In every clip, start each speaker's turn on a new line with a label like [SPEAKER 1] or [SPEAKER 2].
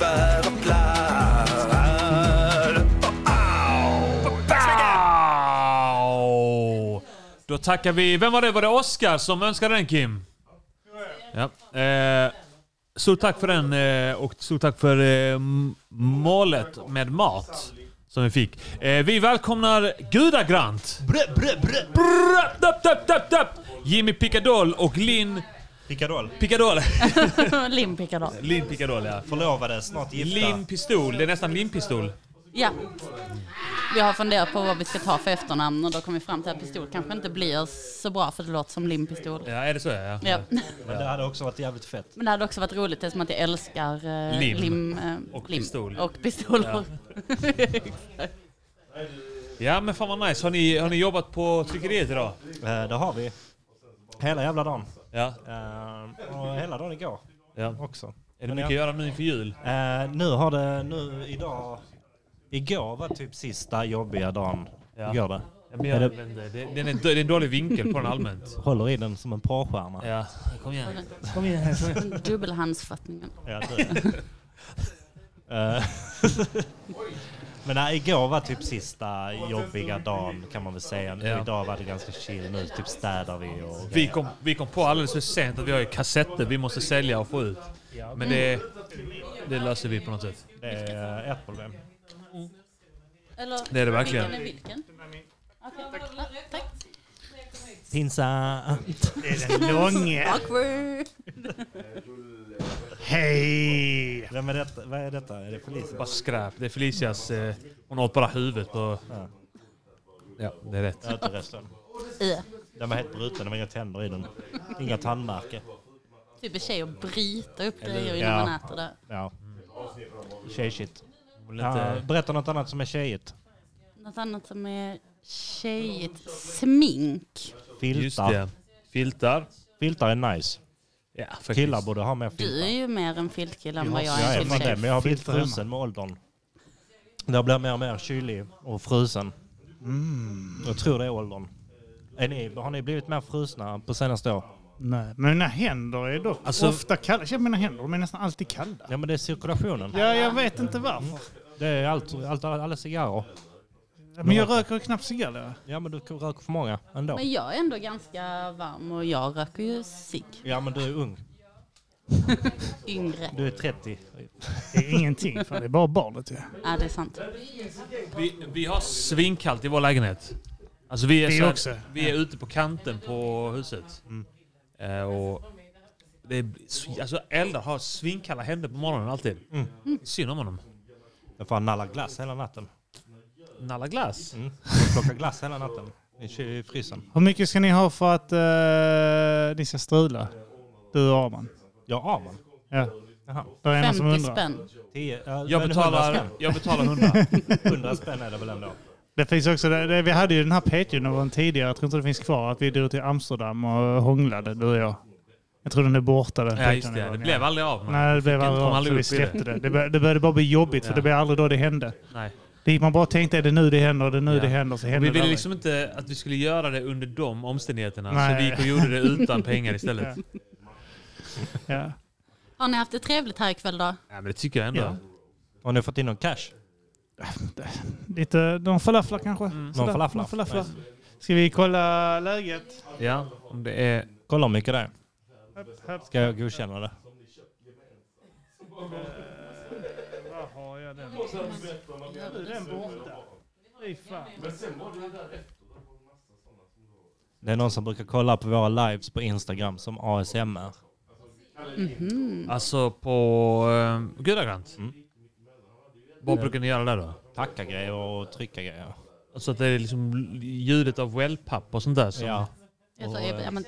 [SPEAKER 1] bär och blär.
[SPEAKER 2] Au! Då tackar vi... Vem var det? Var det Oskar som önskade den Kim? Ja. Eh, stort tack för den eh, och stort tack för eh, m- målet med mat som vi fick. Eh, vi välkomnar Gudagrant!
[SPEAKER 3] Brö, brö, brö.
[SPEAKER 2] Brr, dapp, dapp, dapp, dapp. Jimmy Picadoll och Linn
[SPEAKER 3] Picadoll.
[SPEAKER 2] Picadoll.
[SPEAKER 4] Lim då.
[SPEAKER 2] Linn Picadoll ja.
[SPEAKER 3] Förlovade, snart gifta.
[SPEAKER 2] Linn Pistol. Det är nästan Linn Pistol.
[SPEAKER 4] Ja. Vi har funderat på vad vi ska ta för efternamn och då kom vi fram till att pistol kanske inte blir så bra för det låter som limpistol.
[SPEAKER 2] Ja, är det så? Ja.
[SPEAKER 4] Ja.
[SPEAKER 3] Men det hade också varit jävligt fett.
[SPEAKER 4] Men det hade också varit roligt eftersom att jag älskar eh,
[SPEAKER 2] Lim.
[SPEAKER 4] lim, eh,
[SPEAKER 2] Och pistol.
[SPEAKER 4] Och pistoler.
[SPEAKER 2] ja men fan vad nice. Har ni, har ni jobbat på tryckeriet idag?
[SPEAKER 3] Eh, det har vi. Hela jävla dagen.
[SPEAKER 2] Ja.
[SPEAKER 3] Eh, och hela dagen igår
[SPEAKER 2] ja.
[SPEAKER 3] också.
[SPEAKER 2] Är det mycket att göra nu inför jul?
[SPEAKER 3] Eh, nu har det, nu idag, igår var typ sista jobbiga dagen.
[SPEAKER 2] Ja.
[SPEAKER 3] Igår det.
[SPEAKER 2] Jag vet inte. Det, det, är en, det är en dålig vinkel på den allmänt.
[SPEAKER 3] Håller i den som en porrstjärna.
[SPEAKER 2] Ja, kom igen.
[SPEAKER 4] Dubbelhandsfattningen.
[SPEAKER 3] Ja, det är det. Eh, Men nej, igår var typ sista jobbiga dagen kan man väl säga. Nu
[SPEAKER 2] Ja.
[SPEAKER 3] Idag var det ganska chill. Nu typ städar vi och...
[SPEAKER 2] Vi kom, vi kom på alldeles för sent att vi har ju kassetter vi måste sälja och få ut. Men det, det löser vi på något sätt.
[SPEAKER 3] Det är ett problem.
[SPEAKER 4] Eller,
[SPEAKER 2] Det är det verkligen.
[SPEAKER 4] Vilken är vilken? Okej. Ja, Tack.
[SPEAKER 3] Pinsamt.
[SPEAKER 5] Det är den långe.
[SPEAKER 4] Awkward.
[SPEAKER 5] Hej!
[SPEAKER 3] Vem är detta? Vad är detta? Är det polisen?
[SPEAKER 2] Bara skräp. Det är Felicias... Eh, hon åt bara huvudet på...
[SPEAKER 3] Ja.
[SPEAKER 2] Ja, det är rätt.
[SPEAKER 3] Uteresten.
[SPEAKER 4] Ja.
[SPEAKER 3] Den var helt bruten. Det var inga tänder i den. Inga tandmärken.
[SPEAKER 4] Typ en tjej och bryta upp grejer
[SPEAKER 3] Ja.
[SPEAKER 4] innan man äter det.
[SPEAKER 3] Ja. Tjejshit.
[SPEAKER 2] Hon är
[SPEAKER 3] Ja,
[SPEAKER 2] Mm. lite,
[SPEAKER 3] berätta något annat som är tjejigt.
[SPEAKER 4] Något annat som är tjejigt. Smink.
[SPEAKER 2] just
[SPEAKER 3] Filtar.
[SPEAKER 2] det. Filtar.
[SPEAKER 3] Filtar är nice.
[SPEAKER 2] Ja, faktiskt.
[SPEAKER 3] Killar borde ha mer filtar.
[SPEAKER 4] Du är ju mer en filtkille än vad jag
[SPEAKER 3] Jag
[SPEAKER 4] är
[SPEAKER 3] är
[SPEAKER 4] en
[SPEAKER 3] fan det,
[SPEAKER 4] filttjej.
[SPEAKER 3] men jag har blivit
[SPEAKER 5] Filter hemma.
[SPEAKER 3] frusen med åldern. Jag blir mer och mer kylig och frusen.
[SPEAKER 5] Mm.
[SPEAKER 3] Jag tror det är åldern. Är ni, har ni blivit mer frusna på senaste år?
[SPEAKER 5] Nej, men mina händer är dock
[SPEAKER 2] Alltså-
[SPEAKER 5] ofta kalla. Jag känner mina händer, de är nästan alltid kalla.
[SPEAKER 3] Ja, men det är cirkulationen.
[SPEAKER 5] Ja, jag vet inte varför.
[SPEAKER 3] Det är allt, allt, alla cigarrer.
[SPEAKER 5] Men jag röker ju knappt cigarr.
[SPEAKER 3] Ja, men du röker för många ändå.
[SPEAKER 4] Men jag är ändå ganska varm och jag röker ju cigg.
[SPEAKER 3] Ja, men du är ung.
[SPEAKER 4] Yngre.
[SPEAKER 3] Du är 30.
[SPEAKER 5] Det är ingenting, för det är bara barnet ju.
[SPEAKER 4] Ja, det är sant.
[SPEAKER 2] Vi, vi har svinkallt i vår lägenhet. Alltså vi är,
[SPEAKER 5] Det
[SPEAKER 2] så här,
[SPEAKER 5] också.
[SPEAKER 2] Vi är ute på kanten på huset.
[SPEAKER 3] Mm.
[SPEAKER 2] Eh, och det är, sv- alltså Eldar har svinkalla händer på morgonen alltid. Synd om honom.
[SPEAKER 3] Mm. Jag får nalla glass hela natten.
[SPEAKER 2] Nalla glass.
[SPEAKER 3] Mm. Jag plockar glass hela natten i ky- i frysen.
[SPEAKER 5] Hur mycket ska ni ha för att eh, ni ska strula? Du och Arman.
[SPEAKER 3] Jag har man.
[SPEAKER 5] Ja.
[SPEAKER 3] Jaha.
[SPEAKER 5] Det är en som
[SPEAKER 4] 50
[SPEAKER 5] undrar.
[SPEAKER 4] spänn.
[SPEAKER 3] Tio, äh,
[SPEAKER 2] Jag betalar, jag betalar 100.
[SPEAKER 3] 100 spänn är det väl ändå?
[SPEAKER 5] Det finns också, det, det, vi hade ju den här PT-nivån tidigare, jag tror inte det finns kvar, att vi drog till Amsterdam och hånglade, du och jag. Jag tror den är borta den
[SPEAKER 2] ja, just det.
[SPEAKER 5] PT-nivån,
[SPEAKER 2] Det
[SPEAKER 5] ja.
[SPEAKER 2] blev aldrig av. man.
[SPEAKER 5] Nej, det blev
[SPEAKER 2] Fick-
[SPEAKER 5] aldrig
[SPEAKER 2] kom
[SPEAKER 5] av, så
[SPEAKER 2] upp i
[SPEAKER 5] vi
[SPEAKER 2] det.
[SPEAKER 5] släppte det. Det, bör, det började bara bli jobbigt, för
[SPEAKER 2] Ja.
[SPEAKER 5] det blev aldrig då det hände.
[SPEAKER 2] Nej.
[SPEAKER 5] Det gick man bara och tänkte, är det nu det händer, är det nu
[SPEAKER 2] Ja.
[SPEAKER 5] det händer, så
[SPEAKER 2] Vi
[SPEAKER 5] händer det
[SPEAKER 2] ville
[SPEAKER 5] aldrig.
[SPEAKER 2] liksom inte att vi skulle göra det under de omständigheterna. Så
[SPEAKER 5] Nej.
[SPEAKER 2] vi gick och gjorde det utan pengar istället.
[SPEAKER 5] Ja.
[SPEAKER 2] liksom-
[SPEAKER 5] Ja.
[SPEAKER 4] Har ni haft det trevligt här ikväll då?
[SPEAKER 2] Nej, men det tycker jag ändå.
[SPEAKER 5] Ja.
[SPEAKER 3] Har ni fått in någon cash?
[SPEAKER 5] Lite, de falaflar kanske? Sådär,
[SPEAKER 3] Någon falafla.
[SPEAKER 5] någon falafla. Ska vi kolla läget?
[SPEAKER 2] Ja, om det är...
[SPEAKER 3] Kolla hur mycket det är.
[SPEAKER 5] Upp, upp.
[SPEAKER 3] Ska jag godkänna det?
[SPEAKER 5] Var har jag den? Nu är den borta. Fy fan.
[SPEAKER 3] Det är någon som brukar kolla på våra lives på Instagram som ASMR.
[SPEAKER 2] Alltså på eh, Gudagrant.
[SPEAKER 3] Mm.
[SPEAKER 2] Vad brukar ni göra där då?
[SPEAKER 3] Tacka grejer och trycka grejer.
[SPEAKER 2] Så att det är liksom ljudet av wellpapp och sånt där som...
[SPEAKER 3] Ja,
[SPEAKER 4] Jag tror,
[SPEAKER 3] Och, eh,
[SPEAKER 4] ja, men,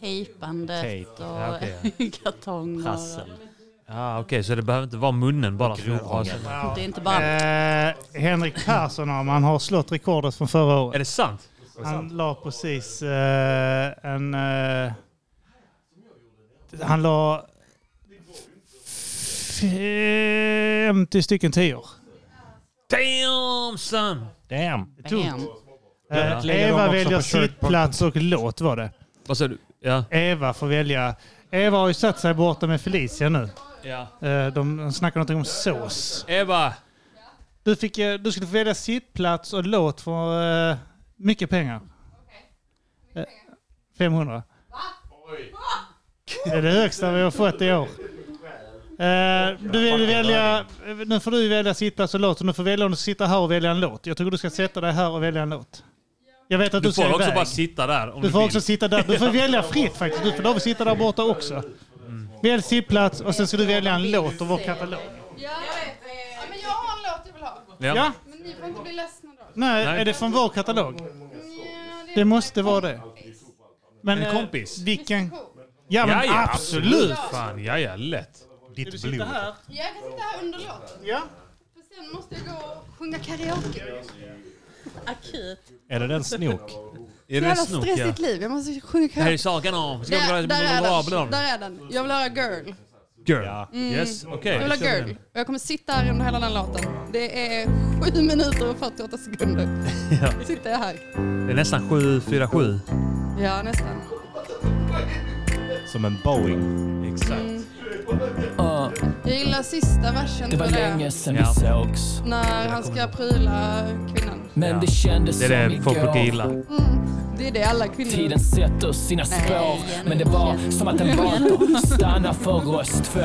[SPEAKER 4] tejpandet
[SPEAKER 3] tejp.
[SPEAKER 2] Ja,
[SPEAKER 4] och
[SPEAKER 2] okej,
[SPEAKER 4] kartonger.
[SPEAKER 3] prassel.
[SPEAKER 2] Ah, Okej, så det behöver inte vara munnen bara som har
[SPEAKER 3] grovhångel.
[SPEAKER 4] Det är inte bara...
[SPEAKER 5] Eh, Henrik Persson han har slått rekordet från förra
[SPEAKER 2] Är
[SPEAKER 5] året.
[SPEAKER 2] det sant?
[SPEAKER 5] Han la precis eh, en... Eh, han la 50 stycken tior.
[SPEAKER 2] Damn son!
[SPEAKER 3] Damn!
[SPEAKER 4] Bam.
[SPEAKER 3] lägger
[SPEAKER 5] Eh,
[SPEAKER 3] de
[SPEAKER 5] Eva
[SPEAKER 3] också
[SPEAKER 5] väljer
[SPEAKER 3] på shirt-
[SPEAKER 5] sittplats och låt var det.
[SPEAKER 2] Vad sa du? Ja.
[SPEAKER 5] Eva får välja. Eva har ju satt sig borta med Felicia nu.
[SPEAKER 2] Ja.
[SPEAKER 5] Eh, De de snackar någonting om sås.
[SPEAKER 2] Eva,
[SPEAKER 5] Du, fick, eh, du skulle få välja sittplats och låt för eh, mycket pengar. Eh, 500. Det är det högsta vi har fått i år. Eh, du vill välja, nu får du välja sittplats och låt. Och nu får välja om du sitter här och välja en låt. Jag tycker du ska sätta dig här och välja en låt. Jag vet att du,
[SPEAKER 2] du
[SPEAKER 5] ska
[SPEAKER 2] får också
[SPEAKER 5] iväg.
[SPEAKER 2] bara sitta där om
[SPEAKER 5] Du får
[SPEAKER 2] vill.
[SPEAKER 5] också sitta där. Du får välja fritt faktiskt. Du får lov att sitta där borta också.
[SPEAKER 2] Mm.
[SPEAKER 5] Välj sittplats och sen ska du välja en låt och vår katalog.
[SPEAKER 1] Ja, jag vet. eh, Ja, men jag har en låt jag vill ha.
[SPEAKER 2] Ja.
[SPEAKER 5] Ja,
[SPEAKER 1] Men ni får inte bli ledsna då.
[SPEAKER 5] nej,
[SPEAKER 2] Nej.
[SPEAKER 5] är det från vår katalog?
[SPEAKER 1] Nja,
[SPEAKER 5] Det måste vara det. Men,
[SPEAKER 2] En
[SPEAKER 5] eh,
[SPEAKER 2] kompis.
[SPEAKER 5] Vilken?
[SPEAKER 1] Cool.
[SPEAKER 5] Ja, men
[SPEAKER 2] Ja, ja,
[SPEAKER 5] absolut!
[SPEAKER 2] Fan, ja, ja, lätt.
[SPEAKER 5] Ska du
[SPEAKER 3] Ditt
[SPEAKER 5] sitta
[SPEAKER 3] blod.
[SPEAKER 5] här?
[SPEAKER 1] Jag kan sitta här under låten.
[SPEAKER 5] Ja.
[SPEAKER 1] För sen måste jag gå och sjunga karaoke.
[SPEAKER 6] Akut.
[SPEAKER 3] Är det den snok?
[SPEAKER 2] Är det
[SPEAKER 1] Jävla
[SPEAKER 2] snok? Ja.
[SPEAKER 1] stressigt liv. Jag måste sjunga
[SPEAKER 2] Det här är
[SPEAKER 1] karaoke.
[SPEAKER 2] sagan om... Ska vi
[SPEAKER 1] Där, där är
[SPEAKER 2] prata
[SPEAKER 1] den.
[SPEAKER 2] om...
[SPEAKER 1] Där är Mm. den. Jag vill höra girl.
[SPEAKER 2] Girl. Yes, okej.
[SPEAKER 1] Jag vill ha girl. Och jag kommer sitta här under hela den låten. Det är 7 minuter och 48 sekunder. Sitter jag här.
[SPEAKER 2] Det är nästan 747.
[SPEAKER 1] Ja, nästan.
[SPEAKER 3] Som en Boeing.
[SPEAKER 2] Exakt.
[SPEAKER 1] Mm.
[SPEAKER 7] Ah,
[SPEAKER 1] Jag gillar sista versen.
[SPEAKER 7] det var
[SPEAKER 1] tror jag
[SPEAKER 7] länge sen
[SPEAKER 2] Ja.
[SPEAKER 7] vi sågs.
[SPEAKER 1] När han ska pryla kvinnan.
[SPEAKER 7] Men
[SPEAKER 2] Ja.
[SPEAKER 7] det kändes
[SPEAKER 2] Det är
[SPEAKER 7] som
[SPEAKER 2] det
[SPEAKER 7] igår.
[SPEAKER 2] folk brukar gilla.
[SPEAKER 1] Det är det alla kvinnor...
[SPEAKER 7] Tiden sätter sina spår. Men det var som att den valde att stanna för oss två.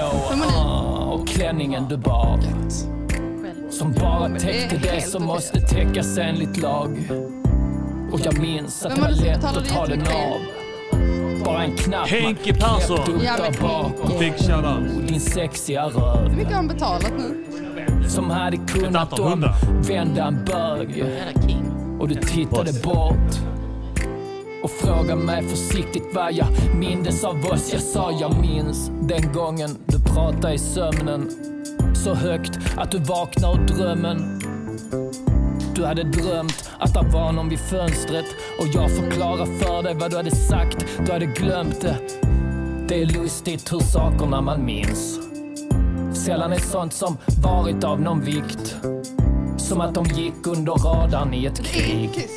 [SPEAKER 7] Ah, och klänningen du bar. Som bara täckte
[SPEAKER 1] Det är
[SPEAKER 7] det
[SPEAKER 1] helt
[SPEAKER 7] som
[SPEAKER 1] okej.
[SPEAKER 7] måste täckas enligt lag. Och jag minns att det
[SPEAKER 1] Men
[SPEAKER 7] var
[SPEAKER 1] man
[SPEAKER 7] lätt
[SPEAKER 1] betalar
[SPEAKER 7] att ta den
[SPEAKER 1] jättemycket.
[SPEAKER 7] av. Bara en knapp man
[SPEAKER 2] Henke Persson.
[SPEAKER 7] knäppte upp
[SPEAKER 1] Ja, men
[SPEAKER 7] där bak.
[SPEAKER 2] Big shoutout.
[SPEAKER 7] Och din sexiga röv.
[SPEAKER 1] Hur mycket har han betalat nu?
[SPEAKER 7] Som hade kunnat
[SPEAKER 2] antal hundra.
[SPEAKER 7] vända en bög.
[SPEAKER 6] Jävla king.
[SPEAKER 7] Och du tittade bort och frågade mig försiktigt vad jag mindes av oss. Jag sa jag minns den gången du pratade i sömnen. Så högt att du vaknade ur drömmen. Du hade drömt att det var någon vid fönstret och jag förklarade för dig vad du hade sagt. Du hade glömt det. Det är lustigt hur sakerna man minns. Sällan är sånt som varit av någon vikt. Som att de gick under radarn i ett krig.
[SPEAKER 1] Kist.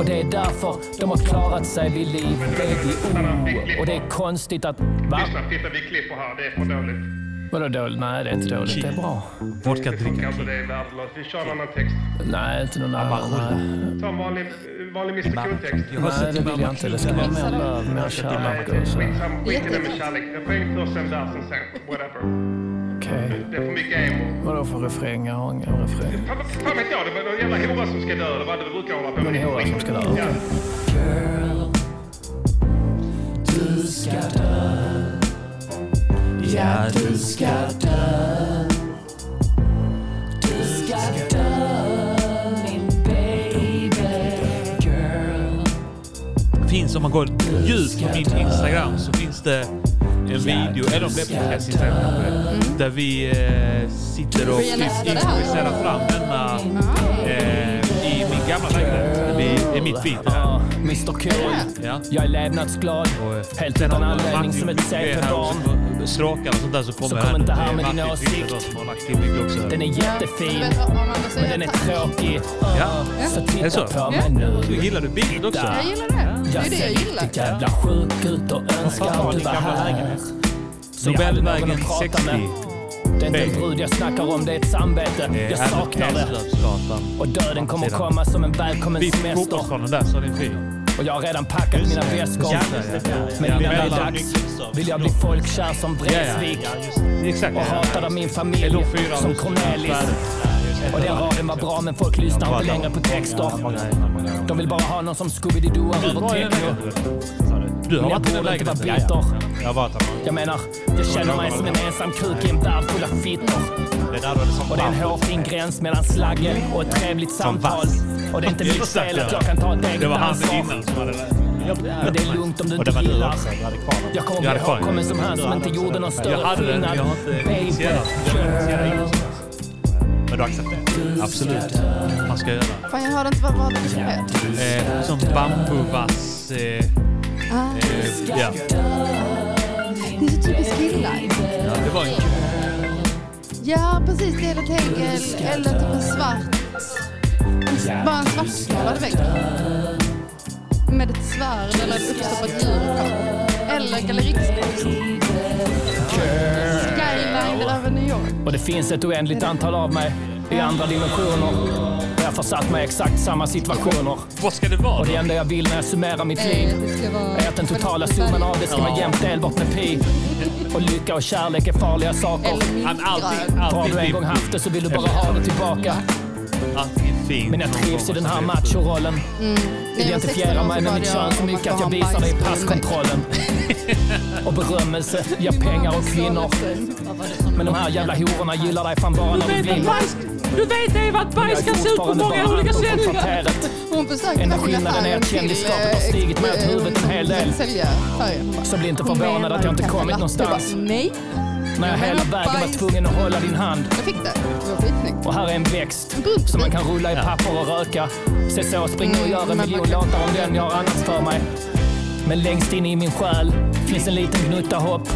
[SPEAKER 7] Och det är därför de har klarat sig vid liv. Det är vi O. Och det är konstigt att... Va?
[SPEAKER 8] Lyssna, titta vi klipper här. Det är för dåligt.
[SPEAKER 7] Vadå dåligt? Nej, det är inte dåligt. Det är bra.
[SPEAKER 2] Vodka
[SPEAKER 8] Det funkar inte. Det är värdelöst. Vi kör en annan text.
[SPEAKER 7] Nej, inte någon annan. Nej,
[SPEAKER 8] Ta en vanlig, vanlig Mr Cool-text.
[SPEAKER 7] Nej, det vill jag inte. Det ska vara mer löv, mer kärlek och så.
[SPEAKER 8] Skitsam- Skit i det med kärlek. Refräng först, sen versen sen. Whatever.
[SPEAKER 7] Okej.
[SPEAKER 8] Det är för mycket emo.
[SPEAKER 7] Vadå för refräng? Jag har ingen refräng.
[SPEAKER 8] Fan vad- fan vet jag? Det var någon jävla hora som ska dö eller vad det brukar hålla på
[SPEAKER 7] Det är en hora som ska dö.
[SPEAKER 8] Ja.
[SPEAKER 7] Girl, du ska dö. Ja, du ska dö. Du ska dö, min baby. Girl,
[SPEAKER 2] Finns om man går djupt på min Instagram så finns det en video, eller om det är på hennes Instagram
[SPEAKER 7] Mm.
[SPEAKER 2] kanske, där vi eh, sitter och
[SPEAKER 1] Får jag nästa där?
[SPEAKER 2] improviserar fram denna eh, i min gamla lägenhet. Det blir- Det är mitt feed det här.
[SPEAKER 7] ah, Mr Cool.
[SPEAKER 2] Ja.
[SPEAKER 7] Jag är levnadsglad, helt
[SPEAKER 2] Sen
[SPEAKER 7] utan
[SPEAKER 2] har
[SPEAKER 7] anledning
[SPEAKER 2] Martin
[SPEAKER 7] som ett
[SPEAKER 2] gjort det här
[SPEAKER 7] CP-barn.
[SPEAKER 2] också. Stråkar och sånt där så kommer
[SPEAKER 7] Så
[SPEAKER 2] här.
[SPEAKER 7] kom inte här med
[SPEAKER 2] Det är
[SPEAKER 7] din
[SPEAKER 2] Martin
[SPEAKER 7] åsikt.
[SPEAKER 2] Tryggvason som har lagt in mycket också.
[SPEAKER 7] Den är jättefin,
[SPEAKER 1] Men du vet vad Amanda
[SPEAKER 7] men den är
[SPEAKER 1] säger? Tack.
[SPEAKER 7] tråkig.
[SPEAKER 2] Ja.
[SPEAKER 7] Så
[SPEAKER 2] Är det så?
[SPEAKER 7] titta på mig nu.
[SPEAKER 2] Gillar du bild också?
[SPEAKER 1] Jag gillar det. Det
[SPEAKER 7] Jag
[SPEAKER 1] är det
[SPEAKER 7] ser
[SPEAKER 1] jag gillar.
[SPEAKER 7] riktigt jävla sjuk ut och önskar att du var här. Så jag hade någon att
[SPEAKER 2] Nobelvägen
[SPEAKER 7] prata
[SPEAKER 2] 60.
[SPEAKER 7] med. Det är inte en brud jag snackar om, det är ett samvete.
[SPEAKER 2] Eh,
[SPEAKER 7] Jag saknar det.
[SPEAKER 2] Hässlövsgatan.
[SPEAKER 7] Och döden kommer
[SPEAKER 2] Sidan.
[SPEAKER 7] komma som en välkommen
[SPEAKER 2] Vid
[SPEAKER 7] semester.
[SPEAKER 2] fotbollsplanen där så är det en film.
[SPEAKER 7] Och jag har redan packat mina väskor. Men innan det är
[SPEAKER 2] Mellan-
[SPEAKER 7] dags vill jag bli folkkär som Vreeswijk.
[SPEAKER 2] Exakt.
[SPEAKER 7] Och hatad av min familj
[SPEAKER 2] LO fyra
[SPEAKER 7] som
[SPEAKER 2] hos-
[SPEAKER 7] Cornelis. Och den raden var bra men folk lyssnar inte längre på texter. De vill bara ha någon som Scooby-Doo över
[SPEAKER 2] var i den
[SPEAKER 7] techno.
[SPEAKER 2] Du har
[SPEAKER 7] Men jag
[SPEAKER 2] varit i den
[SPEAKER 7] borde inte vara
[SPEAKER 2] lägenheten?
[SPEAKER 7] bitter.
[SPEAKER 3] Jag har varit där.
[SPEAKER 7] Jag menar, jag känner mig som en ensam kuk i en värld full av fittor.
[SPEAKER 3] Det är där du är som
[SPEAKER 7] Och det är en
[SPEAKER 3] varm.
[SPEAKER 7] hårfin gräns mellan slagge och ett trevligt samtal. Och det är inte mitt
[SPEAKER 2] Exakt,
[SPEAKER 7] fel att
[SPEAKER 2] ja.
[SPEAKER 7] jag kan ta ett
[SPEAKER 2] Det
[SPEAKER 7] eget
[SPEAKER 2] var han
[SPEAKER 7] ansvar.
[SPEAKER 2] innan som hade det.
[SPEAKER 7] Men det är lugnt om du
[SPEAKER 3] Och det
[SPEAKER 7] inte
[SPEAKER 3] var du
[SPEAKER 7] gillar.
[SPEAKER 3] också. Jag hade kvar den.
[SPEAKER 7] Jag kommer
[SPEAKER 2] Jag hade
[SPEAKER 7] bli
[SPEAKER 2] fan-
[SPEAKER 7] ihågkommen som han som inte gjorde någon
[SPEAKER 2] Jag
[SPEAKER 7] större
[SPEAKER 2] hade den, men
[SPEAKER 7] skillnad.
[SPEAKER 2] jag har inte
[SPEAKER 7] Baby,
[SPEAKER 2] initierat den.
[SPEAKER 3] Men du accepterar?
[SPEAKER 2] Absolut. Man ska göra. det.
[SPEAKER 1] Fan, jag hörde inte vad vad det var.
[SPEAKER 2] Eh, som bambuvass... Eh, eh, ja.
[SPEAKER 1] Det är så typiskt killar.
[SPEAKER 2] ja, det var en
[SPEAKER 1] Ja, precis. Det är ett hängel eller typ en svart. Bara en svartskalad vägg. Med ett svärd eller ett uppstoppat djur på. Eller gallerixkonst. Skyline för New York.
[SPEAKER 7] Och det finns ett oändligt antal av mig i andra dimensioner. Och jag försatt mig i exakt samma situationer.
[SPEAKER 2] Vad ska det vara
[SPEAKER 7] Och
[SPEAKER 2] då?
[SPEAKER 7] det enda jag vill när jag summerar mitt liv
[SPEAKER 1] Eh, Det ska vara...
[SPEAKER 7] är att den totala summan av det ska vara jämnt delbart med pi. Och lycka och kärlek är farliga saker.
[SPEAKER 1] Eller mintgrön.
[SPEAKER 2] Han alltid,
[SPEAKER 7] Har
[SPEAKER 2] alltid
[SPEAKER 7] du en
[SPEAKER 2] fin.
[SPEAKER 7] gång haft det så vill du bara ha det tillbaka.
[SPEAKER 2] Alltid fin.
[SPEAKER 7] Men jag trivs i den här machorollen.
[SPEAKER 1] När jag var 16
[SPEAKER 7] Identifierar
[SPEAKER 1] år
[SPEAKER 7] mig
[SPEAKER 1] så
[SPEAKER 7] med
[SPEAKER 1] bad
[SPEAKER 7] mitt
[SPEAKER 1] jag
[SPEAKER 7] kön så mycket att
[SPEAKER 1] om få ha
[SPEAKER 7] jag
[SPEAKER 1] en
[SPEAKER 7] visar dig i
[SPEAKER 1] bajskorv i väggen.
[SPEAKER 7] passkontrollen. Och berömmelse ger pengar och kvinnor. Men de här jävla hororna gillar dig fan bara när du
[SPEAKER 9] vet att
[SPEAKER 7] vinner.
[SPEAKER 9] bajs, du vet Eva att
[SPEAKER 7] Jag
[SPEAKER 9] bajs
[SPEAKER 7] är
[SPEAKER 9] kan se ut på
[SPEAKER 7] fortfarande
[SPEAKER 9] många
[SPEAKER 7] bara
[SPEAKER 9] olika
[SPEAKER 7] anton
[SPEAKER 9] sätt.
[SPEAKER 7] från kvarteret.
[SPEAKER 1] Hon försökte
[SPEAKER 7] Enda
[SPEAKER 1] verkligen
[SPEAKER 7] skillnaden är
[SPEAKER 1] affären
[SPEAKER 7] att
[SPEAKER 1] till,
[SPEAKER 7] kändisskapet har
[SPEAKER 1] eh,
[SPEAKER 7] stigit med ett
[SPEAKER 1] eh,
[SPEAKER 7] huvud en hel del.
[SPEAKER 1] Sälja färgen.
[SPEAKER 7] Så bli inte förvånad att jag inte kommit någonstans.
[SPEAKER 1] Nej,
[SPEAKER 7] När jag hela vägen var tvungen att hålla din hand.
[SPEAKER 1] jag fick det. Det var skitsnyggt.
[SPEAKER 7] Och här är en växt
[SPEAKER 1] Brunt.
[SPEAKER 7] som man kan rulla i papper och röka. Se så, spring och gör en
[SPEAKER 1] men man
[SPEAKER 7] miljon
[SPEAKER 1] kan-
[SPEAKER 7] låtar om den jag har annat för mig. Men längst in i min själ finns en liten gnutta hopp.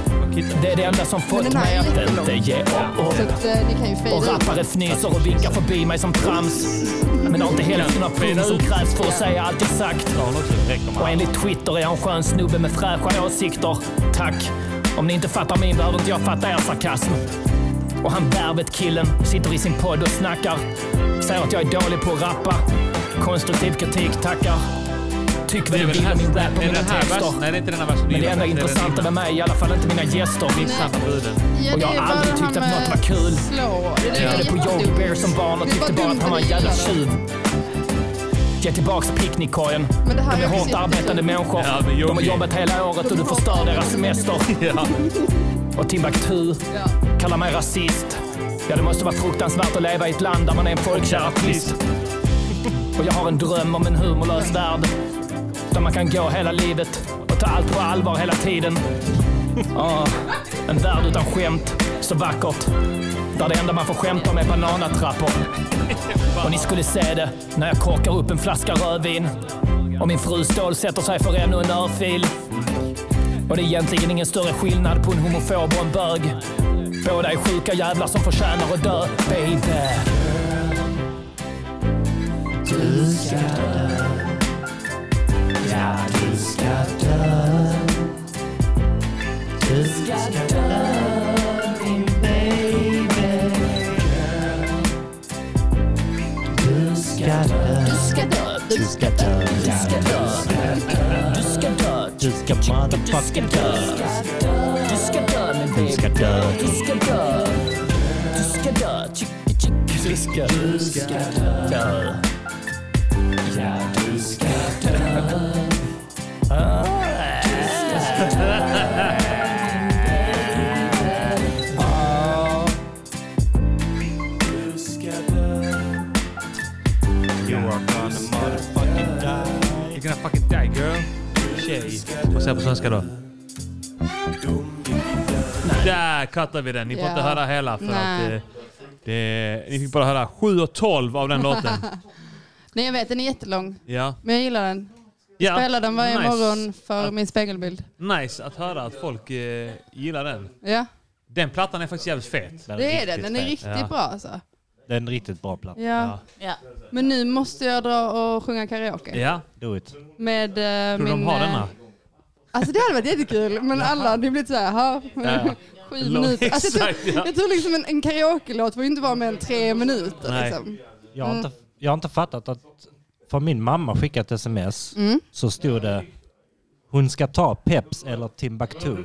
[SPEAKER 7] Det är det enda som fått
[SPEAKER 1] den här
[SPEAKER 7] mig
[SPEAKER 1] är
[SPEAKER 7] att
[SPEAKER 1] jättelång.
[SPEAKER 7] inte ge upp.
[SPEAKER 1] Så att, eh, ni kan ju
[SPEAKER 7] Och
[SPEAKER 1] fejda ut.
[SPEAKER 7] rappare fnyser och vinkar förbi mig som trams. Men har inte hälften av pung som krävs för att säga allt exakt. Och enligt Twitter är jag en skön snubbe med fräscha åsikter. Tack. Om ni inte fattar min behöver inte jag fatta er sarkasm. Och han Värvet-killen sitter i sin podd och snackar. Säger att jag är dålig på att rappa. Konstruktiv kritik, tackar. Tyck
[SPEAKER 2] Det
[SPEAKER 7] vad
[SPEAKER 2] är
[SPEAKER 7] du
[SPEAKER 2] väl
[SPEAKER 7] vill om min
[SPEAKER 2] här,
[SPEAKER 7] rap och
[SPEAKER 2] är
[SPEAKER 7] mina
[SPEAKER 2] den här
[SPEAKER 7] texter.
[SPEAKER 2] versen? Nej, det är inte den här versen du
[SPEAKER 7] Men det
[SPEAKER 2] gillar.
[SPEAKER 7] enda
[SPEAKER 2] är den
[SPEAKER 7] intressanta med mig, är i alla fall inte mina gäster.
[SPEAKER 2] innan. Samma bruden.
[SPEAKER 1] Ja,
[SPEAKER 7] och jag
[SPEAKER 1] det
[SPEAKER 7] har
[SPEAKER 1] är bara
[SPEAKER 7] aldrig
[SPEAKER 1] det
[SPEAKER 7] tyckt
[SPEAKER 1] här
[SPEAKER 7] att något
[SPEAKER 1] med
[SPEAKER 7] var kul.
[SPEAKER 1] Slå. Det är
[SPEAKER 7] Tittade på Yogi
[SPEAKER 1] jättedumt.
[SPEAKER 7] Bear som barn och
[SPEAKER 1] Det är
[SPEAKER 7] tyckte bara
[SPEAKER 1] dumt
[SPEAKER 7] att han var en
[SPEAKER 1] det
[SPEAKER 7] jävla
[SPEAKER 1] gillar
[SPEAKER 7] tjuv. Ge tillbaks picknickkorgen.
[SPEAKER 1] Men det här
[SPEAKER 7] De är
[SPEAKER 1] är
[SPEAKER 7] hårt arbetande människor.
[SPEAKER 2] Ja, men
[SPEAKER 7] De har
[SPEAKER 2] Yogi.
[SPEAKER 7] jobbat hela året och du förstör deras semester.
[SPEAKER 2] Ja.
[SPEAKER 7] Och Timbuktu
[SPEAKER 1] Ja.
[SPEAKER 7] kallar mig rasist. Ja, det måste vara fruktansvärt att leva i ett land där man är en folkkär artist. Och jag har en dröm om en humorlös värld. Där man kan gå hela livet och ta allt på allvar hela tiden. Ja, en värld utan skämt, så vackert. Där det enda man får skämta om är bananatrappor. Och ni skulle se det när jag korkar upp en flaska rödvin. Och min fru Ståhl sätter sig för ännu en örfil. Och det är egentligen ingen större skillnad på en homofob och en bög. Båda är sjuka jävlar som förtjänar att dö, baby. Du ska dö. Ja, du ska dö. Du ska dö, min baby girl. Du ska dö.
[SPEAKER 1] Du ska dö.
[SPEAKER 7] Du ska dö, du ska dö. Du ska dö, du ska dö. Du ska dö, du ska dö min baby. Du ska dö, du ska dö. Du ska dö, chicka chicka. Du ska, du ska dö. Ja, du ska dö. Ah. Ah.
[SPEAKER 2] You're gonna fucking die girl. Tjej. Vad säger jag på svenska då? Där cuttar vi den. Ni får
[SPEAKER 1] Ja.
[SPEAKER 2] inte höra hela för
[SPEAKER 1] Nej.
[SPEAKER 2] att... eh, Det, ni fick bara höra 7 och 12 av den låten.
[SPEAKER 1] Nej, jag vet. Den är jättelång.
[SPEAKER 2] Ja.
[SPEAKER 1] Men jag gillar den.
[SPEAKER 2] ja.
[SPEAKER 1] Spelar den varje
[SPEAKER 2] nice.
[SPEAKER 1] morgon för min spegelbild.
[SPEAKER 2] Nice att höra att folk eh, gillar den.
[SPEAKER 1] Ja,
[SPEAKER 2] Den plattan är faktiskt jävligt fet.
[SPEAKER 1] det är den. Den är riktigt
[SPEAKER 2] Ja.
[SPEAKER 1] bra alltså.
[SPEAKER 3] Det är en riktigt bra platta.
[SPEAKER 1] Ja.
[SPEAKER 10] Ja.
[SPEAKER 1] Men nu måste jag dra och sjunga karaoke.
[SPEAKER 2] Ja.
[SPEAKER 3] Do it.
[SPEAKER 1] Med eh,
[SPEAKER 2] Tror du
[SPEAKER 1] min...
[SPEAKER 2] de har
[SPEAKER 1] eh,
[SPEAKER 2] denna?
[SPEAKER 1] Alltså det hade varit jättekul, men alla hade ju blivit så här, ha,
[SPEAKER 2] Ja.
[SPEAKER 1] sju
[SPEAKER 2] Lång-
[SPEAKER 1] minuter. Alltså, jag,
[SPEAKER 2] Exakt, ja.
[SPEAKER 1] tror, jag tror liksom en, en karaoke-låt får ju inte vara mer än tre minuter.
[SPEAKER 2] Nej.
[SPEAKER 1] Liksom.
[SPEAKER 3] Jag har, inte, jag har inte fattat att... För min mamma skickat ett sms
[SPEAKER 1] Mm.
[SPEAKER 3] så stod det hon ska ta Peps eller Timbuktu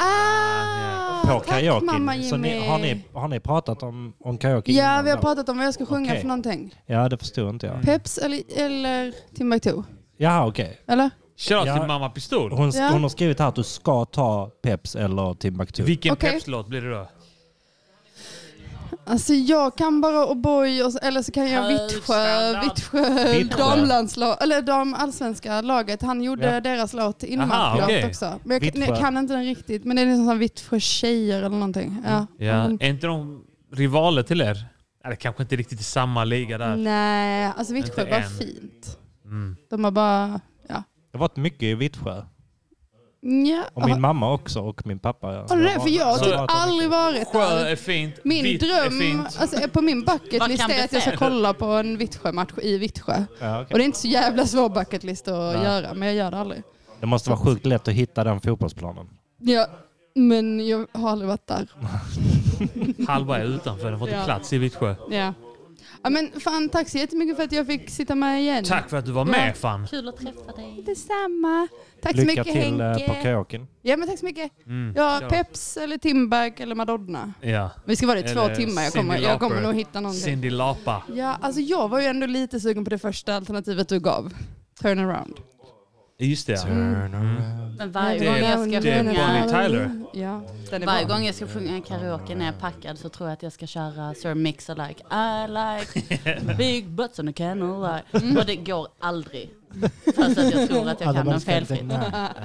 [SPEAKER 1] Ah,
[SPEAKER 3] på
[SPEAKER 1] tack mamma
[SPEAKER 3] karaoken. Så
[SPEAKER 1] Jimmy.
[SPEAKER 3] ni, har, ni, har ni pratat om, om karaoke
[SPEAKER 1] Ja,
[SPEAKER 3] innan
[SPEAKER 1] vi har
[SPEAKER 3] då?
[SPEAKER 1] pratat om vad jag ska sjunga
[SPEAKER 3] Okej.
[SPEAKER 1] för någonting.
[SPEAKER 3] Ja, det förstod inte jag.
[SPEAKER 1] Peps eller, eller Timbuktu?
[SPEAKER 3] Jaha, okej.
[SPEAKER 1] Eller?
[SPEAKER 2] Shoutout
[SPEAKER 3] Ja.
[SPEAKER 2] till Mamma Pistol.
[SPEAKER 3] Hon,
[SPEAKER 1] Ja.
[SPEAKER 3] hon har skrivit här att du ska ta Peps eller Timbuktu.
[SPEAKER 2] Vilken
[SPEAKER 1] Okej.
[SPEAKER 2] Peps-låt blir det då?
[SPEAKER 1] Alltså jag kan bara O'boy och så- eller så kan jag Vittsjö,
[SPEAKER 2] Högstandard.
[SPEAKER 1] Vittsjö
[SPEAKER 3] Vittsjö.
[SPEAKER 1] damlandslag, eller damallsvenska laget. Han gjorde
[SPEAKER 3] Ja.
[SPEAKER 1] deras låt
[SPEAKER 2] Aha,
[SPEAKER 1] inmarklåt
[SPEAKER 2] okej.
[SPEAKER 1] också. Men jag, nej,
[SPEAKER 3] Vittsjö.
[SPEAKER 1] jag kan inte den riktigt, men det är liksom sån Vittsjö tjejer eller någonting. Ja.
[SPEAKER 2] Ja.
[SPEAKER 1] Mm.
[SPEAKER 2] Är inte de rivaler till er? Eller kanske inte riktigt i samma liga där.
[SPEAKER 1] Nej, alltså Vittsjö
[SPEAKER 2] Inte
[SPEAKER 1] var
[SPEAKER 2] än.
[SPEAKER 1] fint.
[SPEAKER 3] Mm.
[SPEAKER 1] De har bara, ja.
[SPEAKER 3] Jag har varit mycket i Vittsjö.
[SPEAKER 1] Nja.
[SPEAKER 3] Och min mamma också och min pappa.
[SPEAKER 1] Ja, det är det, för jag har
[SPEAKER 2] Så-
[SPEAKER 1] typ aldrig varit
[SPEAKER 2] Alltså, Sjö
[SPEAKER 1] där.
[SPEAKER 2] är fint.
[SPEAKER 1] Min
[SPEAKER 2] vitt är
[SPEAKER 1] dröm,
[SPEAKER 2] fint.
[SPEAKER 1] alltså är på min bucket
[SPEAKER 10] Vad
[SPEAKER 1] list
[SPEAKER 10] kan
[SPEAKER 1] är
[SPEAKER 10] bli
[SPEAKER 1] att jag ska
[SPEAKER 10] fel?
[SPEAKER 1] kolla på en Vittsjö-match i Vittsjö.
[SPEAKER 3] Ja, okej.
[SPEAKER 1] Och det är inte så jävla svår bucket list att göra, men jag gör det aldrig.
[SPEAKER 3] Det måste vara sjukt lätt att hitta den fotbollsplanen.
[SPEAKER 1] Ja, Men jag har aldrig varit där.
[SPEAKER 2] Halva är utanför, den får inte
[SPEAKER 1] Ja.
[SPEAKER 2] plats i Vittsjö.
[SPEAKER 1] Ja. ja men fan, tack så jättemycket för att jag fick sitta med igen.
[SPEAKER 2] Tack för att du var med
[SPEAKER 1] Ja.
[SPEAKER 2] fan.
[SPEAKER 4] Kul att träffa dig.
[SPEAKER 1] Detsamma. Tack så
[SPEAKER 3] Lycka
[SPEAKER 1] mycket
[SPEAKER 3] till eh, på
[SPEAKER 1] Henke.
[SPEAKER 3] kåken.
[SPEAKER 1] Ja men tack så mycket.
[SPEAKER 2] Mm.
[SPEAKER 1] Jag har Peps eller Timberg eller Madonna.
[SPEAKER 2] Ja.
[SPEAKER 1] Vi ska vara där i två
[SPEAKER 2] Eller
[SPEAKER 1] timmar. Jag
[SPEAKER 2] Cyndi
[SPEAKER 1] kommer, jag kommer
[SPEAKER 2] Lauper.
[SPEAKER 1] nog hitta någonting.
[SPEAKER 2] Cindy Lapa.
[SPEAKER 1] Ja, alltså jag var ju ändå lite sugen på det första alternativet du gav. Turnaround.
[SPEAKER 2] Just det. ja.
[SPEAKER 3] Turn
[SPEAKER 1] Mm.
[SPEAKER 3] around.
[SPEAKER 4] Men varje
[SPEAKER 2] Det-
[SPEAKER 4] gång jag ska
[SPEAKER 2] det är Bonnie
[SPEAKER 4] sjunga...
[SPEAKER 2] Tyler.
[SPEAKER 1] Ja, den är
[SPEAKER 4] Varje
[SPEAKER 1] bra.
[SPEAKER 4] gång jag ska sjunga karaoke när jag är packad så tror jag att jag ska köra Sir Mix-alike. I like big butts and a candlelight. Och det går aldrig. Fast att jag tror att jag kan den felfritt.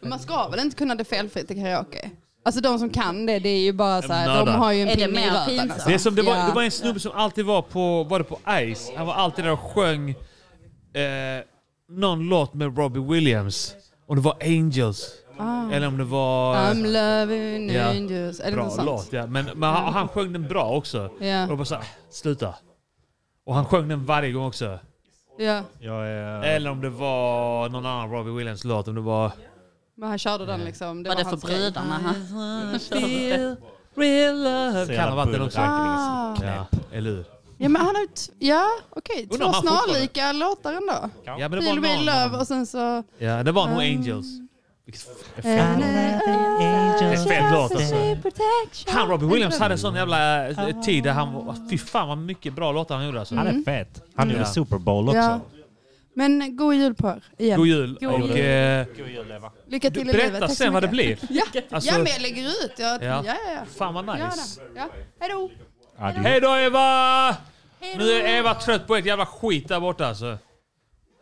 [SPEAKER 1] Men man ska väl inte kunna det felfritt i karaoke? Alltså de som kan det, det är ju bara så här, de
[SPEAKER 2] Nördar.
[SPEAKER 1] har ju en
[SPEAKER 4] Är det
[SPEAKER 1] pinne i
[SPEAKER 4] mer
[SPEAKER 1] röven.
[SPEAKER 4] pinsamt?
[SPEAKER 1] Alltså.
[SPEAKER 2] Det, är som, det, var,
[SPEAKER 1] Ja.
[SPEAKER 2] det var en snubbe som alltid var på, var det på Ice. Han var alltid där och sjöng eh, någon låt med Robbie Williams. Om det var Angels. Eller om det var...
[SPEAKER 1] Ah. I'm loving
[SPEAKER 2] Ja.
[SPEAKER 1] angels. Är det
[SPEAKER 2] bra
[SPEAKER 1] något sånt?
[SPEAKER 2] låt ja. Men, men han, han sjöng den bra också. Och jag
[SPEAKER 1] Ja.
[SPEAKER 2] bara såhär, sluta. Och han sjöng den varje gång också.
[SPEAKER 1] ja,
[SPEAKER 3] Jag är... eh,
[SPEAKER 2] Eller om det var någon annan Robbie Williams-låt. Om det var...
[SPEAKER 1] men han körde
[SPEAKER 2] Mm.
[SPEAKER 1] den liksom. Det
[SPEAKER 4] Var det för
[SPEAKER 1] hans
[SPEAKER 4] brudarna? Mm,
[SPEAKER 1] grej. Mm.
[SPEAKER 4] han körde?
[SPEAKER 2] Real love. Kan ha varit den också.
[SPEAKER 1] Ah.
[SPEAKER 2] Ja, eller hur?
[SPEAKER 1] Ja, men han har ju t- Ja, okej.
[SPEAKER 2] Undrar
[SPEAKER 1] Två
[SPEAKER 2] om han fortfarande-
[SPEAKER 1] snarlika låtar ändå.
[SPEAKER 2] Ja, men det var
[SPEAKER 1] Feel Real
[SPEAKER 2] någon.
[SPEAKER 1] Love och sen så... Eh,
[SPEAKER 2] Ja, det
[SPEAKER 1] Ah.
[SPEAKER 2] var nog Angels. Vilket f-
[SPEAKER 1] Det är
[SPEAKER 2] fet låt, alltså. Han Robbie Williams hade en sån jävla eh, tid där han var... Fy fan vad mycket bra låtar han gjorde alltså.
[SPEAKER 3] Han är fet. Han gjorde
[SPEAKER 2] Ja.
[SPEAKER 3] Super Bowl också.
[SPEAKER 1] Ja. Men god jul på er igen.
[SPEAKER 2] God jul.
[SPEAKER 4] God
[SPEAKER 2] Och,
[SPEAKER 4] jul.
[SPEAKER 2] eh,
[SPEAKER 1] Lycka till i livet.
[SPEAKER 2] berätta
[SPEAKER 1] Tack så
[SPEAKER 2] sen vad det
[SPEAKER 1] mycket.
[SPEAKER 2] blir.
[SPEAKER 1] Ja,
[SPEAKER 2] Alltså-
[SPEAKER 1] ja men jag lägger ut. Jag, ja,
[SPEAKER 2] Ja.
[SPEAKER 1] ja, ja.
[SPEAKER 2] Fan vad
[SPEAKER 1] Gör
[SPEAKER 2] nice.
[SPEAKER 1] det. Ja. Hej då.
[SPEAKER 3] Adieu.
[SPEAKER 2] Hej då Eva!
[SPEAKER 1] Hej
[SPEAKER 2] Nu är Eva trött på ett jävla skit där borta alltså.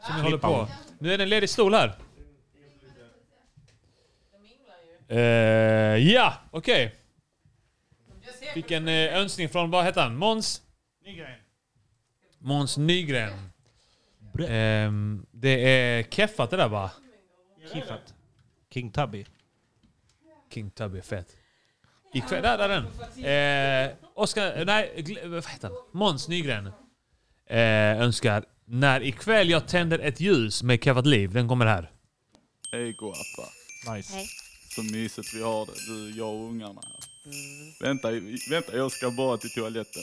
[SPEAKER 2] Som vi håller på. Nu är det en ledig stol här. Eh, ja, okej. Fick en eh, önskning från, vad heter han? Måns? Måns Nygren. Ehm, det är keffat det där va?
[SPEAKER 3] Kiffat. King Tubby.
[SPEAKER 2] King Tubby är fett. Ikväll, där, där är den. Eh, Oskar, nej, gl- eh, vad heter han? Måns Nygren eh, önskar När ikväll jag tänder ett ljus med Kefat Liv. Den kommer här.
[SPEAKER 11] Hej guappa.
[SPEAKER 3] Nice.
[SPEAKER 11] Så mysigt vi har det, du, jag och ungarna här. Vänta, vänta, jag ska bara till toaletten.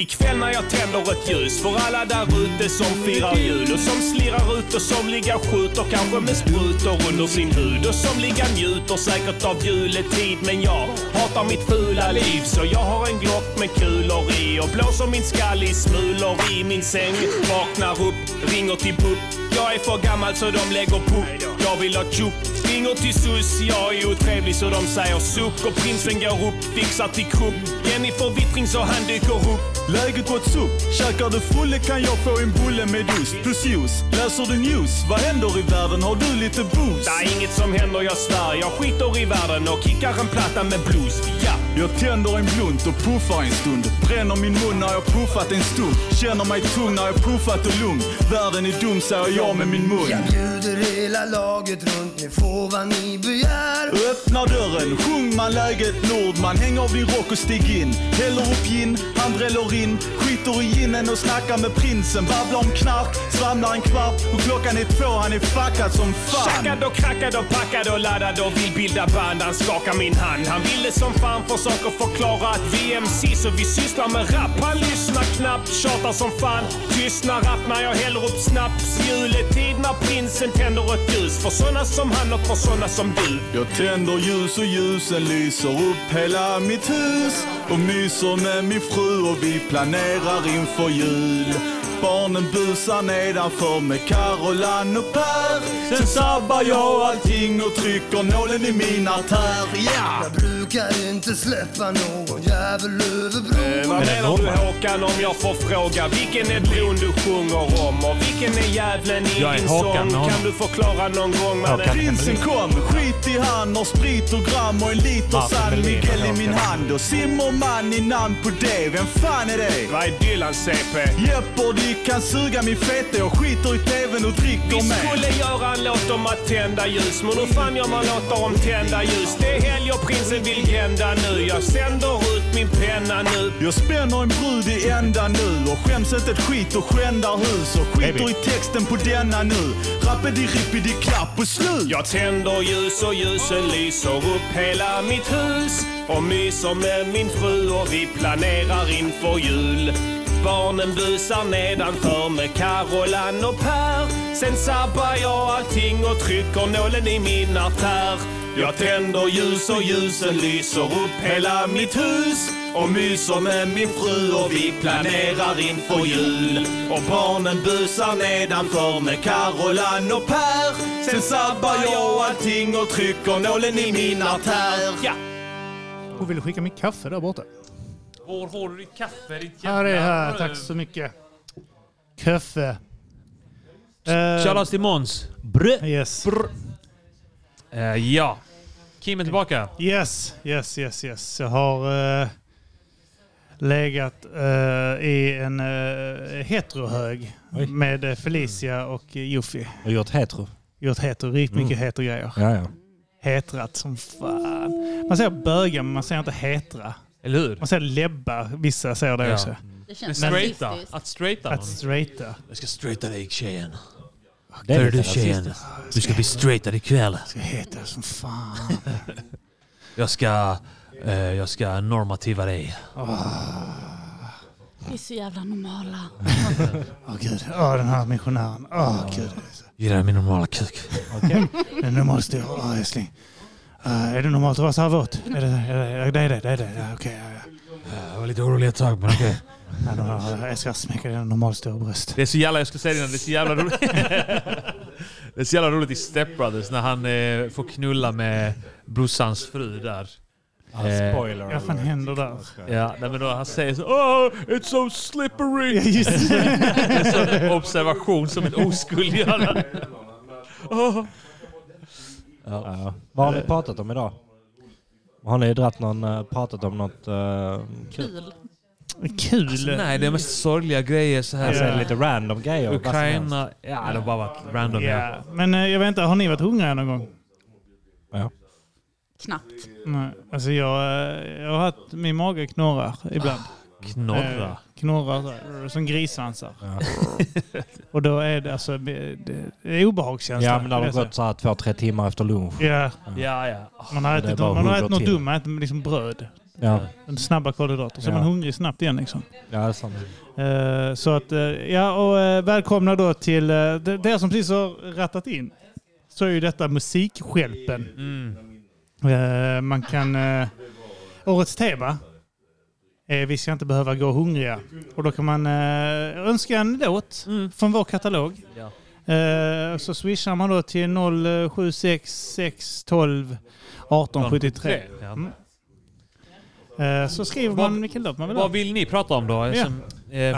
[SPEAKER 8] Ikväll när jag tänder ett ljus för alla där ute som firar jul och som slirar ut och som ligger skjuter kanske med sprutor under sin hud och som ligger njuter säkert av juletid men jag hatar mitt fula liv så jag har en glock med kulor i och blåser min skall i smulor i min säng vaknar upp, ringer till BUP jag är för gammal så de lägger puck jag vill ha tjock Ringer till sus, jag är otrevlig så de säger suck och prinsen går upp, fixar till krupp. Jennifer Wittring så han dyker upp.
[SPEAKER 11] Läget what's up? Käkar du fulle kan jag få en bulle med ost plus juice. Läser du news? Vad händer i världen? Har du lite boost?
[SPEAKER 8] Det är inget som händer, jag svär. Jag skiter i världen och kickar en platta med blues. Ja!
[SPEAKER 11] Jag tänder en blunt och puffar en stund. Bränner min mun när jag puffat en stund. Känner mig tung när jag puffat och lugn. Världen är dum säger jag med min mun.
[SPEAKER 12] Jag bjuder hela laget runt, ni får vad ni begär.
[SPEAKER 11] Öppnar dörren, sjung man läget Nordman. Häng av din rock och stig in. Häller upp gin, han dräller in. Skiter i ginen och snackar med prinsen. Babblar om knark, svamlar en kvart. Och klockan är två, han är fuckad som fan.
[SPEAKER 8] Tjackad och krackad och packad och laddad och vill bilda band. Han skakar min hand. Han ville som fan försöker förklara att vi är MCs och vi sysslar med rap. Han lyssnar knappt, tjatar som fan. Tystnar rapp när jag häller upp snaps. Juletid när prinsen tänder ett ljus. För såna som han och för såna som du.
[SPEAKER 11] Jag tänder ljus och ljusen lyser upp hela mitt hus. Och myser med min fru och vi planerar inför jul. Barnen busar nedanför med Carolan och Per. Sen sabbar jag allting och trycker nålen i min artär. Ja!
[SPEAKER 12] Jag brukar inte släppa någon jävel över bron.
[SPEAKER 8] Eh, Vad menar du Håkan om jag får fråga? Vilken är bron du sjunger om? Och vilken är djävulen i
[SPEAKER 2] Jag är
[SPEAKER 8] din
[SPEAKER 2] Håkan
[SPEAKER 8] sång?
[SPEAKER 2] med honom.
[SPEAKER 8] Kan du förklara någon gång mannen?
[SPEAKER 11] Prinsen kom, skit i han har sprit och gram och en liter
[SPEAKER 3] Martin
[SPEAKER 11] San
[SPEAKER 3] Melin,
[SPEAKER 11] Miguel
[SPEAKER 3] jag
[SPEAKER 11] i min
[SPEAKER 3] orkar.
[SPEAKER 11] hand och Zimmerman i namn på det. Vem fan är det?
[SPEAKER 8] Vad är Dylan CP?
[SPEAKER 11] Jeopardy kan suga min fete, jag skiter i tvn och
[SPEAKER 8] Vi
[SPEAKER 11] dricker med.
[SPEAKER 8] skulle göra en låt om att tända ljus Men hur fan gör man låtar om tända ljus? Det är helg och prinsen vill grända nu Jag sänder ut min penna nu.
[SPEAKER 11] Jag spänner en brud i ända nu och skäms inte ett skit och skändar hus och skiter
[SPEAKER 8] Baby.
[SPEAKER 11] i texten på denna nu. Rappedi rippidi klapp och slut.
[SPEAKER 8] Jag tänder ljus och ljusen lyser upp hela mitt hus och myser med min fru och vi planerar inför jul. Barnen busar nedanför med Carolan och Per. Sen sabbar jag allting och trycker nålen i min artär. Jag tänder ljus och ljusen lyser upp hela mitt hus och myser med min fru och vi planerar inför jul. Och barnen busar nedanför med Carolan och Per. Sen sabbar jag allting och trycker nålen i min artär. Ja.
[SPEAKER 5] Hon ville skicka mitt kaffe där borta.
[SPEAKER 2] Var har du ditt kaffe? Ditt jävla...
[SPEAKER 5] Här är här, tack så mycket. Kaffe. Eh,
[SPEAKER 2] Shoutout till Måns.
[SPEAKER 5] Brö. Yes.
[SPEAKER 2] Eh, ja. Kim är tillbaka.
[SPEAKER 5] Yes, yes, yes, yes. Jag har eh, legat eh, i en eh, heterohög med eh, Felicia och eh, Joffi.
[SPEAKER 3] Jag har gjort hetero.
[SPEAKER 5] Gjort hetero, riktigt mycket
[SPEAKER 3] Mm.
[SPEAKER 5] hetero-grejer.
[SPEAKER 3] Ja, ja.
[SPEAKER 5] Hetrat som fan. Man säger böga, men man säger inte hetra.
[SPEAKER 2] Eller hur?
[SPEAKER 5] Man säger lebba, vissa säger det
[SPEAKER 2] Ja.
[SPEAKER 5] också.
[SPEAKER 2] Det känns Men straighta. rasistiskt. Att straighta någon.
[SPEAKER 5] Att straighta.
[SPEAKER 2] Jag ska straighta dig tjejen.
[SPEAKER 5] Det är
[SPEAKER 2] Hör
[SPEAKER 5] lite
[SPEAKER 2] du tjejen,
[SPEAKER 5] rasistiskt.
[SPEAKER 2] du ska bli straightad ikväll.
[SPEAKER 5] Ska heta som fan.
[SPEAKER 2] Jag ska, eh, jag ska normativa dig. Ah.
[SPEAKER 4] Vi är så jävla normala.
[SPEAKER 5] Åh gud, åh den här missionären. Åh gud.
[SPEAKER 2] Gillar du min normala kuk?
[SPEAKER 5] Den är normal stor. Åh älskling. Eh, är det normalt att vara så här våt? Är det är det, det? Är det, det, är det. Ja, Okej, ja, ja.
[SPEAKER 2] Jag var lite orolig ett tag, men okej.
[SPEAKER 5] Ja, de har- Jag ska smeka den normal stor bröst.
[SPEAKER 2] Det är så jävla, jag skulle säga det innan, det är så jävla roligt. det är så jävla roligt i Step Brothers när han eh, får knulla med brorsans fru där.
[SPEAKER 5] Ah, spoiler Vad fan alert. händer där?
[SPEAKER 2] Eh, Ja, nej, men då han säger så Oh, it's so slippery!
[SPEAKER 5] Ja, just det.
[SPEAKER 2] det är så en observation som en oskuld gör. Åh.
[SPEAKER 3] Ja. Vad har ni pratat om idag? Har ni dratt någon, eh, pratat om något eh,
[SPEAKER 4] Kul.
[SPEAKER 5] Kul?
[SPEAKER 2] Alltså, nej, det är mest sorgliga grejer så här.
[SPEAKER 3] Alltså, det är lite random grejer, vad som
[SPEAKER 2] Ukraina.
[SPEAKER 3] helst.
[SPEAKER 2] Ja, det har bara varit random.
[SPEAKER 5] Ja, Men eh, jag vet inte, har ni varit hungriga någon gång?
[SPEAKER 4] Knappt.
[SPEAKER 5] Nej, alltså jag, eh, jag har haft, min mage knorrar ibland.
[SPEAKER 3] Ah,
[SPEAKER 2] Knorrar?
[SPEAKER 5] Eh, Knorrar så här, som grissvansar. och då är det alltså det, det är obehagskänsla.
[SPEAKER 3] Ja, men det har
[SPEAKER 5] Det är så.
[SPEAKER 3] gått så här två, tre timmar efter lunch. Mm.
[SPEAKER 5] Ja.
[SPEAKER 2] Ja, ja.
[SPEAKER 5] Man har
[SPEAKER 3] Det är
[SPEAKER 5] ätit,
[SPEAKER 3] bara
[SPEAKER 5] man har
[SPEAKER 3] hugger
[SPEAKER 5] ätit något
[SPEAKER 3] till.
[SPEAKER 5] dumt, man har ätit liksom bröd.
[SPEAKER 3] Ja.
[SPEAKER 5] Snabba kolhydrater. Så är
[SPEAKER 3] Ja.
[SPEAKER 5] man hungrig snabbt igen liksom.
[SPEAKER 3] Ja, det är sant.
[SPEAKER 5] Eh, Så att, eh, ja och eh, välkomna då till eh, det det som precis har rattat in. Så är ju detta Musikskälpen.
[SPEAKER 2] Mm.
[SPEAKER 5] Eh, Man kan... eh, Årets tema är Vi ska inte behöva gå hungriga. Och då kan man eh, önska en låt från vår katalog.
[SPEAKER 2] Mm. Ja.
[SPEAKER 5] Eh, Så swishar man då till 076612 1873.
[SPEAKER 2] Ja.
[SPEAKER 5] Mm. Eh, Så skriver man vilken låt man vill ha.
[SPEAKER 2] Vad vill ni prata om då? Eftersom, eh,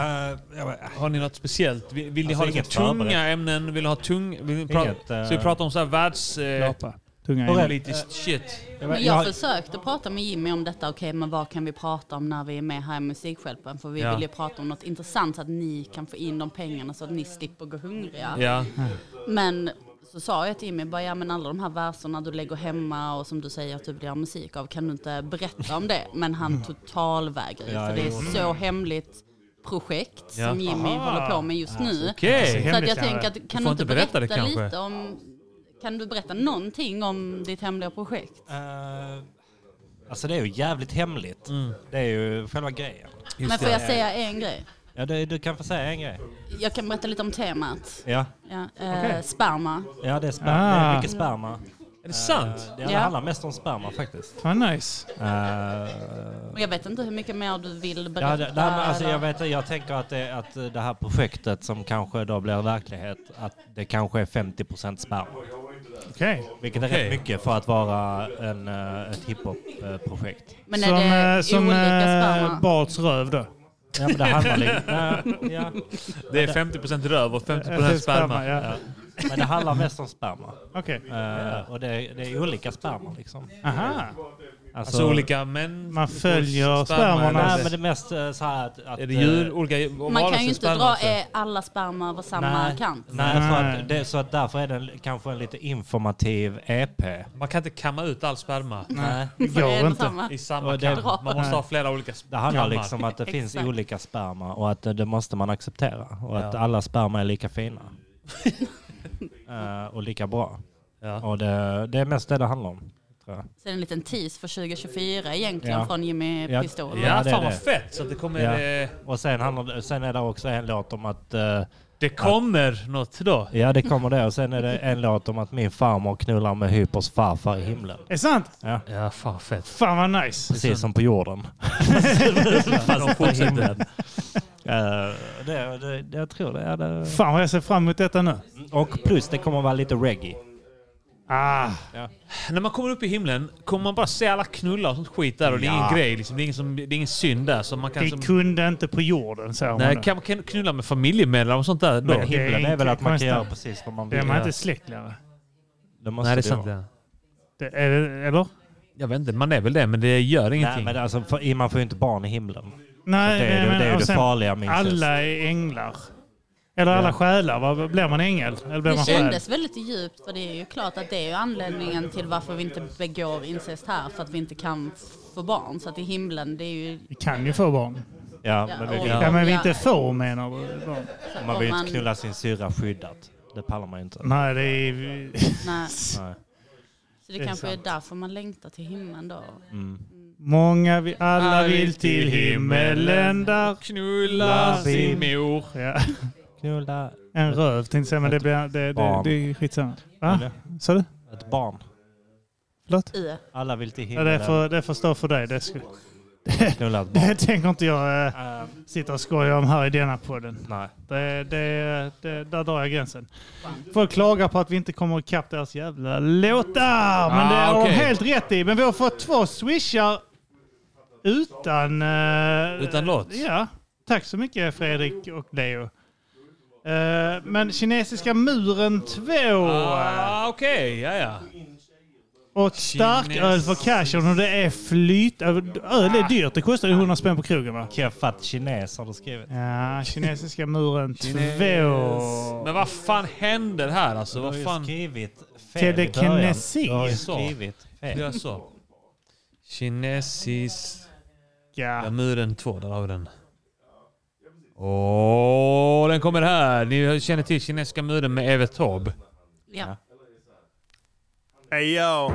[SPEAKER 3] har
[SPEAKER 2] ni något speciellt? Vill, vill ni ha
[SPEAKER 3] Alltså,
[SPEAKER 2] liksom
[SPEAKER 3] inget
[SPEAKER 2] tunga
[SPEAKER 3] förberett.
[SPEAKER 2] ämnen? Vill ni ha tung... Vill ni pra-
[SPEAKER 3] Inget, eh,
[SPEAKER 2] Ska vi prata om så här världs... Eh,
[SPEAKER 5] Klapa. Tunga ämnen.
[SPEAKER 2] politiskt shit?
[SPEAKER 4] Men jag försökte prata med Jimmy om detta. Okej, men vad kan vi prata om när vi är med här i Musikhjälpen? För vi
[SPEAKER 2] Ja.
[SPEAKER 4] vill ju prata om något intressant så att ni kan få in de pengarna så att ni slipper gå hungriga.
[SPEAKER 2] Ja.
[SPEAKER 4] Men så sa jag till Jimmy, bara, ja, men alla de här verserna du lägger hemma och som du säger att du vill göra musik av, kan du inte berätta om det? Men han totalvägrar ju,
[SPEAKER 13] Ja,
[SPEAKER 4] för det
[SPEAKER 13] jo.
[SPEAKER 4] är så hemligt projekt
[SPEAKER 13] Ja.
[SPEAKER 4] som Jimmy
[SPEAKER 13] Aha.
[SPEAKER 4] håller på med just nu.
[SPEAKER 13] okej.
[SPEAKER 4] Så att
[SPEAKER 13] Hemligt
[SPEAKER 4] jag
[SPEAKER 13] kan det.
[SPEAKER 4] tänker att
[SPEAKER 13] Du får
[SPEAKER 4] kan du
[SPEAKER 13] inte
[SPEAKER 4] inte
[SPEAKER 13] berätta
[SPEAKER 4] berätta,
[SPEAKER 13] det kanske.
[SPEAKER 4] lite om, kan du berätta någonting om ditt hemliga projekt?
[SPEAKER 3] Alltså det är ju jävligt hemligt. Det är ju själva grejen.
[SPEAKER 4] men får jag säga en grej?
[SPEAKER 3] Ja, du, du kan få säga en grej.
[SPEAKER 4] Jag kan berätta lite om temat.
[SPEAKER 3] Ja.
[SPEAKER 4] Ja, eh,
[SPEAKER 3] Okej.
[SPEAKER 4] Sperma.
[SPEAKER 3] Ja, det är, sperma.
[SPEAKER 5] Ah.
[SPEAKER 3] Det är mycket sperma.
[SPEAKER 2] Är det sant?
[SPEAKER 3] Det det
[SPEAKER 4] Ja.
[SPEAKER 3] handlar mest om sperma faktiskt.
[SPEAKER 5] Vad nice.
[SPEAKER 4] Och jag vet inte hur mycket mer du vill berätta.
[SPEAKER 3] Ja, det, nej, men alltså,
[SPEAKER 4] eller-
[SPEAKER 3] jag, vet, jag tänker att det, att det här projektet som kanske då blir verklighet, att det kanske är 50 sperma.
[SPEAKER 5] Okej.
[SPEAKER 3] Vilket är
[SPEAKER 5] Okej.
[SPEAKER 3] rätt mycket för att vara en, eh, ett hiphop-projekt.
[SPEAKER 4] Men är
[SPEAKER 5] som
[SPEAKER 4] det
[SPEAKER 5] eh, som
[SPEAKER 4] olika
[SPEAKER 5] eh,
[SPEAKER 4] sperma?
[SPEAKER 5] Barts röv då?
[SPEAKER 3] Ja, men det handlar lite... Nej, ja.
[SPEAKER 2] Det är 50% röv och 50% sperma.
[SPEAKER 5] ja.
[SPEAKER 3] Men det handlar mest om sperma.
[SPEAKER 5] Okej.
[SPEAKER 3] Eh, och det, är- det är olika sperma liksom.
[SPEAKER 5] Aha.
[SPEAKER 2] Alltså, olika män...
[SPEAKER 5] Man följer
[SPEAKER 3] Nej,
[SPEAKER 5] spermorna.
[SPEAKER 3] men det är mest eh, så här att... att
[SPEAKER 2] Är det
[SPEAKER 3] eh,
[SPEAKER 2] djur? Olika
[SPEAKER 4] Man kan ju inte dra eh, alla sperma över samma
[SPEAKER 3] nej,
[SPEAKER 4] kant. Mm.
[SPEAKER 3] Nej, För att det, så att därför är den kanske en lite informativ EP.
[SPEAKER 2] Man kan inte kamma ut all sperma.
[SPEAKER 3] Nej.
[SPEAKER 5] Det
[SPEAKER 4] För det
[SPEAKER 5] går
[SPEAKER 4] är
[SPEAKER 5] inte.
[SPEAKER 4] samma.
[SPEAKER 2] I samma
[SPEAKER 3] Och det-
[SPEAKER 2] kam. Man måste ha flera olika
[SPEAKER 3] Det handlar
[SPEAKER 2] kammar.
[SPEAKER 3] liksom att det finns
[SPEAKER 4] Exakt.
[SPEAKER 3] olika sperma och att eh, det måste man acceptera. Och att alla sperma är lika fina. Eh, och lika bra.
[SPEAKER 2] Mm. Ja.
[SPEAKER 3] Och det, det är mest det det handlar om. Tror jag.
[SPEAKER 4] Så det är en liten tease för 2024 egentligen
[SPEAKER 3] Ja.
[SPEAKER 4] från Jimmy
[SPEAKER 3] Ja.
[SPEAKER 4] Pistol.
[SPEAKER 2] Ja,
[SPEAKER 3] Ja, det är
[SPEAKER 2] fan
[SPEAKER 3] det.
[SPEAKER 2] vad fett! Så att det kommer...
[SPEAKER 3] Ja.
[SPEAKER 2] Eh,
[SPEAKER 3] Och sen, handlar, det- sen är det också en låt om att... eh,
[SPEAKER 2] det kommer något då.
[SPEAKER 3] ja, det kommer det. Och sen är det en låt om att min farmor knullar med Hypers farfar i himlen.
[SPEAKER 5] Är det sant?
[SPEAKER 2] Ja, fan fett.
[SPEAKER 5] Fan vad nice.
[SPEAKER 3] Precis som på jorden.
[SPEAKER 2] Fast på himlen.
[SPEAKER 3] Eh, det, det, det, jag tror det är det.
[SPEAKER 5] Fan vad jag ser fram emot detta nu.
[SPEAKER 2] Mm,
[SPEAKER 3] Och plus det kommer vara lite reggae.
[SPEAKER 5] Ah,
[SPEAKER 2] När man kommer upp i himlen kommer man bara se alla knullar och sånt skit där och det är ingen grej. Liksom. Det, är ingen som, det är ingen synd där. Så man kan,
[SPEAKER 5] vi
[SPEAKER 2] som,
[SPEAKER 5] kunde inte på jorden, säger man.
[SPEAKER 2] nej,
[SPEAKER 5] då.
[SPEAKER 2] kan man kan knulla med familjemedlemmar och sånt där då?
[SPEAKER 3] Men himlen är väl att man kan
[SPEAKER 5] konstigt.
[SPEAKER 3] göra precis vad man
[SPEAKER 5] Det är
[SPEAKER 3] vill.
[SPEAKER 5] man inte släktlängre.
[SPEAKER 3] Det måste
[SPEAKER 2] nej, det är
[SPEAKER 3] du
[SPEAKER 2] sant.
[SPEAKER 3] vara.
[SPEAKER 2] Ja.
[SPEAKER 5] Det, är det, eller?
[SPEAKER 2] Jag vet inte, man är väl det men det gör
[SPEAKER 3] Nej,
[SPEAKER 2] ingenting.
[SPEAKER 3] men alltså, för, i- man får ju inte barn i himlen.
[SPEAKER 5] Nej,
[SPEAKER 3] Det är ju
[SPEAKER 5] men-
[SPEAKER 3] det, är ju
[SPEAKER 5] och
[SPEAKER 3] det
[SPEAKER 5] sen-
[SPEAKER 3] farliga med incest.
[SPEAKER 5] Alla är änglar. Eller alla
[SPEAKER 3] Ja.
[SPEAKER 5] själar. Vad, blir man ängel? Eller blir
[SPEAKER 4] Det
[SPEAKER 5] man själ?
[SPEAKER 4] kändes väldigt djupt för det är ju klart att det är ju anledningen till varför vi inte begår incest här för att vi inte kan få barn. Så att i himlen det är ju...
[SPEAKER 5] Vi kan ju få barn.
[SPEAKER 3] Ja,
[SPEAKER 4] Ja,
[SPEAKER 3] men vi
[SPEAKER 4] och-
[SPEAKER 3] vill,
[SPEAKER 5] Ja, men vi inte får menar du? Barn.
[SPEAKER 3] man vill ju
[SPEAKER 4] om
[SPEAKER 3] inte knulla sin syrra skyddat. Det pallar man ju inte.
[SPEAKER 5] Nej, det är...
[SPEAKER 4] Nej.
[SPEAKER 3] Nej.
[SPEAKER 4] Så det,
[SPEAKER 5] är
[SPEAKER 4] kanske är
[SPEAKER 5] sant.
[SPEAKER 4] därför man längtar till himlen då.
[SPEAKER 5] Många vi alla vill till himmelen där.
[SPEAKER 2] Knulla
[SPEAKER 5] Love
[SPEAKER 2] sin
[SPEAKER 5] him.
[SPEAKER 2] mor.
[SPEAKER 5] Ja.
[SPEAKER 3] Knulla
[SPEAKER 5] En röv tänkte jag säga, men det, blir, det, det,
[SPEAKER 3] Barn.
[SPEAKER 5] det är skitsamma. Va?
[SPEAKER 3] Eller?
[SPEAKER 5] Sa du?
[SPEAKER 3] ett barn.
[SPEAKER 5] Förlåt?
[SPEAKER 4] I.
[SPEAKER 3] Alla vill till
[SPEAKER 5] Ja,
[SPEAKER 3] himlen.
[SPEAKER 5] det, får, det får stå för dig. Det, ska,
[SPEAKER 3] Knulla ett barn.
[SPEAKER 5] det tänker inte jag äh,
[SPEAKER 3] Eh,
[SPEAKER 5] sitta och skoja om här i denna podden.
[SPEAKER 3] nej.
[SPEAKER 5] Det, det, det, där drar jag gränsen. Folk klagar på att vi inte kommer ikapp deras jävla låtar. Men det
[SPEAKER 2] Ah,
[SPEAKER 5] har
[SPEAKER 2] okej.
[SPEAKER 5] de helt rätt i. Men vi har fått två swishar utan... eh,
[SPEAKER 2] Utan låt?
[SPEAKER 5] Ja. Tack så mycket Fredrik och Leo. Eh, men Kinesiska muren 2
[SPEAKER 2] Ah, Okej, ja ja.
[SPEAKER 5] och starköl för cashen och det är flyt... Öl är dyrt. Det kostar ju 100 spänn på krogen va?
[SPEAKER 3] Keffat kines har du skrivit.
[SPEAKER 5] Ja, Kinesiska muren 2.
[SPEAKER 2] Men vad fan händer här alltså?
[SPEAKER 3] Du har
[SPEAKER 2] Vad
[SPEAKER 3] ju
[SPEAKER 2] fan
[SPEAKER 3] skrivit fel i början.
[SPEAKER 5] Telekinesi.
[SPEAKER 3] Du har ju
[SPEAKER 2] Så.
[SPEAKER 3] skrivit fel.
[SPEAKER 2] gör så? Kinesisk...
[SPEAKER 5] Ja.
[SPEAKER 2] Ja, muren 2, där har vi den. Åh, den kommer här. Ni känner till Kinesiska muren med Evert Taube.
[SPEAKER 4] Ja.
[SPEAKER 8] Ey yo.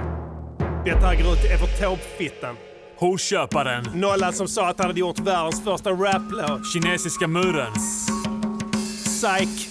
[SPEAKER 8] Detta här går ut till Evert Taube-fittan. Hovköparen. Nollan som sa att han hade gjort världens första raplåt. Kinesiska muren. Psych.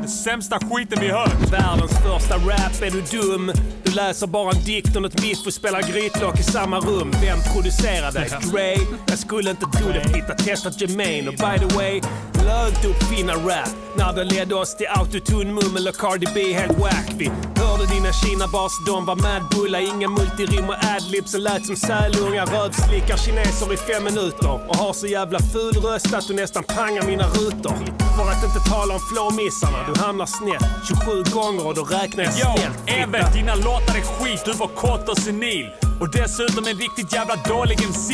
[SPEAKER 8] Den sämsta skiten vi hört. Världens första rap, är du dum? Du läser bara en dikt om något biff och spelar grytlock i samma rum. Vem producerade? Dre? Jag skulle inte tro det. Fitta, testa Jermaine. Och by the way, lög du uppfinna rap? När det ledde oss till autotune mummel och Cardi B helt wack. Vi hörde dina kinabas, de var madbulla. Inga multirim och adlibs och lät som sälungar. Rövslickar kineser i fem minuter. Och har så jävla ful röst att du nästan pangar mina rutor. För att inte tala om flowmissarna, du hamnar snett 27 gånger och då räknar jag snällt.
[SPEAKER 13] Evert, dina låtar är skit. Du var kort och senil. Och dessutom en riktigt jävla dålig MC.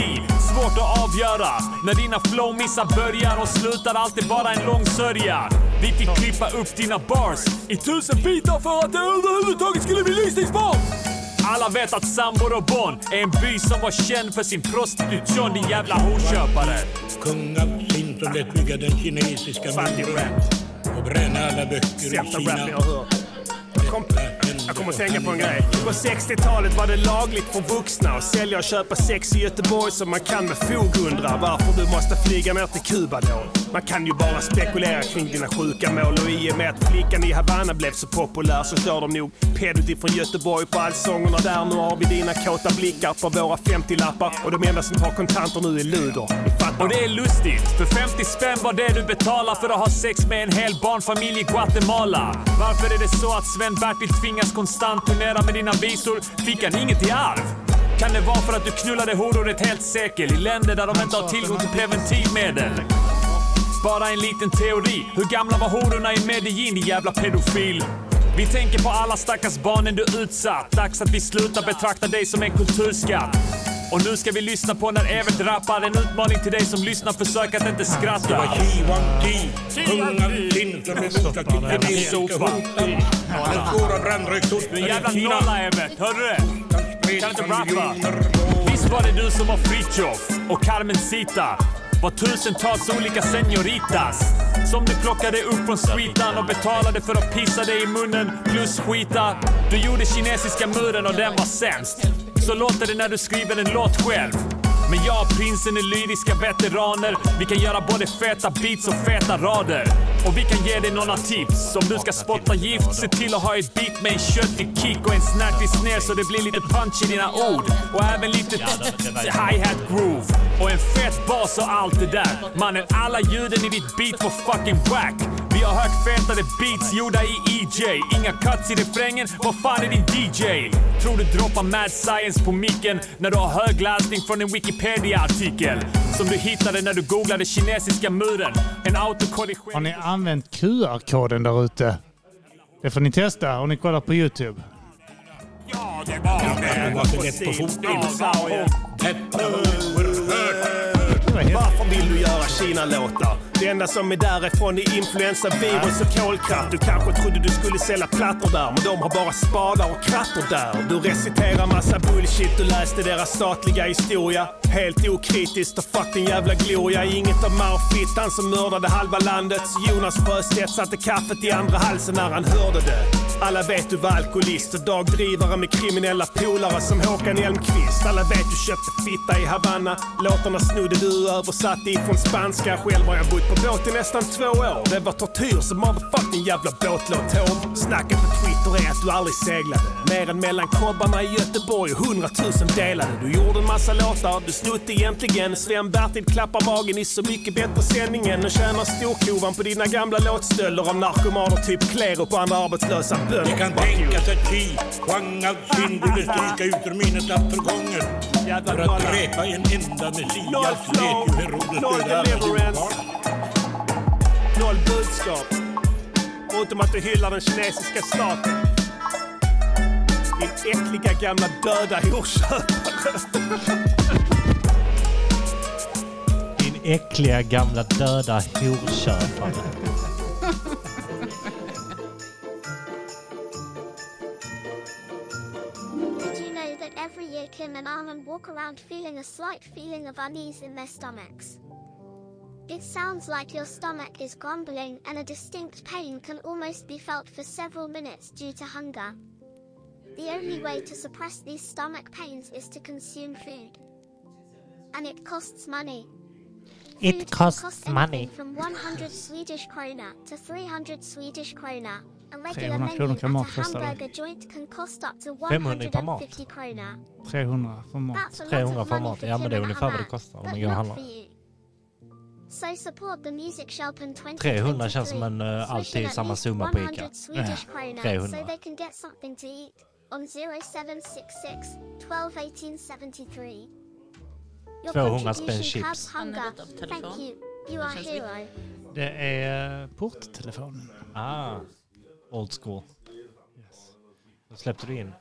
[SPEAKER 13] Svårt att avgöra. När dina flowmissar börjar och slutar alltid bara en lång sörja. Vi fick klippa upp dina bars i tusen bitar för att det överhuvudtaget skulle bli lysningsbart. Alla vet att Sambor och Bonn är en by som var känd för sin prostitution, din jävla horköpare.
[SPEAKER 8] Kungafinton lät bygga den kinesiska muren och bränna alla böcker i Kina. Kom, jag kommer att tänka på en grej. På 60-talet var det lagligt för vuxna att sälja och köpa sex i Göteborg som man kan med fog undra varför du måste flyga ner till Kuba då. Man kan ju bara spekulera kring dina sjuka mål och i och med att flickan i Havanna blev så populär så kör de nog pedot ifrån Göteborg på allsångerna där. Nu har vi dina kåta blickar på våra 50-lappar och de enda som tar kontanter nu är luder. Ni fattar.
[SPEAKER 13] Och det är lustigt, för 50 spänn var det du betalar för att ha sex med en hel barnfamilj i Guatemala. Varför är det så att Sven-Bertil tvingas konstant turnera med dina visor? Fick han inget i arv? Kan det vara för att du knullade horor ett helt sekel i länder där de inte har tillgång till preventivmedel? Bara en liten teori. Hur gamla var hororna i Medellin, din jävla pedofil?
[SPEAKER 2] Vi tänker på alla stackars barnen du utsatt. Dags att vi slutar betrakta dig som en kulturskatt. Och nu ska vi lyssna på när Evert rappar. En utmaning till dig som lyssnar, försök att inte skratta. Det var
[SPEAKER 14] G1D, hungan din, som
[SPEAKER 2] Alltså,
[SPEAKER 14] är borta till din sopa. Den stora brännröksosten
[SPEAKER 2] Du jävla nolla Evert, hörde du det? Kan inte rappa? Visst var det du som var Fritiof och Carmen Sita? Var tusentals olika senoritas som du plockade upp från streetan och betalade för att pissa dig i munnen plus skita. Du gjorde kinesiska muren och den var sämst. Så låter det när du skriver en låt själv. Men jag och prinsen är lyriska veteraner. Vi kan göra både feta beats och feta rader. Och vi kan ge dig några tips. Om du ska spotta gift, se till att ha ett beat med en köttig kick och en snärtig snare så det blir lite punch i dina ord. Och även lite hi-hat groove. Och en fet bas och allt det där. Mannen, alla ljuden i ditt beat var fucking whack. Vi har hört fetare beats gjorda i EJ. Inga cuts i refrängen. Vad fan är din DJ? Tror du droppar mad science på micken när du har högläsning från en Wikipedia-artikel? Som du hittade när du googlade kinesiska muren. En autokorrigering...
[SPEAKER 5] Har ni använt QR-koden där ute? Det får ni testa om ni kollar på YouTube.
[SPEAKER 8] Varför vill du göra Kina-låtar? Det enda som är därifrån är influensa, virus och kolkraft. Du kanske trodde du skulle sälja plattor där, men de har bara spadar och krattor där. Du reciterar massa bullshit, du läste deras statliga historia. Helt okritiskt och fuck din jävla gloria. Inget av Mao-fittan som mördade halva landet. Så Jonas Sjöstedt satte kaffet i andra halsen när han hörde det. Alla vet du var alkoholist och dagdrivare med kriminella polare som Håkan Elmqvist. Alla vet du köpte fitta i Havanna. Låtarna snodde du översatt ifrån spanska. Själv har jag bott på båt i nästan två år. Det var tortyr som motherfucking jävla båtlåt Tom. Snacket på Twitter är att du aldrig seglade. Mer än mellan kobbarna i Göteborg och hundratusen delade. Du gjorde en massa låtar, du snodde egentligen. Sven-Bertil klappar magen i Så mycket bättre sändningen. Och tjänar storkovan på dina gamla låtstölder av narkomaner typ Klerup och andra arbetslösa bönder.
[SPEAKER 14] Det kan tänkas att Xi Huang av Kinn borde stryka ut ur minnet allt förgånget för att dräpa en enda Messias led ju Herodes
[SPEAKER 8] Noll
[SPEAKER 14] döda över sin
[SPEAKER 8] deliverance.
[SPEAKER 14] barn.
[SPEAKER 8] Noll budskap. Förutom att du hyllar den kinesiska staten. Din äckliga gamla döda horköpare.
[SPEAKER 3] Din äckliga gamla döda horköpare.
[SPEAKER 15] Did you know that every year Kim and Armin walk around feeling a slight feeling of unease in their stomachs? It sounds like your stomach is grumbling and a distinct pain can almost be felt for several minutes due to hunger. The only way to suppress these stomach pains is to consume food. And it costs money. Food
[SPEAKER 3] It
[SPEAKER 15] can
[SPEAKER 3] costs
[SPEAKER 15] cost
[SPEAKER 3] money.
[SPEAKER 15] anything From 100 Swedish krona to 300 Swedish krona. A regular
[SPEAKER 5] 300
[SPEAKER 15] menu
[SPEAKER 5] kronor
[SPEAKER 15] at
[SPEAKER 5] kan
[SPEAKER 15] a
[SPEAKER 5] mat kosta då.
[SPEAKER 15] hamburger joint can cost up to
[SPEAKER 3] Femhundra per mat.
[SPEAKER 15] 150 krona.
[SPEAKER 5] 300 för mat.
[SPEAKER 15] Alltså,
[SPEAKER 3] 300 för mat. Ja, men det är ungefär vad det kostar om
[SPEAKER 15] But
[SPEAKER 3] du går och
[SPEAKER 15] not
[SPEAKER 3] handlar.
[SPEAKER 15] for you. So support the music shop in
[SPEAKER 3] 300
[SPEAKER 15] 2023.
[SPEAKER 3] känns som en eh, alltid samma summa på Ica. Eh,
[SPEAKER 15] 100 Swedish krona, so
[SPEAKER 3] 300.
[SPEAKER 15] they can get something to eat on 0766 12 18 73. Your
[SPEAKER 3] 200 spänn
[SPEAKER 15] contribution
[SPEAKER 3] chips.
[SPEAKER 15] helps hunger. Thank you. You are a hero.
[SPEAKER 5] Det är eh, porttelefonen.
[SPEAKER 3] Ah, old school. Då släppte du in.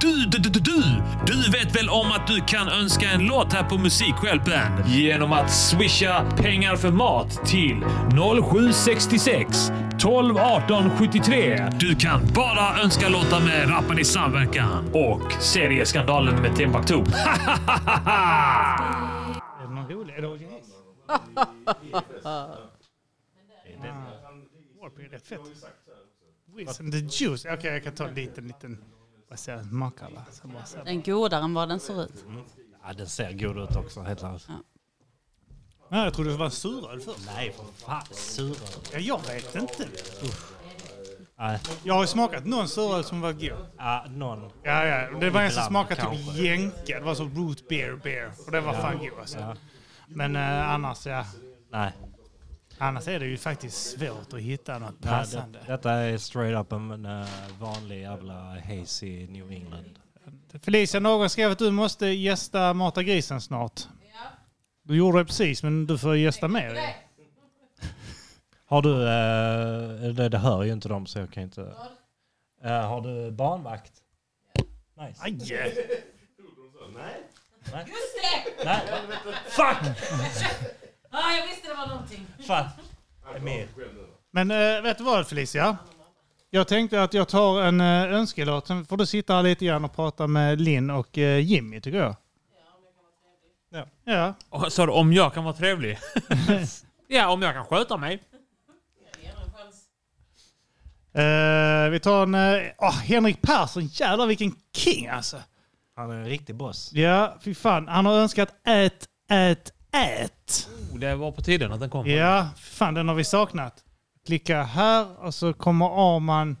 [SPEAKER 16] Du, du, du, du, du! Du vet väl om att du kan önska en låt här på Musikhjälpen? Genom att swisha pengar för mat till 0766 12 18 73. Du kan bara önska låtar med Rappan i samverkan och serieskandalen med Timbuktu.
[SPEAKER 5] Är det någon rolig? Är det original? Ah. Warp är rätt fett. Whiz and the juice. Okej, jag kan ta dit en liten... Vad säger jag? Makala. Så bara så här.
[SPEAKER 4] Den är godare än vad den ser ut.
[SPEAKER 3] Ja, den ser god ut också, helt ärligt.
[SPEAKER 5] Nej, jag trodde det var en suröl först.
[SPEAKER 3] Nej, för fan. Suröl?
[SPEAKER 5] Ja, jag vet inte.
[SPEAKER 3] Nej.
[SPEAKER 5] Jag har ju smakat någon suröl som var god.
[SPEAKER 3] Ja, någon.
[SPEAKER 5] Ja, ja. Det var en
[SPEAKER 3] Ibland,
[SPEAKER 5] som smakade typ
[SPEAKER 3] kanske.
[SPEAKER 5] jänka. Det var så root beer beer. Och det var
[SPEAKER 3] Ja.
[SPEAKER 5] fan god alltså.
[SPEAKER 3] Ja.
[SPEAKER 5] Men eh, annars, ja.
[SPEAKER 3] Nej.
[SPEAKER 5] Annars är det ju faktiskt svårt att hitta något
[SPEAKER 3] Nej,
[SPEAKER 5] passande.
[SPEAKER 3] det, detta är straight up en eh, vanlig jävla hazy New England.
[SPEAKER 5] Felicia, någon skrev att du måste gästa Mata grisen snart. Du gjorde det precis, men du får gästa mer.
[SPEAKER 3] eh, Har du... eh, det, det hör ju inte dem så jag kan inte... Eh, har du barnvakt? Nice. Nej.
[SPEAKER 8] Aj!
[SPEAKER 4] Just det!
[SPEAKER 3] Nej. Fuck!
[SPEAKER 4] ah, jag visste det var någonting.
[SPEAKER 3] Fan. Emir.
[SPEAKER 5] Men eh, vet du vad Felicia? Jag tänkte att jag tar en eh, önskelåt, sen får du sitta här lite grann och prata med Linn och eh, Jimmy tycker jag. Ja. ja.
[SPEAKER 2] Och Sa du om jag kan vara trevlig? ja, om jag kan sköta mig.
[SPEAKER 5] Eh, vi tar en... eh, åh, Henrik Persson, jävlar vilken king alltså!
[SPEAKER 3] Han är en riktig boss.
[SPEAKER 5] Ja, fy fan. Han har önskat ät, ät, ät.
[SPEAKER 2] Oh, det var på tiden att den kom.
[SPEAKER 5] Ja, fy fan den har vi saknat. Klicka här och så kommer Arman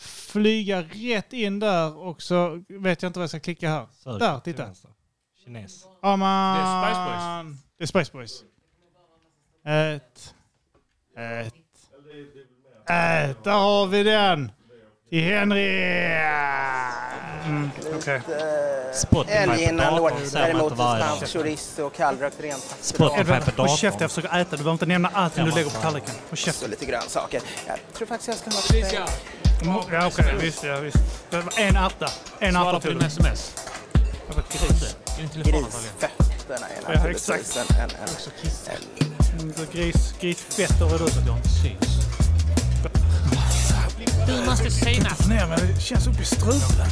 [SPEAKER 5] flyga rätt in där och så vet jag inte vad jag ska klicka här.
[SPEAKER 3] Sök
[SPEAKER 5] där,
[SPEAKER 3] till
[SPEAKER 5] titta.
[SPEAKER 3] vänster. Kines.
[SPEAKER 5] Arman.
[SPEAKER 3] Det är Spice Boys.
[SPEAKER 5] Det är Spice Boys. Ät. Ät. Ät, där har vi den. Till Henry. Mm, Okej.
[SPEAKER 17] Älg innan låt, däremot
[SPEAKER 5] varje
[SPEAKER 17] snabb
[SPEAKER 5] dag.
[SPEAKER 17] chorizo och kallrökt rensaft.
[SPEAKER 5] Edvard, håll käften. Jag försöker äta. Du behöver inte nämna allting du lägger på tallriken.
[SPEAKER 17] Så
[SPEAKER 5] Håll käften.
[SPEAKER 17] lite grönsaker. Jag tror faktiskt jag ska ha lite...
[SPEAKER 5] Mm, Ja, okej. Visst, ja, visst. Det var En ärta. En
[SPEAKER 17] Svara
[SPEAKER 5] ärta
[SPEAKER 17] på din
[SPEAKER 2] sms.
[SPEAKER 5] Gris.
[SPEAKER 17] Grisfötterna är
[SPEAKER 5] Ja,
[SPEAKER 17] naturligtvis
[SPEAKER 5] exakt.
[SPEAKER 17] en... en, en.
[SPEAKER 5] Mm, så Gris, grisfett har jag röstat om.
[SPEAKER 2] Du måste synas.
[SPEAKER 5] Nej, men det känns upp i strupen.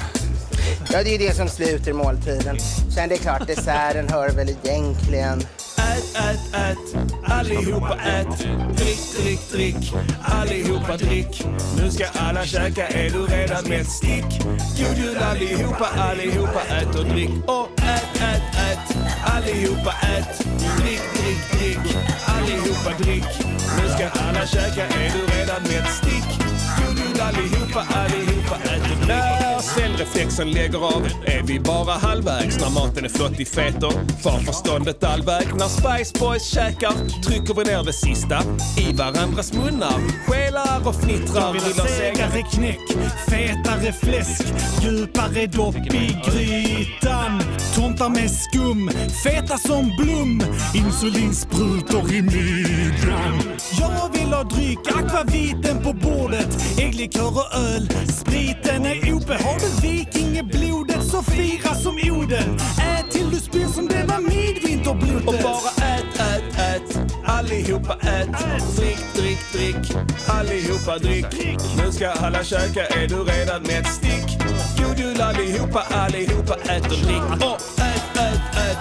[SPEAKER 17] Ja, det är ju det som sluter måltiden. Sen det är klart, desserten hör väl egentligen...
[SPEAKER 8] Ät, ät, ät. Allihopa ät. Drick, drick, drick. Allihopa drick. Nu ska alla käka. Är du redan med ett stick? God jul allihopa. Allihopa ät och drick. Och ät, ät, ät. Allihopa ät. Drick, drick, drick. Allihopa drick. Nu ska alla käka. Är du redan med ett stick? God jul allihopa. Allihopa ät och drick.
[SPEAKER 13] När cellreflexen lägger av är vi bara halvvägs när maten är flottig fetor. Far förståndet allväg när Spice Boys käkar trycker vi ner det sista i varandras munnar. Skelar och fnittrar, rullar sängar
[SPEAKER 18] Segare knäck, fetare fläsk, djupare dopp i grytan. Tomtar med skum, feta som Blom. Insulinsprutor i midjan. Jag vill ha dryck, akvaviten på bordet. Ägglikör och öl, spriten är obehaglig. Vikingeblodet så fira som Oden. Ät till du spyr som det var midvinterblodet.
[SPEAKER 8] Och bara ät, ät, ät. Allihopa ät. Drick, drick, drick. Allihopa drick. Nu ska alla käka. Är du redan med ett stick? God jul allihopa. Allihopa ät och drick. Och ät, ät, ät.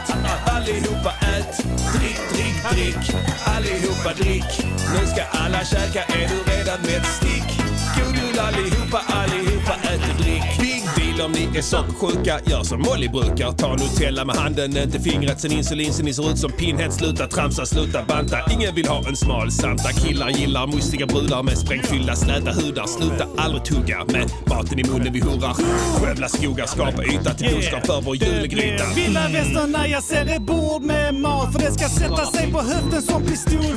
[SPEAKER 8] Allihopa ät. Drick, drick, drick. Allihopa drick. Nu ska alla käka. Är du redan med ett stick? God jul allihopa, allihopa ät och drick. Big deal om ni är sockersjuka, gör som Molly brukar. Ta Nutella med handen, inte fingret. Sen insulin, sen ni ser ut som pinhead. Sluta tramsa, sluta banta. Ingen vill ha en smal Santa. Killar gillar mustiga brudar med sprängfyllda släta hudar. Sluta aldrig tugga med maten i munnen vi hurrar. Skövla skogar, skapa yta till boskap för vår julgryta.
[SPEAKER 18] Vilda västern när jag ser ett bord med mat För det ska sätta sig på höften som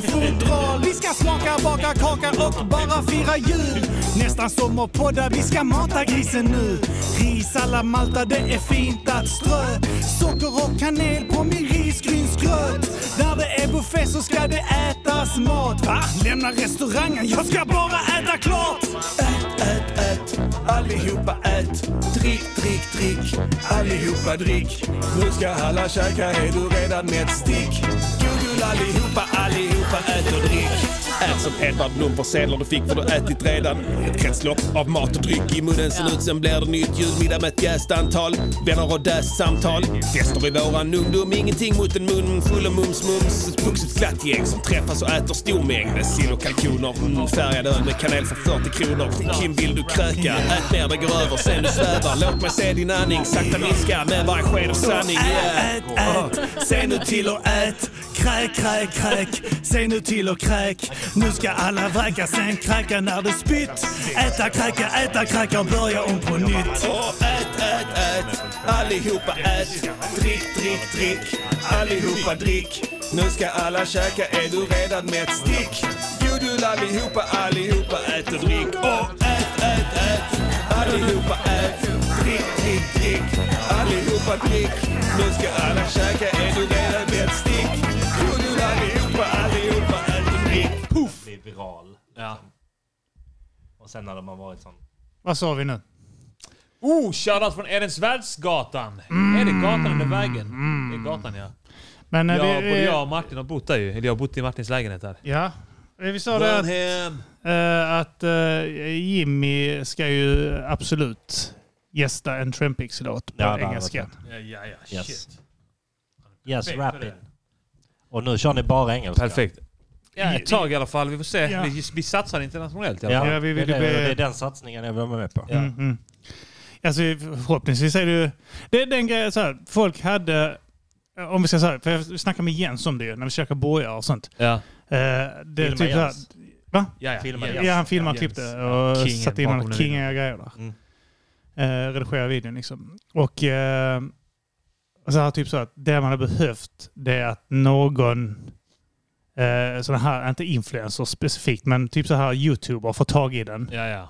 [SPEAKER 18] pistolfodral Vi ska smaka, baka kaka och bara fira jul Nästan som att podda, vi ska mata grisen nu Ris alla Malta, det är fint att strö Socker och kanel på min risgrynsgröt När det är buffé så ska det ätas mat Va? Lämna restaurangen, jag ska bara äta klart!
[SPEAKER 8] Ät, ät, ät. Allihopa ät. Drick, drick, drick. Allihopa drick. Nu ska alla käka. Är du redan med ett stick? God jul allihopa, allihopa ät och drick. Ät som Edvard Blom på scener du fick för du har ätit redan. Ett kretslopp av mat och dryck i munnen ser ut sen blir det nytt julmiddag med ett jäst antal vänner och däst samtal. Fester i våran ungdom, ingenting mot en mun full av mums-mums. Ett vuxet glatt gäng som träffas och äter stor mängd. Sill och kalkoner, mm, färgad öl med kanel för 40 kronor. Kim, vill du kröka? Ät mer, det går över sen du svävar. Låt mig se din andning sakta minska med varje sked av sanning. Yeah.
[SPEAKER 18] Ät, ät, ät. Se nu till och ät. Kräk, kräk, kräk. Se nu till och kräk. Nu ska alla vräka, sen kräka när du spytt. Äta, kräka, äta, kräka och börja om på nytt.
[SPEAKER 8] Och ät, ät, ät. Allihopa ät. Drick, drick, drick. Allihopa drick. Nu ska alla käka. Är du redan med ett stick? God jul allihopa, allihopa ät och drick. Och ät, ät, ät. Allihopa ät. Drick, drick, drick. Allihopa drick. Nu ska alla käka. Är du redan med ett stick? God jul allihopa, allihopa ät och drick.
[SPEAKER 3] Blir viral.
[SPEAKER 2] Ja.
[SPEAKER 3] Och sen när de har varit sån
[SPEAKER 5] Vad sa vi nu?
[SPEAKER 2] Oh, shoutout från Edensvärdsgatan. Är det gatan eller vägen? Det är gatan ja.
[SPEAKER 5] Mm. Men, eh,
[SPEAKER 2] ja,
[SPEAKER 5] vi-
[SPEAKER 2] både jag och Martin har bott där ju. Eller jag har bott i Martins lägenhet där.
[SPEAKER 5] Ja. Eh, Vi sa det att,
[SPEAKER 2] Burnham.
[SPEAKER 5] eh, att eh, Jimmy ska ju absolut gästa en Trampix-låt på
[SPEAKER 3] Ja, det hade
[SPEAKER 5] engelska.
[SPEAKER 3] varit
[SPEAKER 2] Ja, ja, ja.
[SPEAKER 3] Yes.
[SPEAKER 2] Shit.
[SPEAKER 3] Yes,
[SPEAKER 2] Perfekt
[SPEAKER 3] rap
[SPEAKER 2] för
[SPEAKER 3] it.
[SPEAKER 2] det.
[SPEAKER 3] Och nu kör ni bara engelska.
[SPEAKER 2] Perfekt. Ja, ett tag i alla fall. Vi får se.
[SPEAKER 3] Ja.
[SPEAKER 2] Vi, vi satsar internationellt i alla
[SPEAKER 3] Ja,
[SPEAKER 2] fall.
[SPEAKER 3] vi vill det, är det, det är den satsningen jag vill vara med på.
[SPEAKER 5] Mm, mm. Alltså, förhoppningsvis är det ju... Det är den grejen, så här, folk hade... eh, Om vi ska säga, för jag snackade med Jens om det ju, när vi käkade bojar och sånt.
[SPEAKER 2] Ja.
[SPEAKER 5] Eh, det är
[SPEAKER 2] Filma
[SPEAKER 5] typ så här,
[SPEAKER 2] Jens.
[SPEAKER 5] Va?
[SPEAKER 2] Ja, ja. Filma Jens.
[SPEAKER 5] ja, han filmade
[SPEAKER 2] Ja,
[SPEAKER 5] och klippte
[SPEAKER 2] Jens.
[SPEAKER 5] och
[SPEAKER 2] Kingen
[SPEAKER 5] satte in
[SPEAKER 2] bakom
[SPEAKER 5] alla
[SPEAKER 2] den
[SPEAKER 5] kingiga grejer där. Eh, redigera videon liksom. Och eh, så här, typ så att det man har behövt det är att någon eh, sådana här, inte influencers specifikt, men typ så här youtuber får tag i den.
[SPEAKER 2] Ja, ja.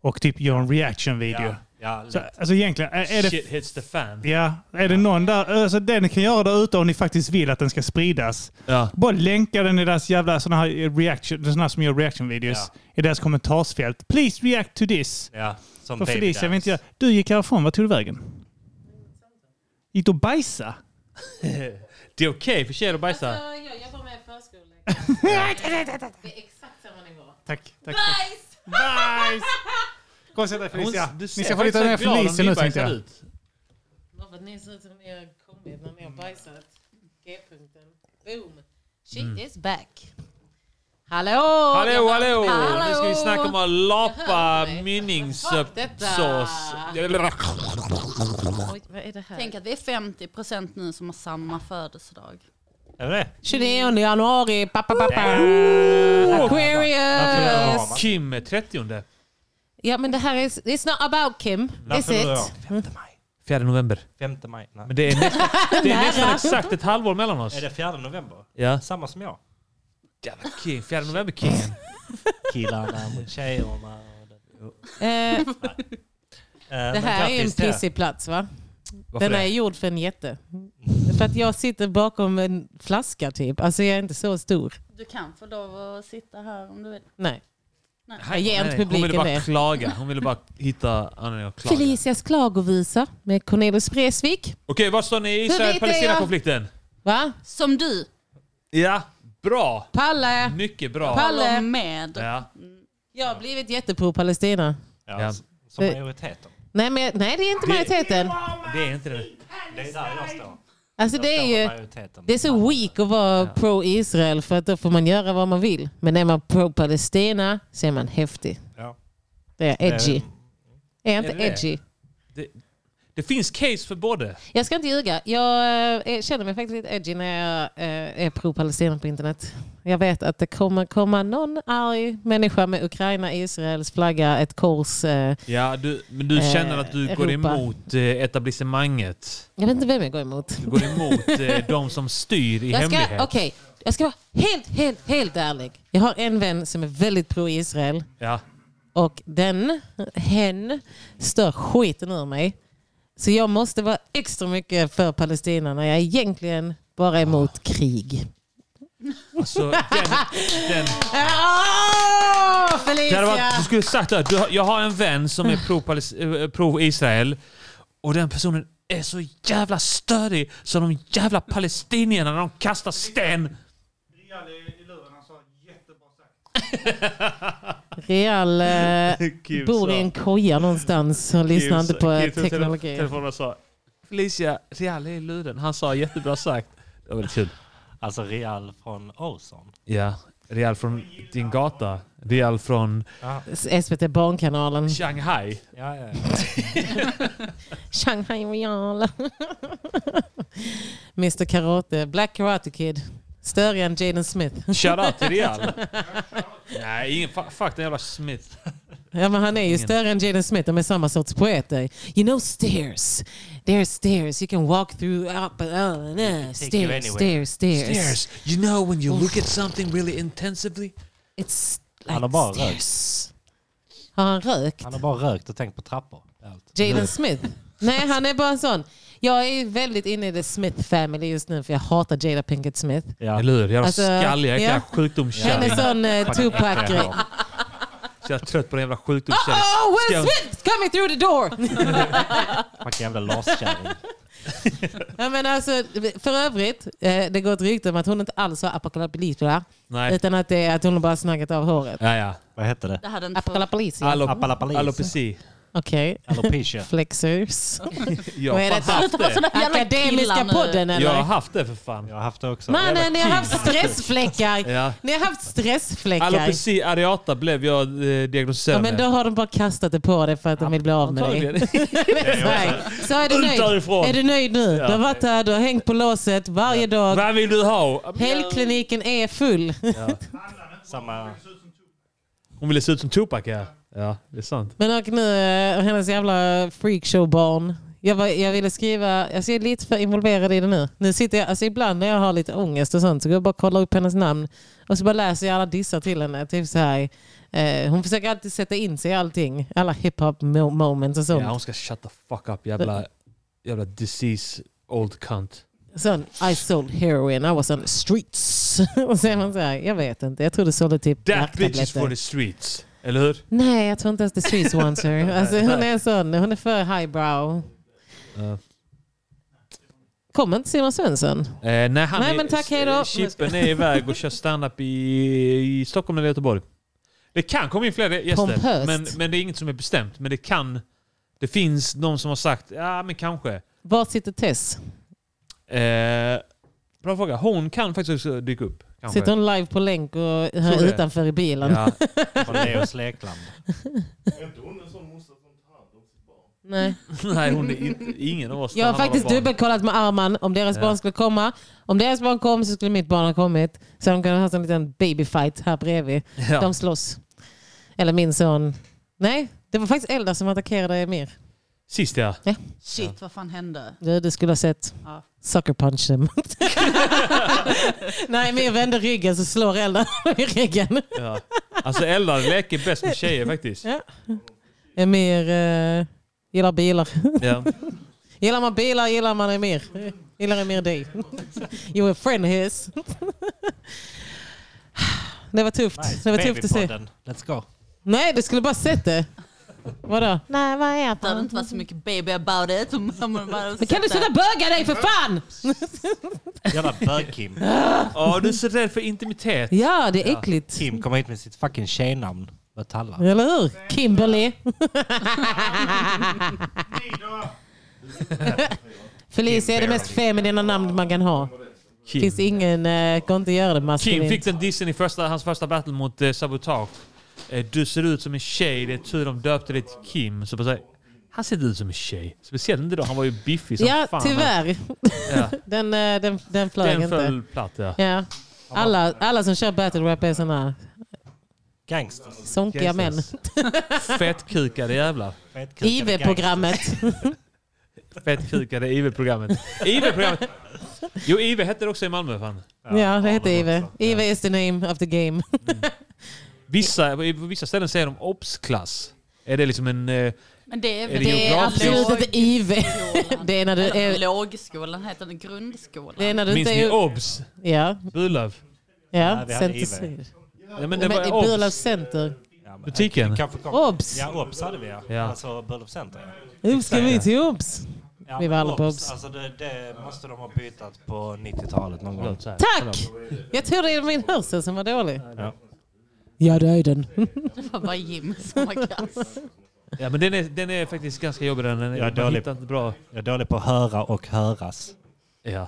[SPEAKER 5] Och typ gör en reaction-video.
[SPEAKER 2] Ja, ja,
[SPEAKER 5] så,
[SPEAKER 2] lätt.
[SPEAKER 5] alltså egentligen, är, är det...
[SPEAKER 2] Shit hits the fan.
[SPEAKER 5] Ja, är det någon där, alltså det ni kan göra där ute om ni faktiskt vill att den ska spridas.
[SPEAKER 2] Ja.
[SPEAKER 5] Bara länka den i deras jävla sådana här reaction, sådana här som gör reaction-videos i deras kommentarsfält. Please react to this.
[SPEAKER 3] Ja, som
[SPEAKER 5] För
[SPEAKER 3] Baby
[SPEAKER 5] Felicia vill
[SPEAKER 3] Dance.
[SPEAKER 5] inte göra. Du gick härifrån, vad tog du vägen? Gick du och bajsa?
[SPEAKER 2] Det är okej för tjejer att bajsa.
[SPEAKER 10] Alltså, Jag jobbar med förskoleläkare. Det är exakt samma nivå.
[SPEAKER 5] Tack, tack.
[SPEAKER 10] Bajs!
[SPEAKER 5] Bajs! Kom och sätt dig Felicia.
[SPEAKER 2] Hon- du
[SPEAKER 5] Ni
[SPEAKER 2] ser
[SPEAKER 5] ska få lite
[SPEAKER 2] faktiskt
[SPEAKER 5] mer
[SPEAKER 2] så glad om
[SPEAKER 5] Felicia nu
[SPEAKER 2] nybajsad
[SPEAKER 5] tänkte jag.
[SPEAKER 2] ut.
[SPEAKER 10] Bara för att ni ser ut som ni har kommit när ni har bajsat. G-punkten. Boom! She
[SPEAKER 2] Mm.
[SPEAKER 10] is back. Hallå!
[SPEAKER 2] Hallå, hallå!
[SPEAKER 10] Hallå!
[SPEAKER 2] Nu ska vi snacka om att lapa mynningssås.
[SPEAKER 10] Oj, vad är det här?
[SPEAKER 4] Tänk att vi är 50% nu som har samma födelsedag.
[SPEAKER 3] Är det
[SPEAKER 10] 29 januari, pappa pappa! Aquarius!
[SPEAKER 2] Kim är 30.
[SPEAKER 10] Ja men det här är... It's not about Kim,
[SPEAKER 2] När
[SPEAKER 10] is
[SPEAKER 2] fyller
[SPEAKER 10] it?
[SPEAKER 2] du år? 4 november.
[SPEAKER 3] 5 maj. Nej.
[SPEAKER 2] Men det är, nästan, det är nästan
[SPEAKER 10] Nära.
[SPEAKER 2] exakt ett halvår mellan oss.
[SPEAKER 3] Är det 4 november?
[SPEAKER 2] Ja.
[SPEAKER 3] Samma som jag.
[SPEAKER 2] Jävla Kim. 4 november kingen.
[SPEAKER 3] Killarna mot tjejerna.
[SPEAKER 10] Eh,
[SPEAKER 3] Eh,
[SPEAKER 10] det här är en
[SPEAKER 3] pissig...
[SPEAKER 10] pissig plats va?
[SPEAKER 3] Varför
[SPEAKER 10] Den är
[SPEAKER 3] det?
[SPEAKER 10] gjord för en jätte. För att jag sitter bakom en flaska typ. Alltså jag är inte så stor.
[SPEAKER 4] Du kan få lov att sitta här om du vill.
[SPEAKER 10] Nej.
[SPEAKER 4] Nej.
[SPEAKER 10] Jag ger inte
[SPEAKER 2] Hon ville
[SPEAKER 10] publiken
[SPEAKER 2] bara
[SPEAKER 10] det.
[SPEAKER 2] klaga. Hon ville bara hitta anledning att klaga. Okej,
[SPEAKER 10] Felicias klagovisa med Cornelis Vreeswijk.
[SPEAKER 2] var står ni i
[SPEAKER 10] Hur vet jag?
[SPEAKER 2] Israel-Palestina-konflikten?
[SPEAKER 10] Va?
[SPEAKER 4] Som du.
[SPEAKER 2] Ja, bra.
[SPEAKER 10] Palle!
[SPEAKER 2] Mycket bra.
[SPEAKER 10] Palle.
[SPEAKER 4] Håller med.
[SPEAKER 2] Ja.
[SPEAKER 10] Jag har blivit jättepro Palestina.
[SPEAKER 2] Ja.
[SPEAKER 3] Som majoriteten.
[SPEAKER 10] Nej, men, nej det är inte majoriteten.
[SPEAKER 2] Det är inte det.
[SPEAKER 3] Det är där jag står.
[SPEAKER 10] Alltså det är ju...
[SPEAKER 3] Majoriteten.
[SPEAKER 10] Det är så weak att vara pro-Israel för att då får man göra vad man vill. Men är man pro-Palestina så är man häftig.
[SPEAKER 3] Ja.
[SPEAKER 10] Det är edgy. Är jag
[SPEAKER 2] Är
[SPEAKER 10] inte
[SPEAKER 2] det det?
[SPEAKER 10] edgy?
[SPEAKER 2] Det, det finns case för både.
[SPEAKER 10] Jag ska inte ljuga. Jag eh, känner mig faktiskt lite edgy när jag eh, är pro-Palestina på internet. Jag vet att det kommer komma någon arg människa med Ukraina, Israels flagga, ett kors. eh,
[SPEAKER 2] Ja, du, men du
[SPEAKER 10] Eh,
[SPEAKER 2] känner att du går
[SPEAKER 10] Europa.
[SPEAKER 2] emot eh, etablissemanget.
[SPEAKER 10] Jag vet inte vem jag går emot.
[SPEAKER 2] Du går emot eh, de som styr i
[SPEAKER 10] Jag ska,
[SPEAKER 2] hemlighet.
[SPEAKER 10] okej, jag ska vara helt, helt, helt ärlig. Jag har en vän som är väldigt pro-Israel.
[SPEAKER 2] Ja.
[SPEAKER 10] Och den, hen, stör skiten ur mig. Så jag måste vara extra mycket för Palestina när jag egentligen bara är emot krig.
[SPEAKER 2] Alltså, den, den,
[SPEAKER 4] Ah,
[SPEAKER 10] Åh,
[SPEAKER 2] det hade
[SPEAKER 10] Felicia!
[SPEAKER 2] varit, du skulle sagt att du, har- jag har en vän som är pro-Palis- eh, pro-Israel och den personen är så jävla störig så de jävla palestinierna när de kastar sten.
[SPEAKER 10] Real eh,
[SPEAKER 2] Kim
[SPEAKER 10] bor
[SPEAKER 2] sa-
[SPEAKER 10] i en koja någonstans och lyssnar inte på eh, teknologi.
[SPEAKER 2] Telefonen sa Felicia, Real är luren. Han sa jättebra sagt. Det var väldigt kul.
[SPEAKER 3] Alltså Real från Olsson.
[SPEAKER 2] Ja, Real från din gata. Real från
[SPEAKER 10] Ah. SVT Barnkanalen.
[SPEAKER 2] Shanghai.
[SPEAKER 3] Ja, ja.
[SPEAKER 10] Shanghai Real. Mr Karate, Black Karate Kid. Större än Jaden Smith.
[SPEAKER 2] Shoutout till Real. Nej, ingen, fa- fuck den jävla Smith.
[SPEAKER 10] Ja, men han är ju
[SPEAKER 2] Ingen.
[SPEAKER 10] större än Jaden Smith. De är samma sorts poeter. You know stairs. There are stairs. You can walk through. Up, uh, uh, stairs, stairs, stairs.
[SPEAKER 2] Stairs. You know when you look at something really intensively?
[SPEAKER 10] It's
[SPEAKER 3] Han har
[SPEAKER 10] like
[SPEAKER 3] bara
[SPEAKER 10] stairs. Har han rökt?
[SPEAKER 3] Han har bara rökt och tänkt på trappor. Allt.
[SPEAKER 2] Mm.
[SPEAKER 10] Jaden Smith? Nej, han är bara en sån. Jag är väldigt inne i the Smith family just nu för jag hatar Jada Pinkett Smith.
[SPEAKER 2] Ja. Eller hur? Jävla
[SPEAKER 10] Alltså,
[SPEAKER 2] skalliga jäkla
[SPEAKER 10] ja.
[SPEAKER 2] sjukdomskärring.
[SPEAKER 10] Hon är sån, eh,
[SPEAKER 2] Fan,
[SPEAKER 10] Tupac-grej.
[SPEAKER 2] äckliga barn. Så jag är trött på den jävla sjukdomskärringen.
[SPEAKER 10] Oh,
[SPEAKER 2] Ska jag-
[SPEAKER 10] Will Smith's coming through the door!
[SPEAKER 3] Vilken jävla laskärring.
[SPEAKER 10] ja, men alltså, för övrigt, eh, det går ett rykte om att hon inte alls har apokalypsbelita.
[SPEAKER 2] Nej.
[SPEAKER 10] Utan att, det är att hon har bara snaggat av håret.
[SPEAKER 2] Ja, ja.
[SPEAKER 3] Vad hette det?
[SPEAKER 4] Det hade inte fått...
[SPEAKER 10] Apokalapolisia.
[SPEAKER 2] Alop- Alopeci.
[SPEAKER 10] Okej.
[SPEAKER 2] Alopecia.
[SPEAKER 10] Flexers.
[SPEAKER 2] Jag
[SPEAKER 10] Vad
[SPEAKER 2] har haft det.
[SPEAKER 10] Akademiska podden eller?
[SPEAKER 2] Jag har haft det för fan. Jag
[SPEAKER 3] har haft det också.
[SPEAKER 10] Mannen, ni har haft stressfläckar.
[SPEAKER 2] Ja.
[SPEAKER 10] Ni har haft stressfläckar.
[SPEAKER 2] Alopeci areata blev jag eh, diagnostiserad
[SPEAKER 10] Ja, men då har de bara kastat det på dig för att de vill bli av med dig. Så är du
[SPEAKER 2] Ut
[SPEAKER 10] nöjd?
[SPEAKER 2] därifrån.
[SPEAKER 10] Är du nöjd nu?
[SPEAKER 2] Ja.
[SPEAKER 10] Du har varit här, du har hängt på låset varje dag.
[SPEAKER 2] Vad vill du ha?
[SPEAKER 10] Helgkliniken är full.
[SPEAKER 3] Samma...
[SPEAKER 2] Hon ville se ut som Tupac ja. Ja, det är sant.
[SPEAKER 10] Men och nu eh, hennes jävla freakshowbarn. Jag, var, jag ville skriva, alltså jag är lite för involverad i det nu. nu sitter jag, alltså ibland när jag har lite ångest och sånt så går jag bara och kollar upp hennes namn och så bara läser jag alla dissar till henne. Typ så här. Eh, hon försöker alltid sätta in sig i allting. Alla hiphop mo- moments och sånt.
[SPEAKER 2] Ja, hon ska shut the fuck up jävla, jävla disease old cunt.
[SPEAKER 10] Sån, I sold heroin, I was on the streets. och sen man så här, jag vet inte, jag trodde sålde typ
[SPEAKER 2] That bitch is
[SPEAKER 10] knarktabletter.
[SPEAKER 2] for the streets. Eller hur?
[SPEAKER 10] Nej, jag tror inte ens the streets wants her. Alltså, hon är sån, hon är för highbrow.
[SPEAKER 2] Ja.
[SPEAKER 10] Kommer inte Simon Svensson?
[SPEAKER 2] Eh, nej, han
[SPEAKER 10] Nej,
[SPEAKER 2] är,
[SPEAKER 10] men tack, hej då.
[SPEAKER 2] Chippen är iväg och kör stand-up i, i Stockholm eller Göteborg. Det kan komma in fler gäster,
[SPEAKER 10] Pompöst.
[SPEAKER 2] men, men det är inget som är bestämt. Men det kan... Det finns någon som har sagt ja, men kanske.
[SPEAKER 10] Var sitter Tess?
[SPEAKER 2] Eh, bra fråga. Hon kan faktiskt också dyka upp. Kanske.
[SPEAKER 10] Sitter hon live på länk och
[SPEAKER 2] Tror
[SPEAKER 10] här
[SPEAKER 2] det.
[SPEAKER 10] utanför i bilen?
[SPEAKER 2] Ja.
[SPEAKER 3] Lekland.
[SPEAKER 10] Nej.
[SPEAKER 2] Nej, hon är inte, ingen av oss
[SPEAKER 10] Jag har
[SPEAKER 2] tar hand om
[SPEAKER 10] faktiskt
[SPEAKER 2] barn.
[SPEAKER 10] dubbelkollat med Arman om deras
[SPEAKER 2] Ja.
[SPEAKER 10] barn skulle komma. Om deras barn kom så skulle mitt barn ha kommit. Så de kunde ha haft en liten babyfight här bredvid.
[SPEAKER 2] Ja.
[SPEAKER 10] De slåss. Eller min son. Nej, det var faktiskt Eldar som attackerade Emir.
[SPEAKER 2] Sist ja.
[SPEAKER 10] Ja.
[SPEAKER 4] Shit, vad fan hände?
[SPEAKER 10] Du, du skulle ha sett.
[SPEAKER 4] Ja.
[SPEAKER 10] Sucker punch them. Nej, Emir vände ryggen så slår Eldar i ryggen.
[SPEAKER 2] Ja. Alltså Eldar leker bäst med tjejer faktiskt.
[SPEAKER 10] Ja. Emir eh, gillar bilar.
[SPEAKER 2] Ja.
[SPEAKER 10] gillar man bilar gillar man Emir. Gillar Emir dig. You're a friend of his. det var tufft. det var tufft att se.
[SPEAKER 3] Babypodden. Let's go.
[SPEAKER 10] Nej, du skulle bara sett det. Vadå? Nej, vad är det?
[SPEAKER 4] Det hade inte varit så mycket baby about it. Men
[SPEAKER 10] Men kan du sluta böga dig för fan?
[SPEAKER 3] Jävla bög-Kim.
[SPEAKER 2] Ja, du är så rädd för intimitet.
[SPEAKER 10] Ja, det är äckligt.
[SPEAKER 3] Kim kommer hit med sitt fucking tjejnamn. Batalla.
[SPEAKER 10] Eller hur? Kimberly. Felicia är det mest feminina namn man kan ha.
[SPEAKER 2] Kim.
[SPEAKER 10] Finns ingen, eh, går inte att göra det
[SPEAKER 2] Kim
[SPEAKER 10] maskulint.
[SPEAKER 2] fick den dissen i första, hans första battle mot eh, Sabotage. Eh, du ser ut som en tjej, det är tur de döpte dig till Kim. Så bara, så här, han ser ut som en tjej. Speciellt inte då, han var ju biffig som
[SPEAKER 10] Ja,
[SPEAKER 2] fan.
[SPEAKER 10] tyvärr.
[SPEAKER 2] Ja.
[SPEAKER 10] den, eh, den, den flög
[SPEAKER 2] Den
[SPEAKER 10] inte.
[SPEAKER 2] föll platt, ja.
[SPEAKER 10] ja. Alla, alla som kör battle rap är sådana
[SPEAKER 3] Gangsters.
[SPEAKER 10] sonkiga män.
[SPEAKER 2] Fettkukade jävlar.
[SPEAKER 10] IV-programmet.
[SPEAKER 2] Fettkukade IV-programmet. IV-programmet! Jo, IV hette det också i Malmö fan.
[SPEAKER 10] Ja, det heter IV. IV is the name of the game.
[SPEAKER 2] Mm. Vissa, på vissa ställen säger de obs-klass. Är det liksom en... eh,
[SPEAKER 4] Men det är,
[SPEAKER 2] Är det
[SPEAKER 10] Det är
[SPEAKER 2] geografiskt?
[SPEAKER 10] absolut inte IV. Det är när du
[SPEAKER 4] Eller
[SPEAKER 10] är...
[SPEAKER 4] lågskolan heter den, grundskolan.
[SPEAKER 10] Det är när du
[SPEAKER 2] Minns
[SPEAKER 10] inte
[SPEAKER 2] ni
[SPEAKER 10] är...
[SPEAKER 2] obs?
[SPEAKER 10] Ja.
[SPEAKER 2] Burlöv?
[SPEAKER 10] Ja,
[SPEAKER 3] vi hade
[SPEAKER 10] Center
[SPEAKER 3] IV.
[SPEAKER 10] Syd.
[SPEAKER 2] Ja, men
[SPEAKER 10] Men
[SPEAKER 2] det var
[SPEAKER 10] i
[SPEAKER 2] obs.
[SPEAKER 10] Burlövs Center.
[SPEAKER 2] Butiken?
[SPEAKER 3] Kanske kom.
[SPEAKER 10] Obs.
[SPEAKER 3] Ja, obs hade vi ja.
[SPEAKER 2] Ja.
[SPEAKER 3] Alltså Burlöf Center.
[SPEAKER 10] Nu ska vi till Obs.
[SPEAKER 3] Ja,
[SPEAKER 10] Vi var alla på Obs.
[SPEAKER 3] Alltså det, det måste de ha bytt på 90-talet någon gång.
[SPEAKER 10] Tack! Jag tror det är min hörsel som var dålig.
[SPEAKER 3] Ja.
[SPEAKER 10] Ja, det är den.
[SPEAKER 4] Det var bara Jim som var kass.
[SPEAKER 2] Ja, men den är, den är faktiskt ganska jobbig den. Man
[SPEAKER 3] Jag är dålig.
[SPEAKER 2] hittar inte bra.
[SPEAKER 3] Jag är dålig på att höra och höras.
[SPEAKER 2] Ja.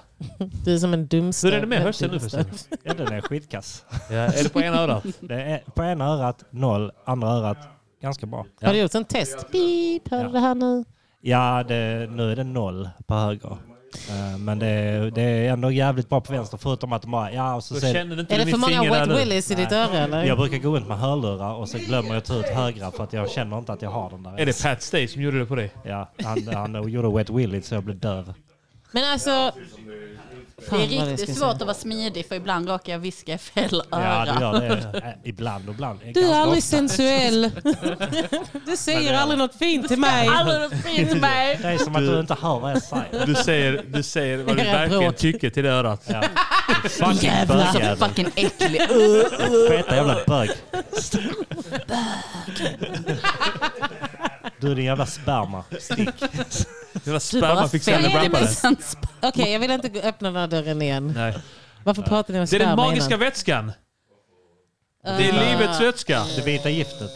[SPEAKER 10] Du är som en dumstöt.
[SPEAKER 2] Hur är det med hörseln nu förresten?
[SPEAKER 3] Ja, den är skitkass.
[SPEAKER 2] Ja, är det på ena örat?
[SPEAKER 3] Det är, på ena örat noll, andra örat ganska bra.
[SPEAKER 10] Har du gjort en test? Beep, hör du det här nu?
[SPEAKER 3] Ja, det, nu är det noll på höger. Eh, Men det, är- det är ändå jävligt bra på vänster förutom att de bara... Ja, och så
[SPEAKER 2] Då
[SPEAKER 3] säger-
[SPEAKER 2] känner du inte
[SPEAKER 10] Är det
[SPEAKER 2] min
[SPEAKER 10] för många
[SPEAKER 2] finger där
[SPEAKER 10] wet
[SPEAKER 2] nu.
[SPEAKER 10] willies i ditt
[SPEAKER 3] Nej.
[SPEAKER 10] öra eller?
[SPEAKER 3] Jag brukar gå runt med hörlurar och så glömmer jag att ta ut högra för att jag känner inte att jag har den där.
[SPEAKER 2] Är det Pat Stay som gjorde det på dig?
[SPEAKER 3] Ja, han, han gjorde Wet Willy så jag blev döv.
[SPEAKER 10] Men alltså...
[SPEAKER 4] Det är
[SPEAKER 10] Fan, vad jag ska
[SPEAKER 4] riktigt
[SPEAKER 10] säga.
[SPEAKER 4] svårt att vara smidig för ibland råkar jag viska i fel öra.
[SPEAKER 3] Ja, du gör det. Eh, Ibland och ibland. Eh,
[SPEAKER 10] Du är
[SPEAKER 3] ganska
[SPEAKER 10] aldrig
[SPEAKER 3] ofta.
[SPEAKER 10] sensuell. Du säger aldrig något fint till mig.
[SPEAKER 4] Aldrig något fint till mig.
[SPEAKER 3] Det är som att du inte hör vad jag säger.
[SPEAKER 2] Du säger, du säger vad du
[SPEAKER 10] Era
[SPEAKER 2] verkligen
[SPEAKER 10] bråk.
[SPEAKER 2] tycker till det örat.
[SPEAKER 3] Ja.
[SPEAKER 2] Fucking
[SPEAKER 10] Jävlar.
[SPEAKER 4] alltså,
[SPEAKER 2] bögjävel.
[SPEAKER 4] Fucking äcklig. Uh, uh.
[SPEAKER 3] Feta jävla bög. Du din jävla sperma. Stick.
[SPEAKER 2] Jävla
[SPEAKER 10] Du bara
[SPEAKER 2] sperma fick sen en
[SPEAKER 10] 50% sperma. Okej, jag vill inte gå- öppna den här dörren igen.
[SPEAKER 2] Nej.
[SPEAKER 10] Varför pratar ni om
[SPEAKER 2] Det är
[SPEAKER 10] sperma
[SPEAKER 2] den magiska
[SPEAKER 10] innan?
[SPEAKER 2] vätskan. Det är
[SPEAKER 10] Ah.
[SPEAKER 2] livets vätska.
[SPEAKER 3] Det vita giftet.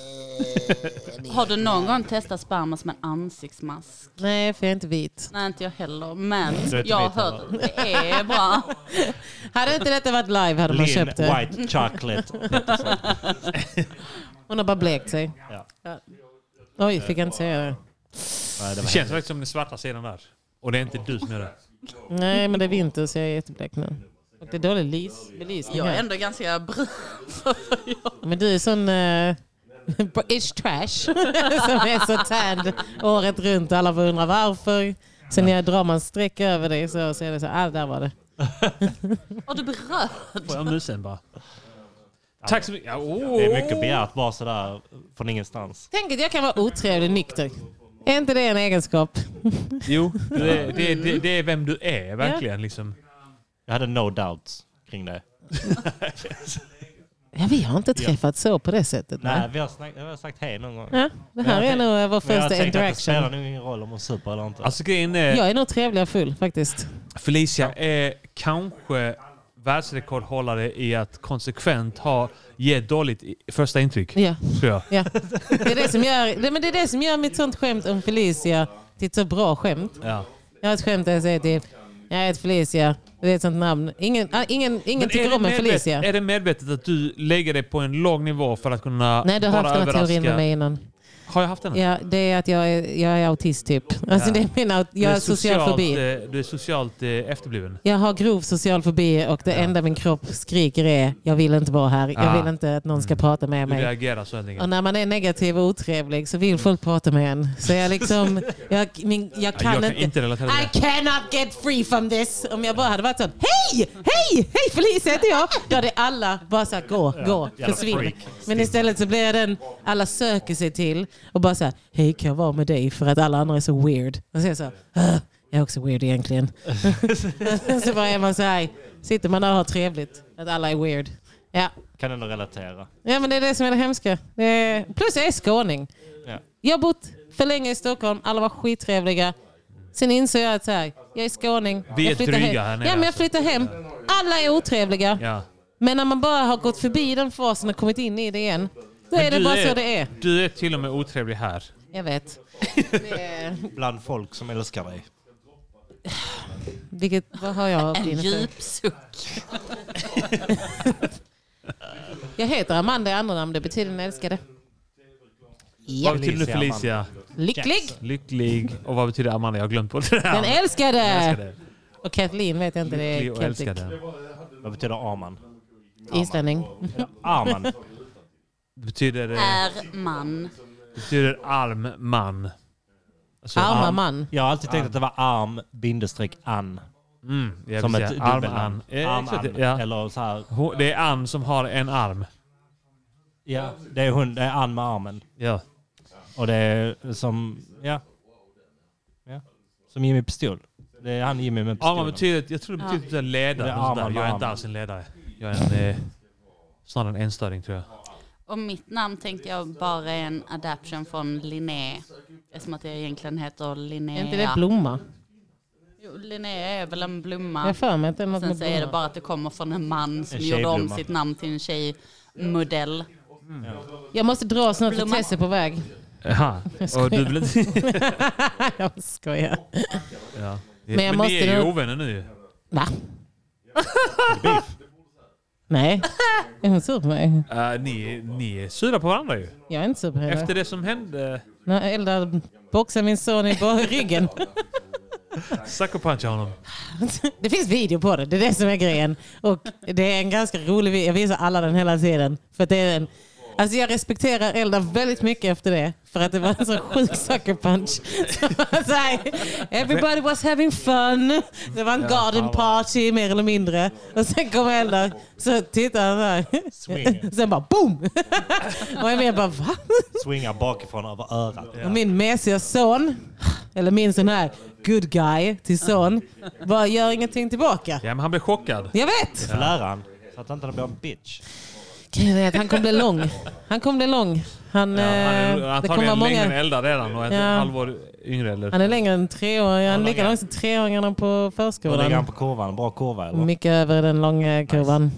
[SPEAKER 4] Har du någon gång testat sperma som en ansiktsmask?
[SPEAKER 10] Nej, för jag är inte vit.
[SPEAKER 4] Nej, inte jag heller. Men
[SPEAKER 10] Du är inte
[SPEAKER 4] jag har
[SPEAKER 10] vit heller.
[SPEAKER 4] hört att det är bra.
[SPEAKER 10] Hade inte detta varit live hade man
[SPEAKER 3] Lin
[SPEAKER 10] köpt det.
[SPEAKER 3] white chocolate.
[SPEAKER 10] Hon har bara blekt sig. Ja. Oj, fick jag inte säga det.
[SPEAKER 2] Det känns faktiskt som den svarta sidan där. Och det är inte du som gör det.
[SPEAKER 10] Nej, men det är vinter så jag är jätteblek nu. Och det är dålig lys, belysning
[SPEAKER 4] Jag är
[SPEAKER 10] här.
[SPEAKER 4] ändå ganska brun.
[SPEAKER 10] Men du är sån... Uh, British trash. som är så tanned året runt. Alla bara undrar varför. Sen när jag drar man streck över dig så, så är det så ah, där var det.
[SPEAKER 4] Och du blir röd.
[SPEAKER 2] Får jag musen bara? Tack så mycket. Ja, oh! åh.
[SPEAKER 3] Det är mycket begärt bara sådär från ingenstans.
[SPEAKER 10] Tänk att jag kan vara otrevlig nykter. Är inte det en egenskap?
[SPEAKER 2] Jo, det är, det, är- det, det är vem du är verkligen. Liksom.
[SPEAKER 3] Jag hade no doubts kring det.
[SPEAKER 10] Ja, vi har inte träffats så på det sättet.
[SPEAKER 3] Nej,
[SPEAKER 10] Nej.
[SPEAKER 3] vi har, snack, vi har sagt hej någon gång.
[SPEAKER 10] Ja, det här
[SPEAKER 3] Men jag
[SPEAKER 10] är
[SPEAKER 3] tänk-
[SPEAKER 10] nog vår
[SPEAKER 3] men jag
[SPEAKER 10] första
[SPEAKER 3] tänker att Det
[SPEAKER 10] interaction.
[SPEAKER 3] spelar nog ingen roll om hon super eller inte.
[SPEAKER 2] Alltså grejen är...
[SPEAKER 10] Jag är nog trevligare full faktiskt.
[SPEAKER 2] Felicia är kanske världsrekordhållare i att konsekvent ha, ge dåligt i- första intryck.
[SPEAKER 10] Ja.
[SPEAKER 2] Tror jag.
[SPEAKER 10] Ja. Det, är det, som gör, det, men det är det som gör mitt sånt skämt om Felicia till ett så bra skämt.
[SPEAKER 2] Ja.
[SPEAKER 10] Jag har ett skämt där jag säger typ, jag heter Felicia, det är ett sånt namn. Ingen, ah, ingen, ingen
[SPEAKER 2] Men
[SPEAKER 10] tycker
[SPEAKER 2] det
[SPEAKER 10] om en
[SPEAKER 2] medvet-
[SPEAKER 10] Felicia.
[SPEAKER 2] Är det medvetet att du lägger dig på en låg nivå för att kunna
[SPEAKER 10] Nej, du
[SPEAKER 2] bara
[SPEAKER 10] har haft den här teorin
[SPEAKER 2] överraska?
[SPEAKER 10] med mig innan.
[SPEAKER 2] Har jag haft den?
[SPEAKER 10] Ja, det är att jag är, jag är autist typ. Alltså,
[SPEAKER 2] Ja.
[SPEAKER 10] det är min, aut-
[SPEAKER 2] Du
[SPEAKER 10] jag
[SPEAKER 2] är
[SPEAKER 10] har social
[SPEAKER 2] socialt,
[SPEAKER 10] fobi.
[SPEAKER 2] eh, Du är socialt eh, efterbliven.
[SPEAKER 10] Jag har grov social fobi och det enda min kropp skriker är jag vill inte vara här. Jag
[SPEAKER 2] Ah.
[SPEAKER 10] vill inte att någon ska prata med
[SPEAKER 2] Du
[SPEAKER 10] mig.
[SPEAKER 2] reagerar så helt
[SPEAKER 10] Och
[SPEAKER 2] enkelt.
[SPEAKER 10] när man är negativ och otrevlig så vill folk prata med en. Så jag liksom, jag, min, jag
[SPEAKER 2] Ja,
[SPEAKER 10] kan,
[SPEAKER 2] jag kan
[SPEAKER 10] inte.
[SPEAKER 2] inte relatera till
[SPEAKER 10] I cannot get free from this. Om jag bara hade varit sån, hej, hej, hej Felicia heter jag. Då hade alla bara sagt gå,
[SPEAKER 18] Ja,
[SPEAKER 10] gå,
[SPEAKER 18] jävla
[SPEAKER 10] försvinn.
[SPEAKER 18] freak.
[SPEAKER 10] Men istället så blir jag den alla söker sig till och bara såhär, hej kan jag vara med dig för att alla andra är så weird. Och så är jag så här, "Ugh, jag är också weird egentligen. så bara är man såhär, sitter man där och har trevligt. Att alla är weird. Ja.
[SPEAKER 3] Kan ändå relatera.
[SPEAKER 10] Ja men det är det som är det hemska. Det är... Plus jag är skåning.
[SPEAKER 3] Ja.
[SPEAKER 10] Jag har bott för länge i Stockholm, alla var skittrevliga. Sen insåg jag att så här, jag är skåning.
[SPEAKER 2] Vi är
[SPEAKER 10] jag flyttar
[SPEAKER 2] dryga
[SPEAKER 10] hem.
[SPEAKER 2] här nere,
[SPEAKER 10] Ja men jag
[SPEAKER 2] alltså.
[SPEAKER 10] flyttar hem. Alla är otrevliga.
[SPEAKER 2] Ja.
[SPEAKER 10] Men när man bara har gått förbi den fasen och kommit in i det igen. Då
[SPEAKER 2] Men
[SPEAKER 10] är det
[SPEAKER 2] du
[SPEAKER 10] bara så det är.
[SPEAKER 2] Du är till och med otrevlig här.
[SPEAKER 10] Jag vet.
[SPEAKER 3] Bland folk som älskar dig.
[SPEAKER 10] Vilket, vad har jag
[SPEAKER 4] En
[SPEAKER 10] blivit för?
[SPEAKER 4] djup suck.
[SPEAKER 10] Jag heter Amanda i andranamn, det betyder den älskade.
[SPEAKER 2] Vad betyder nu Felicia?
[SPEAKER 10] Lycklig.
[SPEAKER 2] Lycklig. Och vad betyder Amanda? Jag har glömt på det
[SPEAKER 10] Den älskade!
[SPEAKER 2] Den älskade.
[SPEAKER 10] Och Kathleen vet jag inte, det är
[SPEAKER 2] Lycklig och
[SPEAKER 10] Celtic.
[SPEAKER 2] älskade.
[SPEAKER 3] Vad betyder Arman?
[SPEAKER 10] Islänning.
[SPEAKER 3] Arman.
[SPEAKER 2] Det betyder... eh,
[SPEAKER 4] Är man.
[SPEAKER 2] Det betyder arm man.
[SPEAKER 10] Arma man.
[SPEAKER 3] Alltså, Jag har alltid tänkt
[SPEAKER 2] Arm.
[SPEAKER 3] att det var arm bindestreck an.
[SPEAKER 2] Mm, jag
[SPEAKER 3] som
[SPEAKER 2] vill
[SPEAKER 3] ett
[SPEAKER 2] säga arm
[SPEAKER 3] dubbelnamn.
[SPEAKER 2] an. Ja,
[SPEAKER 3] Arm
[SPEAKER 2] exakt,
[SPEAKER 3] an.
[SPEAKER 2] ja.
[SPEAKER 3] Eller så här.
[SPEAKER 2] Hon- Det är Ann som har en arm.
[SPEAKER 3] Ja, det är hon. Det är an med armen.
[SPEAKER 2] Ja.
[SPEAKER 3] Och det är som, ja. ja. Som Jimmy Pistol. Det är han Jimmy med pistolen.
[SPEAKER 2] Armar betyder... Jag tror det betyder ja. ledare.
[SPEAKER 3] Det är
[SPEAKER 2] eller sånt där.
[SPEAKER 3] armar med
[SPEAKER 2] jag är inte
[SPEAKER 3] arm.
[SPEAKER 2] alls en ledare. Jag är en, eh, snarare en enstöring tror jag.
[SPEAKER 4] Och mitt namn tänkte jag bara är en adaption från Linné. Eftersom att jag egentligen heter Linnea.
[SPEAKER 10] Är inte det blomma?
[SPEAKER 4] Jo, Linnea är väl en blomma.
[SPEAKER 10] Jag har för mig att det är något
[SPEAKER 4] Sen
[SPEAKER 10] med
[SPEAKER 4] så är det
[SPEAKER 10] blommor.
[SPEAKER 4] bara att det kommer från en man som
[SPEAKER 10] En
[SPEAKER 4] gjorde om
[SPEAKER 10] tjejblomma.
[SPEAKER 4] sitt namn till en tjejmodell.
[SPEAKER 10] Jag måste dra snart för
[SPEAKER 4] Blomma.
[SPEAKER 10] Tess är på väg.
[SPEAKER 2] Jaha.
[SPEAKER 10] Jag
[SPEAKER 2] Och du
[SPEAKER 10] skojar.
[SPEAKER 2] vill inte...
[SPEAKER 10] jag skojar.
[SPEAKER 2] ja.
[SPEAKER 10] Men jag
[SPEAKER 2] Men,
[SPEAKER 10] måste
[SPEAKER 2] ni är ju
[SPEAKER 10] nog-
[SPEAKER 2] ovänner nu
[SPEAKER 10] Va? Nej. Är hon sur på mig?
[SPEAKER 2] uh, ni, ni är sura på varandra ju.
[SPEAKER 10] Jag är inte sur på henne.
[SPEAKER 2] Efter det som hände...
[SPEAKER 10] När jag eldar boxar min son i bara ryggen.
[SPEAKER 2] Sucker-puncha honom.
[SPEAKER 10] Det finns video på det. Det är det som är grejen. Och det är en ganska rolig video. Jag visar alla den hela tiden. För att det är en... Alltså jag respekterar Eldar väldigt mycket efter det. För att det var en så sjuk sucker punch. Så var så här, Everybody was having fun. Det var en
[SPEAKER 18] Ja,
[SPEAKER 10] garden
[SPEAKER 18] fan vad-
[SPEAKER 10] party mer eller mindre. Och sen kom Eldar. Så tittar han där.
[SPEAKER 3] Swing.
[SPEAKER 10] Sen bara boom! Och jag menar bara va?
[SPEAKER 3] Swingar bakifrån över örat.
[SPEAKER 10] Och min mesiga son, eller min sån här good guy till son, bara gör ingenting tillbaka.
[SPEAKER 2] Ja, men han blev chockad.
[SPEAKER 10] Jag vet!
[SPEAKER 3] Läraren. Så att han inte blir en bitch.
[SPEAKER 10] Grejen är att han kommer bli lång. Han kommer bli lång. Han,
[SPEAKER 2] Ja, han
[SPEAKER 10] eh,
[SPEAKER 2] är
[SPEAKER 10] det kommer vara
[SPEAKER 2] antagligen längre än
[SPEAKER 10] många.
[SPEAKER 2] Elda redan och ett
[SPEAKER 10] Ja.
[SPEAKER 2] halvår yngre. Eller?
[SPEAKER 10] Han är längre än treåringar. Han är lika lång som treåringarna på
[SPEAKER 3] Då lägger han
[SPEAKER 10] förskolan.
[SPEAKER 3] på kurvan. Bra kurva eller?
[SPEAKER 10] Mycket över den långa kurvan.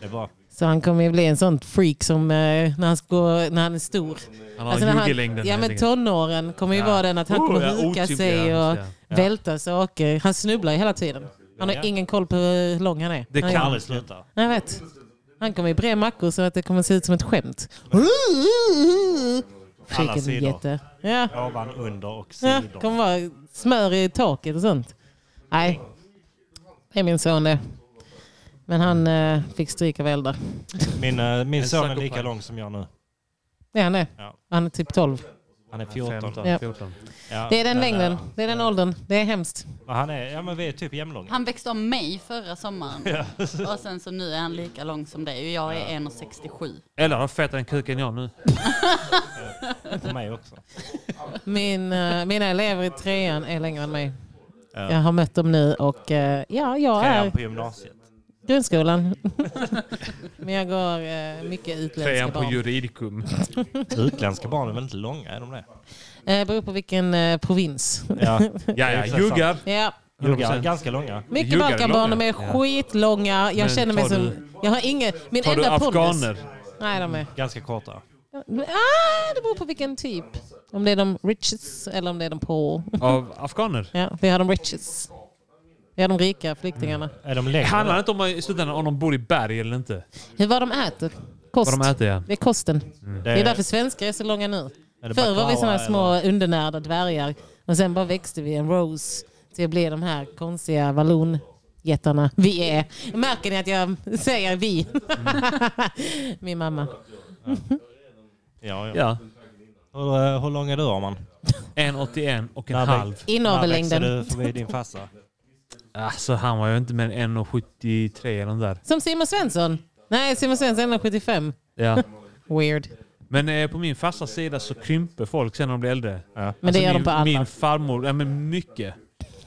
[SPEAKER 3] Det är bra.
[SPEAKER 10] Så han kommer ju bli en sån freak som eh, när han, ska gå, när han är stor. Alltså,
[SPEAKER 2] Han har
[SPEAKER 10] när
[SPEAKER 2] juggelängden,
[SPEAKER 10] Ja
[SPEAKER 2] helt
[SPEAKER 10] men
[SPEAKER 2] enkelt.
[SPEAKER 10] tonåren kommer ju
[SPEAKER 2] Ja.
[SPEAKER 10] vara den att han
[SPEAKER 2] Oh,
[SPEAKER 10] kommer
[SPEAKER 2] ja,
[SPEAKER 10] huka
[SPEAKER 2] otympliga,
[SPEAKER 10] sig och
[SPEAKER 2] just det. Ja.
[SPEAKER 10] välta saker. Han snubblar ju hela tiden. Han har ingen koll på hur lång han är.
[SPEAKER 2] Det
[SPEAKER 10] han
[SPEAKER 2] kan
[SPEAKER 10] är-
[SPEAKER 2] aldrig sluta.
[SPEAKER 10] Nej jag vet. Han kommer ju bre mackor så att det kommer se ut som ett skämt.
[SPEAKER 3] Alla
[SPEAKER 10] Freaking
[SPEAKER 3] sidor.
[SPEAKER 10] jätte. Ja.
[SPEAKER 3] Ovan, under och
[SPEAKER 10] Ja,
[SPEAKER 3] sidor.
[SPEAKER 10] kommer vara smör i taket och sånt. Nej, det är min son det. Men han eh, fick stryk av eldar.
[SPEAKER 3] Min, eh, min
[SPEAKER 10] En
[SPEAKER 3] son är
[SPEAKER 10] psykopat.
[SPEAKER 3] lika lång som jag nu.
[SPEAKER 10] Det är han det?
[SPEAKER 3] Ja.
[SPEAKER 10] Han är typ 12.
[SPEAKER 3] Han är 14.
[SPEAKER 10] Ja.
[SPEAKER 3] Ja,
[SPEAKER 10] Det är den
[SPEAKER 3] men,
[SPEAKER 10] längden.
[SPEAKER 3] eh,
[SPEAKER 10] Det är den åldern. Det är hemskt.
[SPEAKER 3] men Han är, ja men vi är typ jämnlånga.
[SPEAKER 4] Han växte om mig förra sommaren.
[SPEAKER 3] Ja.
[SPEAKER 4] Och sen så nu är han lika lång som dig och jag är 1,67.
[SPEAKER 2] Eller har fetare en kuk än jag nu.
[SPEAKER 3] På mig också.
[SPEAKER 10] Min, eh, mina elever i trean är längre än mig.
[SPEAKER 3] Ja.
[SPEAKER 10] Jag har mött dem nu och eh, ja, jag
[SPEAKER 3] Trean
[SPEAKER 10] är
[SPEAKER 3] på gymnasiet.
[SPEAKER 10] grundskolan. Men jag går eh, mycket utländska
[SPEAKER 3] Trean på
[SPEAKER 10] barn.
[SPEAKER 2] juridikum.
[SPEAKER 3] Utländska barn är väl inte långa? Är de det?
[SPEAKER 10] Eh, beror på vilken eh, provins.
[SPEAKER 3] Ja.
[SPEAKER 2] Ja, ja, juggar.
[SPEAKER 10] Ja.
[SPEAKER 3] Juggar, ganska långa.
[SPEAKER 10] Mycket Balkanbarn, de är skitlånga. Jag
[SPEAKER 3] Men
[SPEAKER 10] känner mig
[SPEAKER 3] tar
[SPEAKER 10] som...
[SPEAKER 3] du-
[SPEAKER 10] jag har ingen... Min
[SPEAKER 3] tar du
[SPEAKER 10] enda pondus...
[SPEAKER 3] afghaner?
[SPEAKER 10] Nej, de är...
[SPEAKER 3] Mm, Ganska korta.
[SPEAKER 10] Ah, det beror på vilken typ. Om det är de riches eller om det är de poor.
[SPEAKER 2] Av afghaner?
[SPEAKER 10] Ja, vi har de riches. Vi har de rika flyktingarna.
[SPEAKER 2] Mm.
[SPEAKER 3] Är de längre?
[SPEAKER 2] Handlar det inte om i slutändan om de bor i berg eller inte?
[SPEAKER 10] Hur vad de äter. Kost.
[SPEAKER 2] Vad de äter, ja.
[SPEAKER 10] Det är kosten.
[SPEAKER 2] Mm.
[SPEAKER 10] Det är därför svenskar är så långa nu.
[SPEAKER 2] Är det
[SPEAKER 10] Förr var vi
[SPEAKER 2] baklava
[SPEAKER 10] sådana små undernärda dvärgar. Och sen bara växte vi en rose till att bli de här konstiga vallonjättarna vi är. Märker ni att jag säger vi?
[SPEAKER 2] Mm.
[SPEAKER 10] Min mamma.
[SPEAKER 3] Ja, ja.
[SPEAKER 2] Ja.
[SPEAKER 3] Hur, eh, hur lång är du Arman?
[SPEAKER 2] 1,81 och en
[SPEAKER 3] När väx-
[SPEAKER 2] halv.
[SPEAKER 10] Inavellängden.
[SPEAKER 3] När växer du förbi din farsa?
[SPEAKER 2] Alltså han var ju inte mer än 1,73 eller nåt där.
[SPEAKER 10] Som Simon Svensson. Nej, Simon Svensson är 75.
[SPEAKER 2] Ja.
[SPEAKER 10] Weird.
[SPEAKER 2] Men eh, på min farsas sida så krymper folk sen när de blir äldre. Alltså,
[SPEAKER 10] Men det gör de
[SPEAKER 2] min,
[SPEAKER 10] på alla.
[SPEAKER 2] Min farmor, ja, men mycket.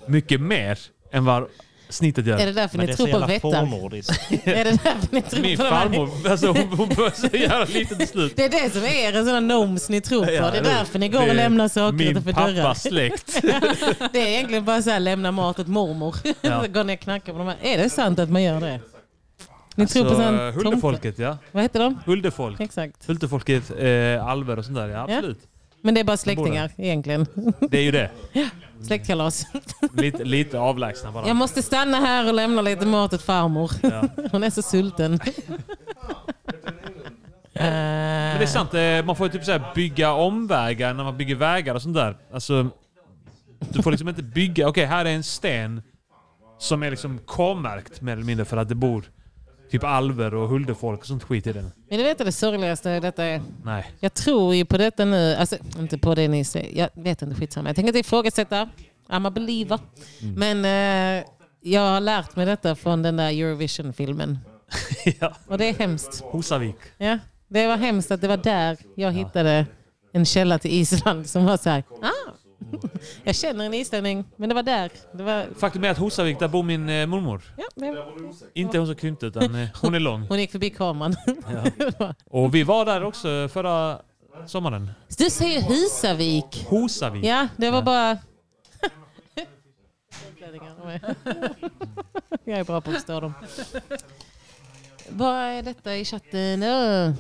[SPEAKER 2] Mycket mer än vad snittet gör.
[SPEAKER 10] Är det därför Men ni det är tror så på jävla vättar? Är det därför ni tror
[SPEAKER 2] Min
[SPEAKER 10] på de här?
[SPEAKER 2] farmor, alltså hon, hon började så jävla lite till slut.
[SPEAKER 10] Det är det som är era sådana gnomes ni tror på.
[SPEAKER 2] Ja,
[SPEAKER 10] det är
[SPEAKER 2] det-
[SPEAKER 10] därför ni går
[SPEAKER 2] det
[SPEAKER 10] och
[SPEAKER 2] är
[SPEAKER 10] lämnar saker
[SPEAKER 2] min
[SPEAKER 10] utanför
[SPEAKER 2] pappas
[SPEAKER 10] dörrar.
[SPEAKER 2] släkt.
[SPEAKER 10] det är egentligen bara så här, lämna mat åt mormor.
[SPEAKER 2] Ja.
[SPEAKER 10] så går ni och knackar på dem. här. Är det sant att man gör det? Ni tror på
[SPEAKER 2] Så,
[SPEAKER 10] sån
[SPEAKER 2] eh, Hultefolket ja.
[SPEAKER 10] Vad heter de?
[SPEAKER 2] Huldefolk.
[SPEAKER 10] Exakt.
[SPEAKER 2] Hultefolket, eh, alver och sånt där. Ja, absolut.
[SPEAKER 10] Men det är bara
[SPEAKER 2] De bor
[SPEAKER 10] släktingar egentligen.
[SPEAKER 2] Det är ju det.
[SPEAKER 10] Släktkalas.
[SPEAKER 2] Lite, lite avlägsna bara.
[SPEAKER 10] Jag måste stanna här och lämna lite mat åt farmor.
[SPEAKER 2] Ja.
[SPEAKER 10] Hon är så sulten.
[SPEAKER 2] Eh, Men det är sant, eh, man får ju typ så här bygga omvägar när man bygger vägar och sånt där. Alltså, du får liksom inte bygga... Okej, här är en sten som är liksom K-märkt mer eller mindre för att det bor typ alver och huldefolk och sånt skit i den.
[SPEAKER 10] Men du vet det sorgligaste detta är?
[SPEAKER 2] Nej.
[SPEAKER 10] Jag tror ju på detta nu, alltså inte på det ni säger, jag vet inte, skitsamma. Jag tänker inte ifrågasätta, I'm a believer. Men eh, jag har lärt mig detta från den där Eurovision-filmen. Och det är hemskt.
[SPEAKER 2] Hosavik.
[SPEAKER 10] Ja, det var hemskt att det var där jag hittade en källa till Island som var så här, ah, jag känner en islänning, men det var där. Det var,
[SPEAKER 2] Faktum är att Hosavik, där bor min eh, mormor.
[SPEAKER 10] ja, det,
[SPEAKER 2] Inte hon som krympte, utan eh, hon är lång.
[SPEAKER 10] hon gick förbi kameran.
[SPEAKER 2] Och vi var där också förra sommaren.
[SPEAKER 10] Du säger Husavik.
[SPEAKER 2] Hosavik.
[SPEAKER 10] Ja, det var bara... Jag är bra på att förstå dem. Vad är detta i chatten? Åh.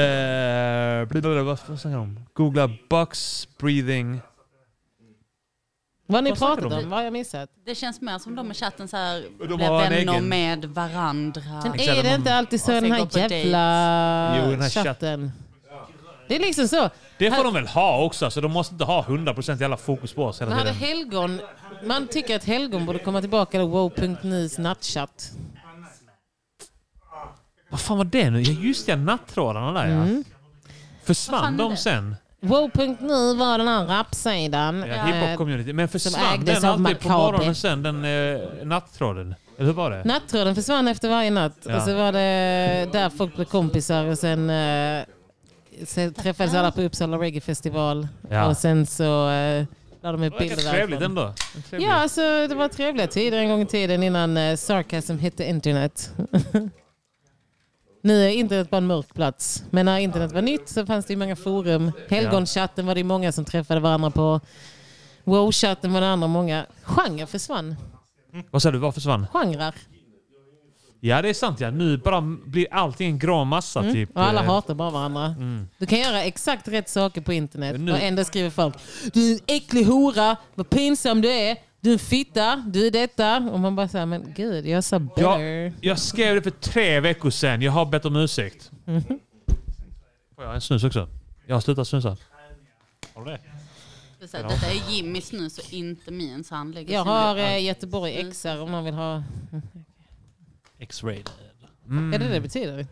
[SPEAKER 2] Eh, blablabla, vad vad snackar de om? Googla bucks breathing.
[SPEAKER 10] Vad har ni
[SPEAKER 4] Vad snackar
[SPEAKER 10] pratat
[SPEAKER 4] de om?
[SPEAKER 10] om? Vad har jag missat?
[SPEAKER 4] Det känns mer som de i chatten så här blev
[SPEAKER 2] har en
[SPEAKER 4] vänner
[SPEAKER 2] egen-
[SPEAKER 4] med varandra.
[SPEAKER 10] Men är det inte alltid så den här jävla
[SPEAKER 2] Jo, den här chatten.
[SPEAKER 10] eh, chatten? Det är liksom så.
[SPEAKER 2] Det
[SPEAKER 10] Här-
[SPEAKER 2] får de väl ha också, så de måste inte ha 100% jävla fokus på oss hela
[SPEAKER 10] Man hade
[SPEAKER 2] tiden.
[SPEAKER 10] helgon. Man tycker att helgon borde komma tillbaka till wow.nys nattchatt.
[SPEAKER 2] Vad fan var det nu? Ja, Just det, nattrådarna där
[SPEAKER 10] Mm.
[SPEAKER 2] ja. Försvann de sen?
[SPEAKER 10] Wow.nu var den här rapsidan. eh,
[SPEAKER 2] Ja, Hiphop-community. Men
[SPEAKER 10] som
[SPEAKER 2] försvann
[SPEAKER 10] ägdes
[SPEAKER 2] den
[SPEAKER 10] av
[SPEAKER 2] alltid på
[SPEAKER 10] Maccabi.
[SPEAKER 2] morgonen sen, den eh, nattråden? Eller hur var det?
[SPEAKER 10] Nattråden försvann efter varje natt.
[SPEAKER 2] Ja.
[SPEAKER 10] Och så var det där folk blev kompisar och sen, eh, sen träffades alla på Uppsala Reggae Festival.
[SPEAKER 2] Ja.
[SPEAKER 10] Och sen så eh, la de upp
[SPEAKER 2] det
[SPEAKER 10] bilder
[SPEAKER 2] var trevligt
[SPEAKER 10] därifrån.
[SPEAKER 2] ändå. Trevligt.
[SPEAKER 10] Ja, alltså, det var trevliga tider en gång i tiden innan eh, sarcasm hette internet. Nu är internet bara en mörk plats. Men när internet var nytt så fanns det ju många forum. Helgonchatten var det ju många som träffade varandra på. Wow-chatten var det andra många. Genrer försvann.
[SPEAKER 2] Vad sa du? Vad försvann?
[SPEAKER 10] Genrer.
[SPEAKER 2] Ja, det är sant. Ja. Nu bara blir allting en grå massa.
[SPEAKER 10] Mm.
[SPEAKER 2] Typ.
[SPEAKER 10] Och alla
[SPEAKER 2] Eh,
[SPEAKER 10] hatar bara varandra.
[SPEAKER 2] Mm.
[SPEAKER 10] Du kan göra exakt rätt saker på internet
[SPEAKER 2] Men nu-
[SPEAKER 10] och ändå skriver folk Du är en äcklig hora, vad pinsam du är, du är en fitta, du är detta. Och man bara säger men gud, jag sa
[SPEAKER 2] Jag,
[SPEAKER 10] better.
[SPEAKER 2] jag skrev det för tre veckor sedan. Jag har bett om ursäkt.
[SPEAKER 10] Mhm.
[SPEAKER 2] Får jag en snus också? Jag har slutat snusa.
[SPEAKER 3] Har du det?
[SPEAKER 4] Det är så här, Detta är Jimmys nu så inte min. Så han lägger
[SPEAKER 10] Jag
[SPEAKER 4] sina-
[SPEAKER 10] har eh, Göteborg XR om någon vill ha...
[SPEAKER 3] X-rated.
[SPEAKER 10] Är det det det betyder?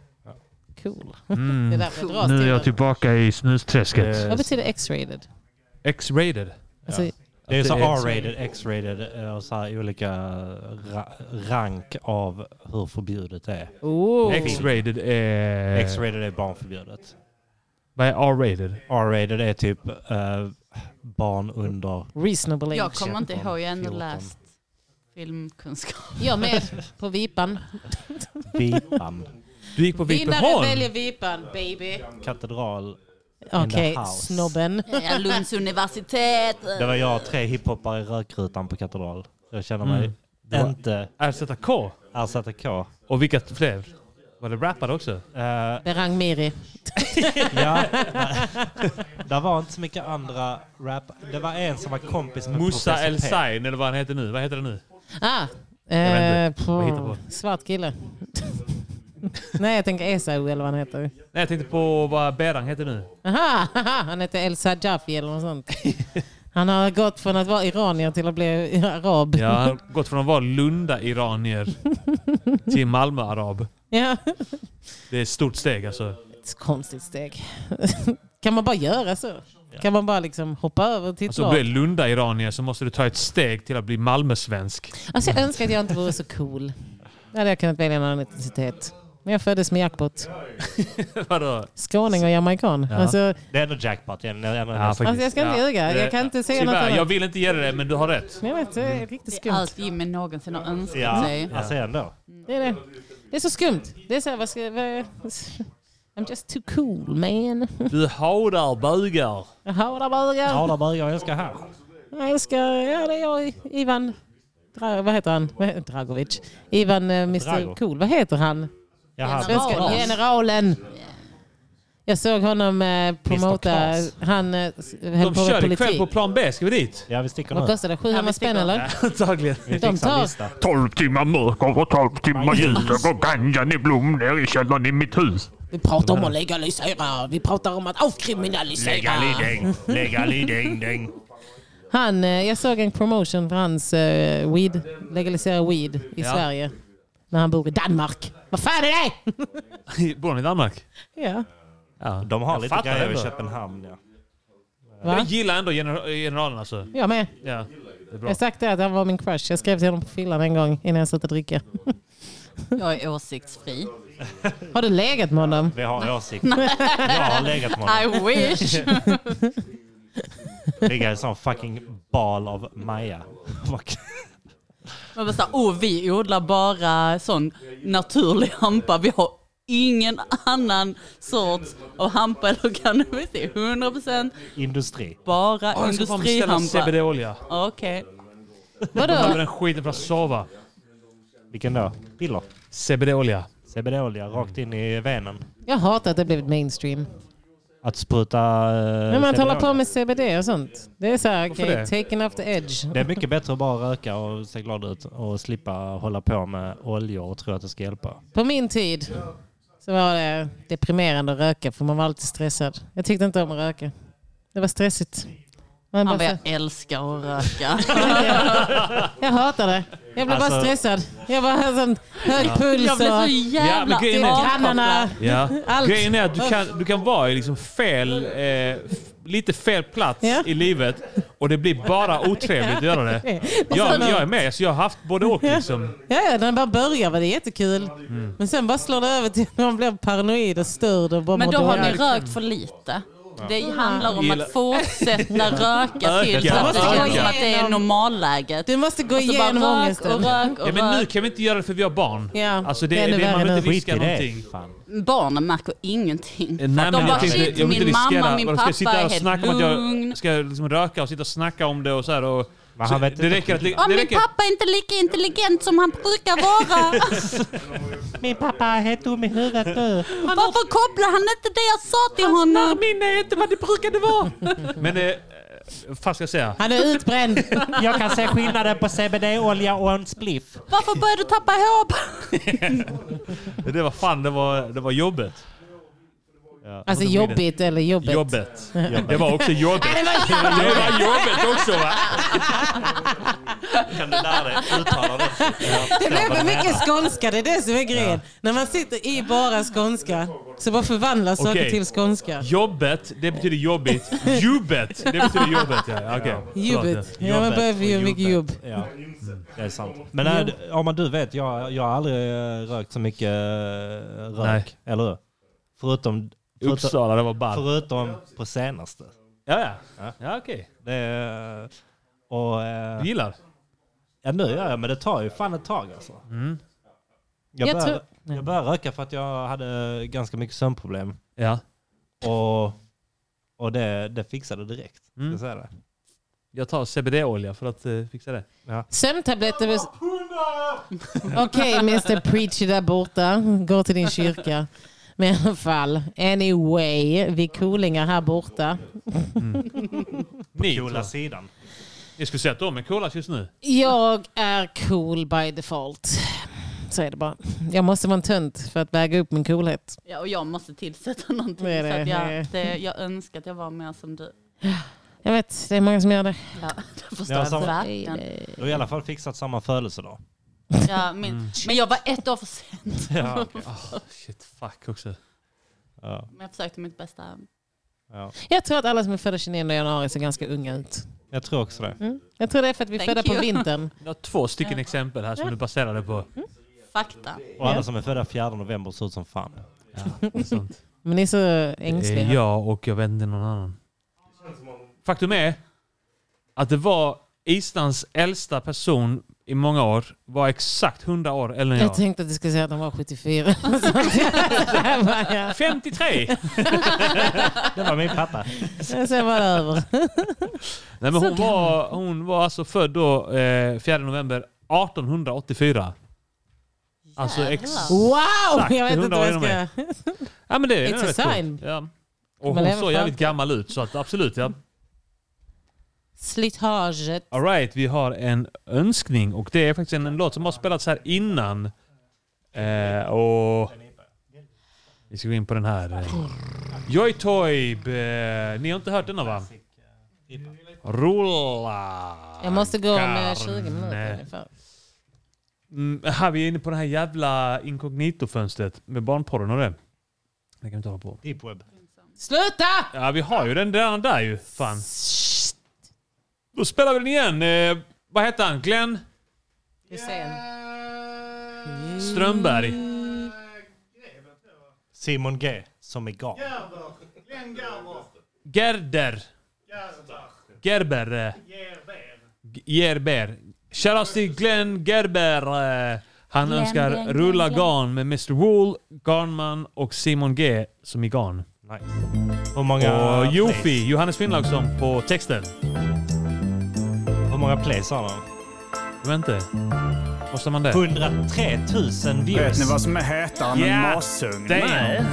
[SPEAKER 10] Cool.
[SPEAKER 2] Mm.
[SPEAKER 10] Det är därför jag dras
[SPEAKER 2] Nu är
[SPEAKER 10] till
[SPEAKER 2] jag typ
[SPEAKER 10] det.
[SPEAKER 2] tillbaka i snusträsket.
[SPEAKER 10] Vad betyder X-rated?
[SPEAKER 2] X-rated.
[SPEAKER 10] Alltså-
[SPEAKER 3] ja. Det är så
[SPEAKER 2] Att det är-
[SPEAKER 3] R-rated, X-rated eh, och så här olika ra- rank av hur förbjudet det är.
[SPEAKER 10] Oh.
[SPEAKER 2] X-rated är...
[SPEAKER 3] X-rated är barnförbjudet.
[SPEAKER 2] Vad är R-rated?
[SPEAKER 3] R-rated är typ eh, barn under...
[SPEAKER 10] Reasonable
[SPEAKER 4] Jag kommer inte ihåg, jag har ändå läst filmkunskap.
[SPEAKER 10] Jag med, på Vipan.
[SPEAKER 3] Vipan.
[SPEAKER 2] Du gick på
[SPEAKER 10] Vinnare väljer Vipan, baby.
[SPEAKER 3] Katedral. in the
[SPEAKER 10] Okej,
[SPEAKER 3] house.
[SPEAKER 10] snobben.
[SPEAKER 4] Ja, Lunds universitet.
[SPEAKER 3] Det var jag och tre hiphoppare i rökrutan på Katedral. Jag känner mig
[SPEAKER 2] Mm. Det var
[SPEAKER 3] inte...
[SPEAKER 2] RZK?
[SPEAKER 3] RZK.
[SPEAKER 2] Och vilka fler? Var det rappare också?
[SPEAKER 10] Berang Miri.
[SPEAKER 3] Eh, Ja. Det var inte så mycket andra rap. Det var en som var kompis med
[SPEAKER 2] Musa
[SPEAKER 3] Professor
[SPEAKER 2] El
[SPEAKER 3] P.
[SPEAKER 2] Sain, eller vad han heter nu. Vad heter det nu?
[SPEAKER 10] Ah,
[SPEAKER 2] Jag vet
[SPEAKER 10] eh,
[SPEAKER 2] inte. Vad hittar
[SPEAKER 10] på,
[SPEAKER 2] på?
[SPEAKER 10] svart kille. Nej, jag tänker Esau eller vad han heter.
[SPEAKER 2] Nej, jag tänkte på vad Berang heter nu.
[SPEAKER 10] Aha, haha, han heter El Sajafi eller något sånt. Han har gått från att vara iranier till att bli arab.
[SPEAKER 2] Ja, han har gått från att vara Lunda-iranier till Malmö-arab.
[SPEAKER 10] Ja.
[SPEAKER 2] Det är ett stort steg alltså.
[SPEAKER 10] Ett konstigt steg. kan man bara göra så? Kan man bara liksom hoppa över till ett
[SPEAKER 2] Alltså
[SPEAKER 10] lag?
[SPEAKER 2] blir du Lunda-iranier så måste du ta ett steg till att bli Malmö-svensk.
[SPEAKER 10] Alltså jag önskar att jag inte vore så cool. Då hade jag kunnat välja en annan etnicitet. Men jag föddes med jackpot.
[SPEAKER 2] Vadå?
[SPEAKER 10] Skåning och jamaican.
[SPEAKER 2] Ja.
[SPEAKER 10] Alltså,
[SPEAKER 3] Det är ändå jackpot. Jag, jag, jag,
[SPEAKER 2] Ja, faktiskt.
[SPEAKER 10] Alltså, jag ska inte ljuga. Jag
[SPEAKER 2] Det-
[SPEAKER 10] kan inte säga
[SPEAKER 2] Tyvärr,
[SPEAKER 10] något annat.
[SPEAKER 2] Jag vill inte ge dig det, men du har rätt.
[SPEAKER 10] jag vet, det är riktigt
[SPEAKER 4] Det är
[SPEAKER 10] skumt.
[SPEAKER 4] allt Jimmy någonsin har önskat
[SPEAKER 2] Ja,
[SPEAKER 4] sig.
[SPEAKER 2] alltså
[SPEAKER 3] ändå.
[SPEAKER 10] Det är det. Det är så skumt. Det är så här, vad ska, vad, I'm just too cool man.
[SPEAKER 2] Du hatar bögar.
[SPEAKER 10] Jag hatar bögar.
[SPEAKER 3] Arla Berger, jag älskar här.
[SPEAKER 10] Jag älskar, ja det är jag, Ivan, Dra, vad heter han? Dragovic. Ivan eh, Mr
[SPEAKER 3] Drago.
[SPEAKER 10] Cool, vad heter han?
[SPEAKER 3] Jaha,
[SPEAKER 10] Svenska-
[SPEAKER 3] Drago.
[SPEAKER 10] generalen. Jag såg honom eh, promota,
[SPEAKER 2] Klas.
[SPEAKER 10] han eh, s- höll
[SPEAKER 2] De
[SPEAKER 10] på med
[SPEAKER 2] kör ikväll
[SPEAKER 10] politik.
[SPEAKER 2] på plan B. Ska vi dit?
[SPEAKER 3] Ja, vi sticker
[SPEAKER 10] Vad kostar det? 700 spänn eller?
[SPEAKER 2] Antagligen.
[SPEAKER 10] Vi De fixar en tar- lista.
[SPEAKER 19] 12 timmar mörker och 12 timmar ljus. Och ganjan i blom nere i källaren i mitt hus.
[SPEAKER 10] Vi pratar om att legalisera, vi pratar om att avkriminalisera.
[SPEAKER 19] ding.
[SPEAKER 10] Han, eh, jag såg en promotion för hans eh, weed, legalisera weed i
[SPEAKER 2] Ja.
[SPEAKER 10] Sverige. När han bor i Danmark. Vad fan är det?
[SPEAKER 2] Bor ni i Danmark?
[SPEAKER 10] Ja.
[SPEAKER 2] Ja.
[SPEAKER 3] De har
[SPEAKER 2] Jag
[SPEAKER 3] lite
[SPEAKER 2] fattar
[SPEAKER 3] grejer i
[SPEAKER 2] ändå.
[SPEAKER 3] Köpenhamn. Ja.
[SPEAKER 10] Va?
[SPEAKER 2] Jag gillar ändå gener- generalen alltså.
[SPEAKER 10] Jag med.
[SPEAKER 2] Ja, det är
[SPEAKER 10] Jag
[SPEAKER 2] bra.
[SPEAKER 10] har sagt det att han var min crush. Jag skrev till honom på fyllan en gång innan jag slutade dricka.
[SPEAKER 4] Jag är åsiktsfri.
[SPEAKER 10] Har du legat med honom?
[SPEAKER 3] Vi har åsikt.
[SPEAKER 4] Nej.
[SPEAKER 3] Jag har legat med honom.
[SPEAKER 4] I wish.
[SPEAKER 3] Ligga i en sån fucking bal av Maja.
[SPEAKER 4] Man bara såhär, oh vi odlar bara sån naturlig hampa. Vi har ingen annan sorts av hampa eller cannabis. Det är 100%
[SPEAKER 3] Industri.
[SPEAKER 4] bara
[SPEAKER 2] Åh, jag ska fan beställa
[SPEAKER 4] industrihampa.
[SPEAKER 2] CBD-olja.
[SPEAKER 4] Okej.
[SPEAKER 2] Jag behöver den skiten för att sova.
[SPEAKER 3] Vilken då? Piller?
[SPEAKER 2] CBD-olja.
[SPEAKER 3] CBD-olja rakt in i venen.
[SPEAKER 10] Jag hatar att det blivit
[SPEAKER 3] Eh,
[SPEAKER 10] mainstream.
[SPEAKER 3] Att spruta... eh,
[SPEAKER 10] När man
[SPEAKER 3] CBD-olja.
[SPEAKER 10] håller på med CBD och sånt. Det är så här,
[SPEAKER 3] Varför
[SPEAKER 10] okay,
[SPEAKER 3] det?
[SPEAKER 10] taken off the edge.
[SPEAKER 3] Det är mycket bättre att bara röka och se glad ut och slippa hålla på med oljor och tro att det ska hjälpa.
[SPEAKER 10] På min tid så var det deprimerande att röka för man var alltid stressad. Jag tyckte inte om att röka. Det var stressigt. Man
[SPEAKER 4] Han
[SPEAKER 10] bara
[SPEAKER 4] bara,
[SPEAKER 10] så-
[SPEAKER 4] jag älskar att röka.
[SPEAKER 10] jag hatar det. Jag blev bara
[SPEAKER 4] Alltså-
[SPEAKER 10] stressad. Jag bara hade sån hög
[SPEAKER 2] Ja.
[SPEAKER 10] puls.
[SPEAKER 4] Jag blev så
[SPEAKER 10] och-
[SPEAKER 4] jävla Ja, men grejen är-
[SPEAKER 10] Grannarna.
[SPEAKER 2] Ja.
[SPEAKER 10] Allt.
[SPEAKER 2] Grejen är att du kan, du kan vara i liksom fel, eh, f- lite fel plats i livet och det blir bara otrevligt att göra det. Jag, jag är med, så jag har haft både och liksom.
[SPEAKER 10] Ja, ja, när den bara börjar var det jättekul.
[SPEAKER 2] Mm.
[SPEAKER 10] Men sen bara slår det över till att man blir paranoid och störd och bara
[SPEAKER 4] Men
[SPEAKER 10] mår
[SPEAKER 4] då har ni
[SPEAKER 10] dåligt.
[SPEAKER 4] rökt för lite. Det handlar om
[SPEAKER 2] Gilla-
[SPEAKER 4] att fortsätta röka
[SPEAKER 2] Öka,
[SPEAKER 4] tills man
[SPEAKER 2] måste
[SPEAKER 4] tycker
[SPEAKER 2] öka.
[SPEAKER 4] som att det är normalläget. Du
[SPEAKER 10] måste gå
[SPEAKER 4] alltså
[SPEAKER 10] igenom
[SPEAKER 4] bara rök
[SPEAKER 10] ångesten.
[SPEAKER 4] och rök och
[SPEAKER 2] Ja, men nu
[SPEAKER 4] rök.
[SPEAKER 2] kan vi inte göra det för vi har barn.
[SPEAKER 4] Ja.
[SPEAKER 2] Alltså det,
[SPEAKER 4] Det är ännu
[SPEAKER 2] det, man vill
[SPEAKER 4] värre
[SPEAKER 2] inte
[SPEAKER 4] nu.
[SPEAKER 2] riska
[SPEAKER 4] Skit i det,
[SPEAKER 2] någonting.
[SPEAKER 4] Barnen märker ingenting.
[SPEAKER 2] Eh, Nej,
[SPEAKER 4] de
[SPEAKER 2] men
[SPEAKER 4] bara
[SPEAKER 2] jag tänkte,
[SPEAKER 4] shit,
[SPEAKER 2] jag vill inte
[SPEAKER 4] min
[SPEAKER 2] riskera.
[SPEAKER 4] mamma
[SPEAKER 2] Vadå,
[SPEAKER 4] min
[SPEAKER 2] ska
[SPEAKER 4] pappa
[SPEAKER 2] jag sitta
[SPEAKER 4] är
[SPEAKER 2] och
[SPEAKER 4] helt
[SPEAKER 2] snacka om att
[SPEAKER 4] lugn.
[SPEAKER 2] jag ska liksom röka och sitta och snacka om det och så här och... Så
[SPEAKER 3] han vet
[SPEAKER 2] det
[SPEAKER 3] inte
[SPEAKER 2] räcker att... li-
[SPEAKER 4] Ja,
[SPEAKER 2] Det
[SPEAKER 4] min
[SPEAKER 2] räcker.
[SPEAKER 4] pappa är inte lika intelligent som han brukar vara.
[SPEAKER 3] Min pappa är helt dum i huvudet nu.
[SPEAKER 4] Varför kopplar han inte det jag sa till honom? Hans minne är inte vad det brukade vara.
[SPEAKER 2] Men... eh, Vad fan ska jag säga?
[SPEAKER 10] Han är utbränd.
[SPEAKER 3] Jag kan se skillnaden på CBD-olja och en spliff.
[SPEAKER 4] Varför börjar du tappa ihop?
[SPEAKER 2] Det var fan, det var, det var jobbigt. Ja.
[SPEAKER 10] Alltså jobbigt eller jobbet?
[SPEAKER 2] Jobbet. Det var också jobbigt. Det var jobbigt också va? Kan du lära dig uttala det?
[SPEAKER 10] Det blev för mycket skånska, det är det som är grejen. När man sitter i bara skånska så bara förvandlas saker
[SPEAKER 2] Okej.
[SPEAKER 10] till skånska.
[SPEAKER 2] Jobbet, det betyder jobbigt. Jobbet, det betyder jobbet. Ja, okay.
[SPEAKER 10] Jobbet. Ja, man behöver ju mycket jobb.
[SPEAKER 3] Ja. Mm. Det är sant. Men äh, ja, men du vet, jag, jag har aldrig eh, rökt så mycket eh, rök. Eller hur? Förutom... förutom-
[SPEAKER 2] Uppsala, det var ball.
[SPEAKER 3] Förutom på senaste.
[SPEAKER 2] Ja, ja. eh, Ja, okej.
[SPEAKER 3] Det är, och, eh,
[SPEAKER 2] Du gillar?
[SPEAKER 3] Ja, nu gör jag, men det tar ju fan ett tag alltså.
[SPEAKER 2] Mm.
[SPEAKER 3] Jag,
[SPEAKER 2] Jag
[SPEAKER 3] började,
[SPEAKER 2] tror-
[SPEAKER 3] jag började röka för att jag hade ganska mycket sömnproblem.
[SPEAKER 2] Ja.
[SPEAKER 3] Och, och det, det fixade direkt. ska
[SPEAKER 2] Mm.
[SPEAKER 3] Jag, säga det.
[SPEAKER 2] Jag tar CBD-olja för att eh, fixa det.
[SPEAKER 3] Ja.
[SPEAKER 10] Sömntabletter. Okej, Mr Preacher där borta. Gå till din kyrka. Men i alla fall, anyway, vi coolingar här borta.
[SPEAKER 2] Ni,
[SPEAKER 3] coola
[SPEAKER 2] tror jag.
[SPEAKER 3] sidan.
[SPEAKER 2] Jag skulle säga att de är coolast just nu.
[SPEAKER 10] Jag är cool by default. Så är det bara. Jag måste vara en tönt för att väga upp min coolhet.
[SPEAKER 4] Ja, och jag måste tillsätta någonting
[SPEAKER 10] Det är
[SPEAKER 4] så att
[SPEAKER 10] det.
[SPEAKER 4] jag, det, jag önskar att jag var mer som du.
[SPEAKER 10] Jag vet, det är många som gör det.
[SPEAKER 4] Ja, det förstår
[SPEAKER 3] Ja,
[SPEAKER 4] jag
[SPEAKER 3] samma-
[SPEAKER 4] verkligen.
[SPEAKER 3] Du har i alla fall fixat samma födelsedag.
[SPEAKER 4] Ja, min, Men jag var ett år för sent.
[SPEAKER 3] Mm. Ja, okej.
[SPEAKER 2] Ah, Mm. shit, fuck också.
[SPEAKER 3] Ja.
[SPEAKER 4] Men jag försökte mitt bästa.
[SPEAKER 3] Ja.
[SPEAKER 10] Jag tror att alla som är födda 29 januari ser ganska unga ut.
[SPEAKER 3] Jag tror också det.
[SPEAKER 10] Mm. Jag tror det är för att vi är
[SPEAKER 4] Thank
[SPEAKER 10] födda på
[SPEAKER 4] you.
[SPEAKER 10] vintern.
[SPEAKER 2] Jag har två stycken exempel här som
[SPEAKER 10] Ja.
[SPEAKER 2] du baserade på.
[SPEAKER 4] Fakta.
[SPEAKER 3] Och alla som är födda 4 november ser ut som fan.
[SPEAKER 10] Men ni är så ängsliga.
[SPEAKER 2] Eh, Jag och jag vet inte någon annan. Faktum är att det var Islands äldsta person i många år var exakt 100 år äldre än
[SPEAKER 10] Jag
[SPEAKER 2] jag.
[SPEAKER 10] tänkte att du skulle säga att de var 74. Så jag bara, ja.
[SPEAKER 2] 53!
[SPEAKER 3] Det var min pappa.
[SPEAKER 10] Jag ser bara över.
[SPEAKER 2] Nej, men
[SPEAKER 10] Så
[SPEAKER 2] hon, var, hon var alltså född då, eh, 4 november 1884. Alltså ex-
[SPEAKER 10] Wow!
[SPEAKER 2] exakt
[SPEAKER 10] Jag vet
[SPEAKER 2] 100
[SPEAKER 10] inte vad
[SPEAKER 2] år
[SPEAKER 10] jag
[SPEAKER 2] innan mig.
[SPEAKER 10] ska...
[SPEAKER 2] Ja, men det är
[SPEAKER 10] It's a
[SPEAKER 2] rätt coolt.
[SPEAKER 10] sign.
[SPEAKER 2] Ja. Och
[SPEAKER 10] Man
[SPEAKER 2] hon
[SPEAKER 10] lever
[SPEAKER 2] såg
[SPEAKER 10] för
[SPEAKER 2] jävligt gammal ut, så att absolut. Ja.
[SPEAKER 10] Slitaget.
[SPEAKER 2] All right, vi har en önskning och det är faktiskt en, en låt som har spelats här innan. Eh, och vi ska gå in på den här. eh. Joy Toib. Eh, ni har inte hört denna va? Rulla.
[SPEAKER 10] Jag måste gå om eh, 20 minuter
[SPEAKER 2] Garn.
[SPEAKER 10] ungefär.
[SPEAKER 2] Mm, här, vi är inne på det här jävla inkognito-fönstret med barnporren och det. Det kan vi inte hålla på.
[SPEAKER 3] Deep web.
[SPEAKER 10] Sluta!
[SPEAKER 2] Ja, vi har ju den redan där ju. Fan. Då spelar vi den igen. Eh, vad heter han? Glenn Strömberg.
[SPEAKER 3] Simon G. Som igår.
[SPEAKER 2] Gerder. Gerber. eh, G- Gerber. Shoutout till Glenn Gerber. eh, Han
[SPEAKER 13] Glenn,
[SPEAKER 2] önskar
[SPEAKER 13] Glenn, Glenn,
[SPEAKER 2] rulla
[SPEAKER 13] Glenn.
[SPEAKER 2] garn med Mr Wool, Garnman och Simon G som i garn.
[SPEAKER 3] Nice. Hur många
[SPEAKER 2] och
[SPEAKER 3] plays?
[SPEAKER 2] Jofi, Johannes Finnlaugsson på texten.
[SPEAKER 3] Hur många plays har han?
[SPEAKER 2] Jag vet inte. Kostar man det?
[SPEAKER 3] 103 000 views.
[SPEAKER 20] Vet ni vad som är hetare än
[SPEAKER 3] Ja,
[SPEAKER 20] en masugn?
[SPEAKER 3] det är- Nej.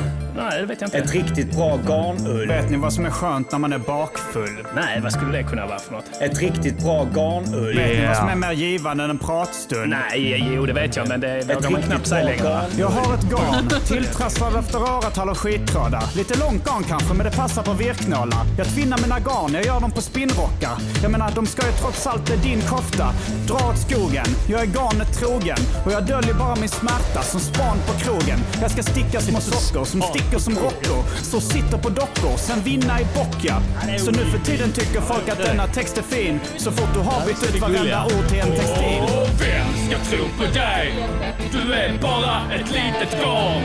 [SPEAKER 20] Nej, det vet jag
[SPEAKER 3] inte.
[SPEAKER 20] Ett riktigt bra garnull. Vet ni vad som är skönt när man är bakfull? Nej, vad skulle det kunna vara för något? Ett riktigt bra garnull. Vet ni vad som är mer givande än en pratstund?
[SPEAKER 13] Nej, jo det vet jag, men det vågar man
[SPEAKER 20] riktigt
[SPEAKER 13] knappt säga
[SPEAKER 20] bra
[SPEAKER 13] längre.
[SPEAKER 20] garn. Jag har ett garn, tilltrasslat efter åratal av skittrådar. Lite långt garn kanske, men det passar på virknålar. Jag tvinnar mina garn, jag gör dem på spinnrockar. Jag menar, de ska ju trots allt med din kofta. Dra åt skogen, jag är garnet trogen. Och jag döljer bara min smärta som span på krogen. Jag ska sticka små sockor som sticker som rockor. Så sitter på dockor, sen vinna i bock ja. Så nu för tiden tycker folk att denna text är fin. Så fort du har bytt ut varenda ord till en textil.
[SPEAKER 8] Och vem ska tro på dig? Du är bara ett litet garn.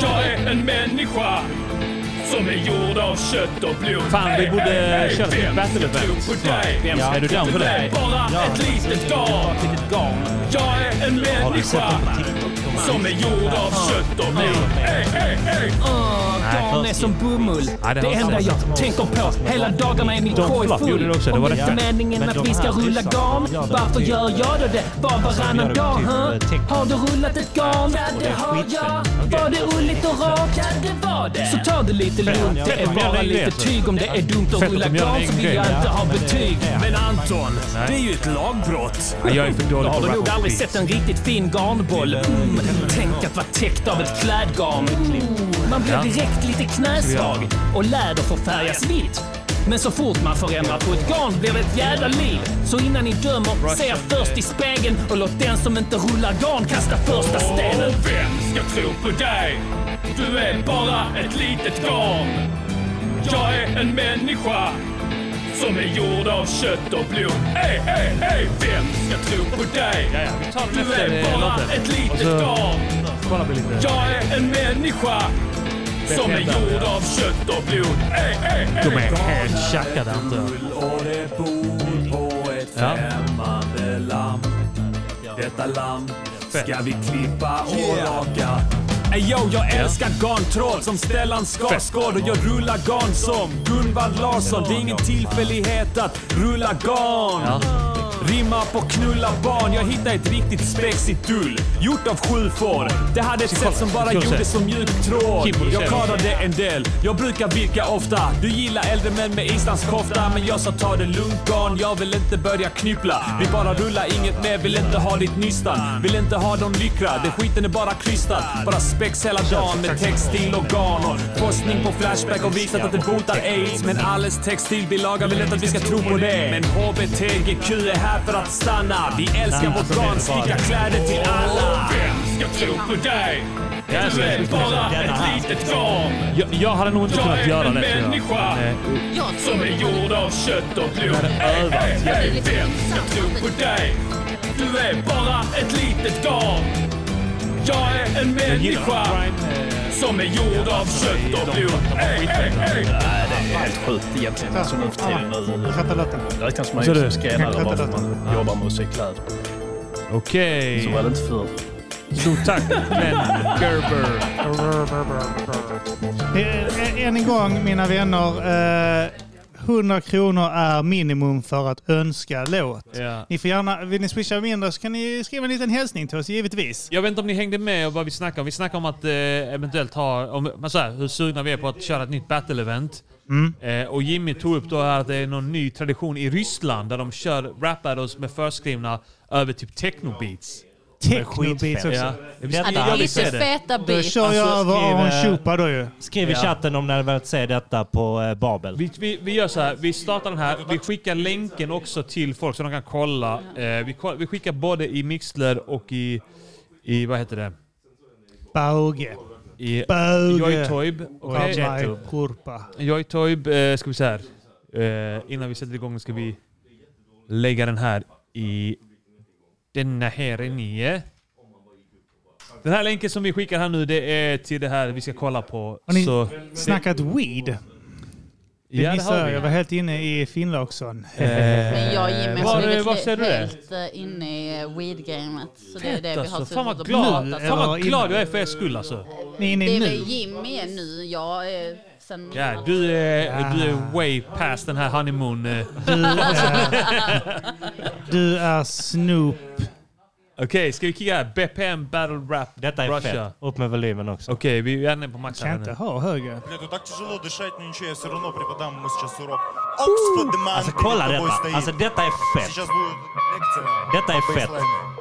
[SPEAKER 8] Jag är en människa
[SPEAKER 13] som är gjord av kött och blod.
[SPEAKER 2] Fan, vi borde köra ett
[SPEAKER 13] vem
[SPEAKER 2] battle
[SPEAKER 13] ska
[SPEAKER 2] event.
[SPEAKER 13] tro på dig?
[SPEAKER 2] Vem ska
[SPEAKER 13] Ja.
[SPEAKER 2] tro Är du down
[SPEAKER 13] på
[SPEAKER 2] för det?
[SPEAKER 13] dig? Bara
[SPEAKER 2] Ja.
[SPEAKER 13] ett litet garn. Jag är en människa som är gjord av kött och blod. Ey, ey, ey.
[SPEAKER 2] Nej,
[SPEAKER 13] Garn är
[SPEAKER 2] först-
[SPEAKER 13] som bomull.
[SPEAKER 2] Nej, det
[SPEAKER 13] Det
[SPEAKER 2] har
[SPEAKER 13] enda
[SPEAKER 2] inte-
[SPEAKER 13] jag tänker på hela dagarna är min
[SPEAKER 2] De
[SPEAKER 13] korg
[SPEAKER 2] flott gjorde
[SPEAKER 13] full.
[SPEAKER 2] det också, det
[SPEAKER 13] Om
[SPEAKER 2] var
[SPEAKER 13] det
[SPEAKER 2] rätt.
[SPEAKER 13] inte är meningen
[SPEAKER 2] Men
[SPEAKER 13] att
[SPEAKER 2] de
[SPEAKER 13] vi ska
[SPEAKER 2] här
[SPEAKER 13] rulla
[SPEAKER 2] ryssarna,
[SPEAKER 13] garn,
[SPEAKER 2] de gör det
[SPEAKER 13] varför
[SPEAKER 2] till-
[SPEAKER 13] gör jag då det var
[SPEAKER 2] gör
[SPEAKER 13] varannan
[SPEAKER 2] det
[SPEAKER 13] dag?
[SPEAKER 2] till,
[SPEAKER 13] huh?
[SPEAKER 2] eh, tekniskt.
[SPEAKER 13] Har du rullat ett garn? Ja, det har jag. Var det ulligt och rakt? Ja, det var det. Så ta det lite
[SPEAKER 8] Fett.
[SPEAKER 13] lugnt. Det
[SPEAKER 8] Fett
[SPEAKER 13] är
[SPEAKER 8] om jag
[SPEAKER 13] bara
[SPEAKER 8] gör det
[SPEAKER 13] lite
[SPEAKER 8] egen grej.
[SPEAKER 13] tyg. Om det är dumt att
[SPEAKER 8] Fett
[SPEAKER 13] rulla
[SPEAKER 8] om jag gör det
[SPEAKER 13] garn så
[SPEAKER 8] egen
[SPEAKER 13] vill
[SPEAKER 8] grej.
[SPEAKER 13] jag inte ha
[SPEAKER 8] Ja, men det-
[SPEAKER 13] betyg.
[SPEAKER 8] Men Anton,
[SPEAKER 13] Nej.
[SPEAKER 8] det är ju ett lagbrott.
[SPEAKER 13] Ja, jag är för dålig
[SPEAKER 8] Då
[SPEAKER 13] på
[SPEAKER 8] har du
[SPEAKER 13] rap
[SPEAKER 8] nog
[SPEAKER 13] och
[SPEAKER 8] aldrig
[SPEAKER 13] beat.
[SPEAKER 8] sett
[SPEAKER 13] en riktigt fin garnboll. Mm. Tänk att vara täckt av ett klädgarn. Ooh, Man blir
[SPEAKER 8] Ja.
[SPEAKER 13] direkt lite knäsvag och läder får färgas vitt. Men så fort man förändrar på ett garn blir det ett jävla liv. Så innan ni dömer, se er först i spegeln och låt den som inte rullar garn kasta första stenen. Vem ska tro på dig? Du är bara ett litet garn. Jag är en människa som är gjord av kött och blod. Ey, ey, ey, vem ska tro på dig? du
[SPEAKER 2] efter,
[SPEAKER 13] är
[SPEAKER 2] eh,
[SPEAKER 13] bara
[SPEAKER 2] låten.
[SPEAKER 13] ett
[SPEAKER 2] Och
[SPEAKER 13] litet
[SPEAKER 2] så-
[SPEAKER 13] garn.
[SPEAKER 2] Kolla på lite.
[SPEAKER 13] Jag är en människa som är
[SPEAKER 2] Bättre
[SPEAKER 13] gjord
[SPEAKER 2] än
[SPEAKER 13] av kött och blod. Ey, ey, ey.
[SPEAKER 2] De är helt tjackade antar
[SPEAKER 18] Och det bor på ett
[SPEAKER 2] Ja.
[SPEAKER 18] främmande lamm. Detta lamm ska vi klippa och raka.
[SPEAKER 8] Ey yo, jag älskar garntråd som Stellan Skarsgård och jag rullar garn som Gunvald Larsson. Det är ingen tillfällighet att rulla garn. Rimma på knulla barn. Jag hittade ett riktigt spexigt ull gjort av sju får. Det hade ett sätt som bara
[SPEAKER 2] Kul sätt.
[SPEAKER 8] gjordes som mjuk tråd.
[SPEAKER 2] Kim borde
[SPEAKER 8] Jag
[SPEAKER 2] säga det.
[SPEAKER 8] kadade en del. Jag brukar virka ofta. Du gillar äldre män med islandskofta. Men jag sa ta det lugnt garn. Jag vill inte börja knyppla. Vi bara rullar inget mer. Vill inte ha ditt nystan. Vill inte ha någon lyckra. Det skiten är bara krystad. Bara spex hela dagen med textil och garn. Och forskning på Flashback har visat att det botar aids. Men alles textilbilaga vill inte att vi ska tro på det. Men HBTGQ är här för att stanna. Vi älskar vårt garn. Sticka kläder till alla.
[SPEAKER 13] Vem ska tro på dig? Du är bara ett litet garn.
[SPEAKER 2] Jag, jag hade nog inte
[SPEAKER 13] Jag
[SPEAKER 2] kunnat
[SPEAKER 13] är
[SPEAKER 2] göra
[SPEAKER 13] en
[SPEAKER 2] det. tror jag.
[SPEAKER 13] människa
[SPEAKER 2] Men, eh,
[SPEAKER 13] som är gjord av kött och blod.
[SPEAKER 2] Jag hade
[SPEAKER 13] Hey,
[SPEAKER 2] övat.
[SPEAKER 13] hey, hey, vem ska tro på dig? Du är bara ett litet garn. Jag är en människa som är gjord av kött och blod. Hey, hey, hey.
[SPEAKER 18] Nej, det är helt sjukt egentligen. Alltså nu för tiden nu.
[SPEAKER 5] Sätta låten.
[SPEAKER 18] Räknas man
[SPEAKER 2] Så
[SPEAKER 18] ju
[SPEAKER 2] du-
[SPEAKER 18] som skränare bara för att
[SPEAKER 2] Ja.
[SPEAKER 18] man jobbar med att sy kläder.
[SPEAKER 2] Okej.
[SPEAKER 18] Så var det inte förr.
[SPEAKER 2] Stort tack Glenn Gerber.
[SPEAKER 5] Eh, Än en gång mina vänner. Eh, 100 kronor är minimum för att önska låt.
[SPEAKER 2] Ja.
[SPEAKER 5] Ni får gärna, vill ni swisha mindre så kan ni skriva en liten hälsning till oss givetvis.
[SPEAKER 2] Jag vet inte om ni hängde med och vad vi snackade om. Vi snackade om att eh, eventuellt ha, om, men så här, hur sugna vi är på att köra ett nytt battle-event.
[SPEAKER 5] Mm.
[SPEAKER 2] Eh, och Jimmy tog upp då här att det är någon ny tradition i Ryssland där de kör rap battles med förskrivna över typ techno-beats.
[SPEAKER 5] Techno-beats också.
[SPEAKER 2] Ja.
[SPEAKER 3] Detta-
[SPEAKER 2] Jag vill
[SPEAKER 3] Alltså,
[SPEAKER 2] se det. Alltså,
[SPEAKER 5] Då kör jag över Aron Schupa då ju.
[SPEAKER 3] eh, Skriv i
[SPEAKER 2] Ja.
[SPEAKER 3] chatten om ni hade velat se detta på eh, Babel.
[SPEAKER 2] Vi, vi, vi gör så här, vi startar den här, vi skickar länken också till folk så de kan kolla. Eh, vi, koll- vi skickar både i Mixler och i, i vad heter det?
[SPEAKER 5] Bauge.
[SPEAKER 2] I
[SPEAKER 5] Bauge.
[SPEAKER 2] Joytoib.
[SPEAKER 5] Och
[SPEAKER 2] Okej.
[SPEAKER 5] Jajtub. Kurpa.
[SPEAKER 2] Joytoib, eh, ska vi så här. Eh, innan vi sätter igång ska vi lägga den här i denna här är nio. Den här länken som vi skickar här nu, det är till det här vi ska kolla på.
[SPEAKER 5] Har ni
[SPEAKER 2] så,
[SPEAKER 5] snackat weed? Det
[SPEAKER 2] Ja, det har
[SPEAKER 5] missade jag.
[SPEAKER 2] vi.
[SPEAKER 5] Jag var helt inne i Finnlaugsson.
[SPEAKER 2] Men
[SPEAKER 4] Jag och Jimmy
[SPEAKER 2] Eh, Var-
[SPEAKER 4] har blivit
[SPEAKER 2] var ser du det?
[SPEAKER 4] helt eh, inne i weed-gamet. Så det är det vi har
[SPEAKER 2] alltså,
[SPEAKER 4] suttit
[SPEAKER 2] fan vad
[SPEAKER 4] och
[SPEAKER 2] glad,
[SPEAKER 4] pratat
[SPEAKER 2] fan
[SPEAKER 4] om.
[SPEAKER 2] vad glad jag är för er skull alltså.
[SPEAKER 5] Ni är inne
[SPEAKER 4] Det
[SPEAKER 5] i
[SPEAKER 4] är
[SPEAKER 5] nu.
[SPEAKER 4] väl Jimmy är nu. Jag är sen...
[SPEAKER 2] Ja, du, är, du är way past den här honeymoon... eh.
[SPEAKER 5] Du
[SPEAKER 2] Okej,
[SPEAKER 5] är- Du är Snoop.
[SPEAKER 2] ska vi kika här? BPM Battle Rap Detta
[SPEAKER 3] är
[SPEAKER 2] Russia.
[SPEAKER 3] Upp med volymen också.
[SPEAKER 2] Okej, vi är inne på max här
[SPEAKER 5] Kan inte
[SPEAKER 2] nu.
[SPEAKER 5] ha högre.
[SPEAKER 21] Бля, тут так тяжело дышать, но ничего, я все равно преподам ему сейчас урок. Оксфорд Деман
[SPEAKER 3] Alltså
[SPEAKER 21] перед
[SPEAKER 3] kolla
[SPEAKER 21] тобой
[SPEAKER 3] detta.
[SPEAKER 21] стоит.
[SPEAKER 3] Alltså detta är fett.
[SPEAKER 21] Сейчас будет лекция.
[SPEAKER 3] Detta är fett.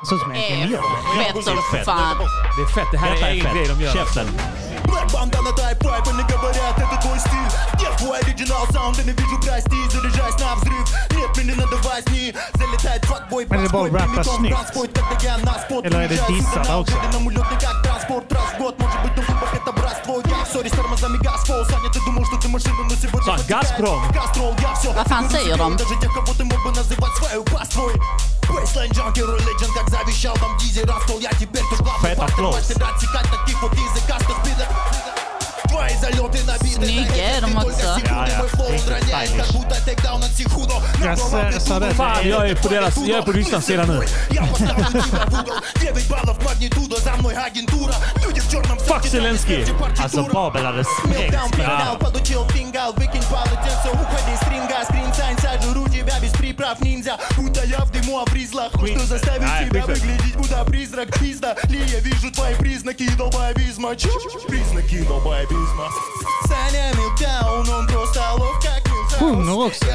[SPEAKER 5] Så som en
[SPEAKER 21] kameleon.
[SPEAKER 4] Fett som fan.
[SPEAKER 2] Det är fett. Det här
[SPEAKER 3] Detta
[SPEAKER 2] är
[SPEAKER 3] är
[SPEAKER 2] egen
[SPEAKER 3] fett.
[SPEAKER 2] grej de gör.
[SPEAKER 3] Käften.
[SPEAKER 21] Black бандана, тайп-пайп, они говорят, это твой стиль. Я твой оригинал саунд, я не вижу, прости, заряжаясь на взрыв. Нет, мне не надо возни, залетает факбой,
[SPEAKER 5] Men det är
[SPEAKER 21] бронзбой,
[SPEAKER 5] bara rappa
[SPEAKER 21] прямиком в
[SPEAKER 5] snyggt.
[SPEAKER 21] транспорт, когда я на спот.
[SPEAKER 5] Eller är det dissar också?
[SPEAKER 21] Нам улет не как транспорт, раз в год, может быть, на губах это братство. Я сори, с тормозами Газпол, Саня, ты думал, что ты машина, но сегодня...
[SPEAKER 2] Så,
[SPEAKER 21] потеряешь.
[SPEAKER 2] Gazprom.
[SPEAKER 21] Газтрол, я все.
[SPEAKER 4] Vad fan säger de?
[SPEAKER 21] Даже тех, кого ты мог бы называть свою пасть твой. Бейслайн, джанкер, religion, как завещал вам Дизи Раскол, я теперь тут главный
[SPEAKER 3] Feta
[SPEAKER 21] партер,
[SPEAKER 3] Flows.
[SPEAKER 21] мастер отсекать таких вот языкастых пидор. Твои залеты
[SPEAKER 4] Snygga är de också.
[SPEAKER 2] Ja, ja. Riktigt stylish.
[SPEAKER 5] Jag ser- sa det.
[SPEAKER 2] Fan, jag är på deras... Jag är på Rysslands sida nu.
[SPEAKER 21] Fuck
[SPEAKER 3] Zelensky! Alltså Babel hade
[SPEAKER 21] Meltdown,
[SPEAKER 3] sprängts.
[SPEAKER 21] пеленал, подутил фингал, выкинь полотенце, уходи с ринга, скрин сайн, сажу рудья без приправ ниндзя, будто я в дыму о призлах, что заставит
[SPEAKER 2] Ай,
[SPEAKER 21] тебя
[SPEAKER 2] Виктор.
[SPEAKER 21] выглядеть, будто призрак, пизда, ли я вижу твои признаки долбоебизма, Чу, чу, чу, признаки долбоебизма. Саня Милтаун, он просто лов, как Милтаус.
[SPEAKER 5] Sjunger också.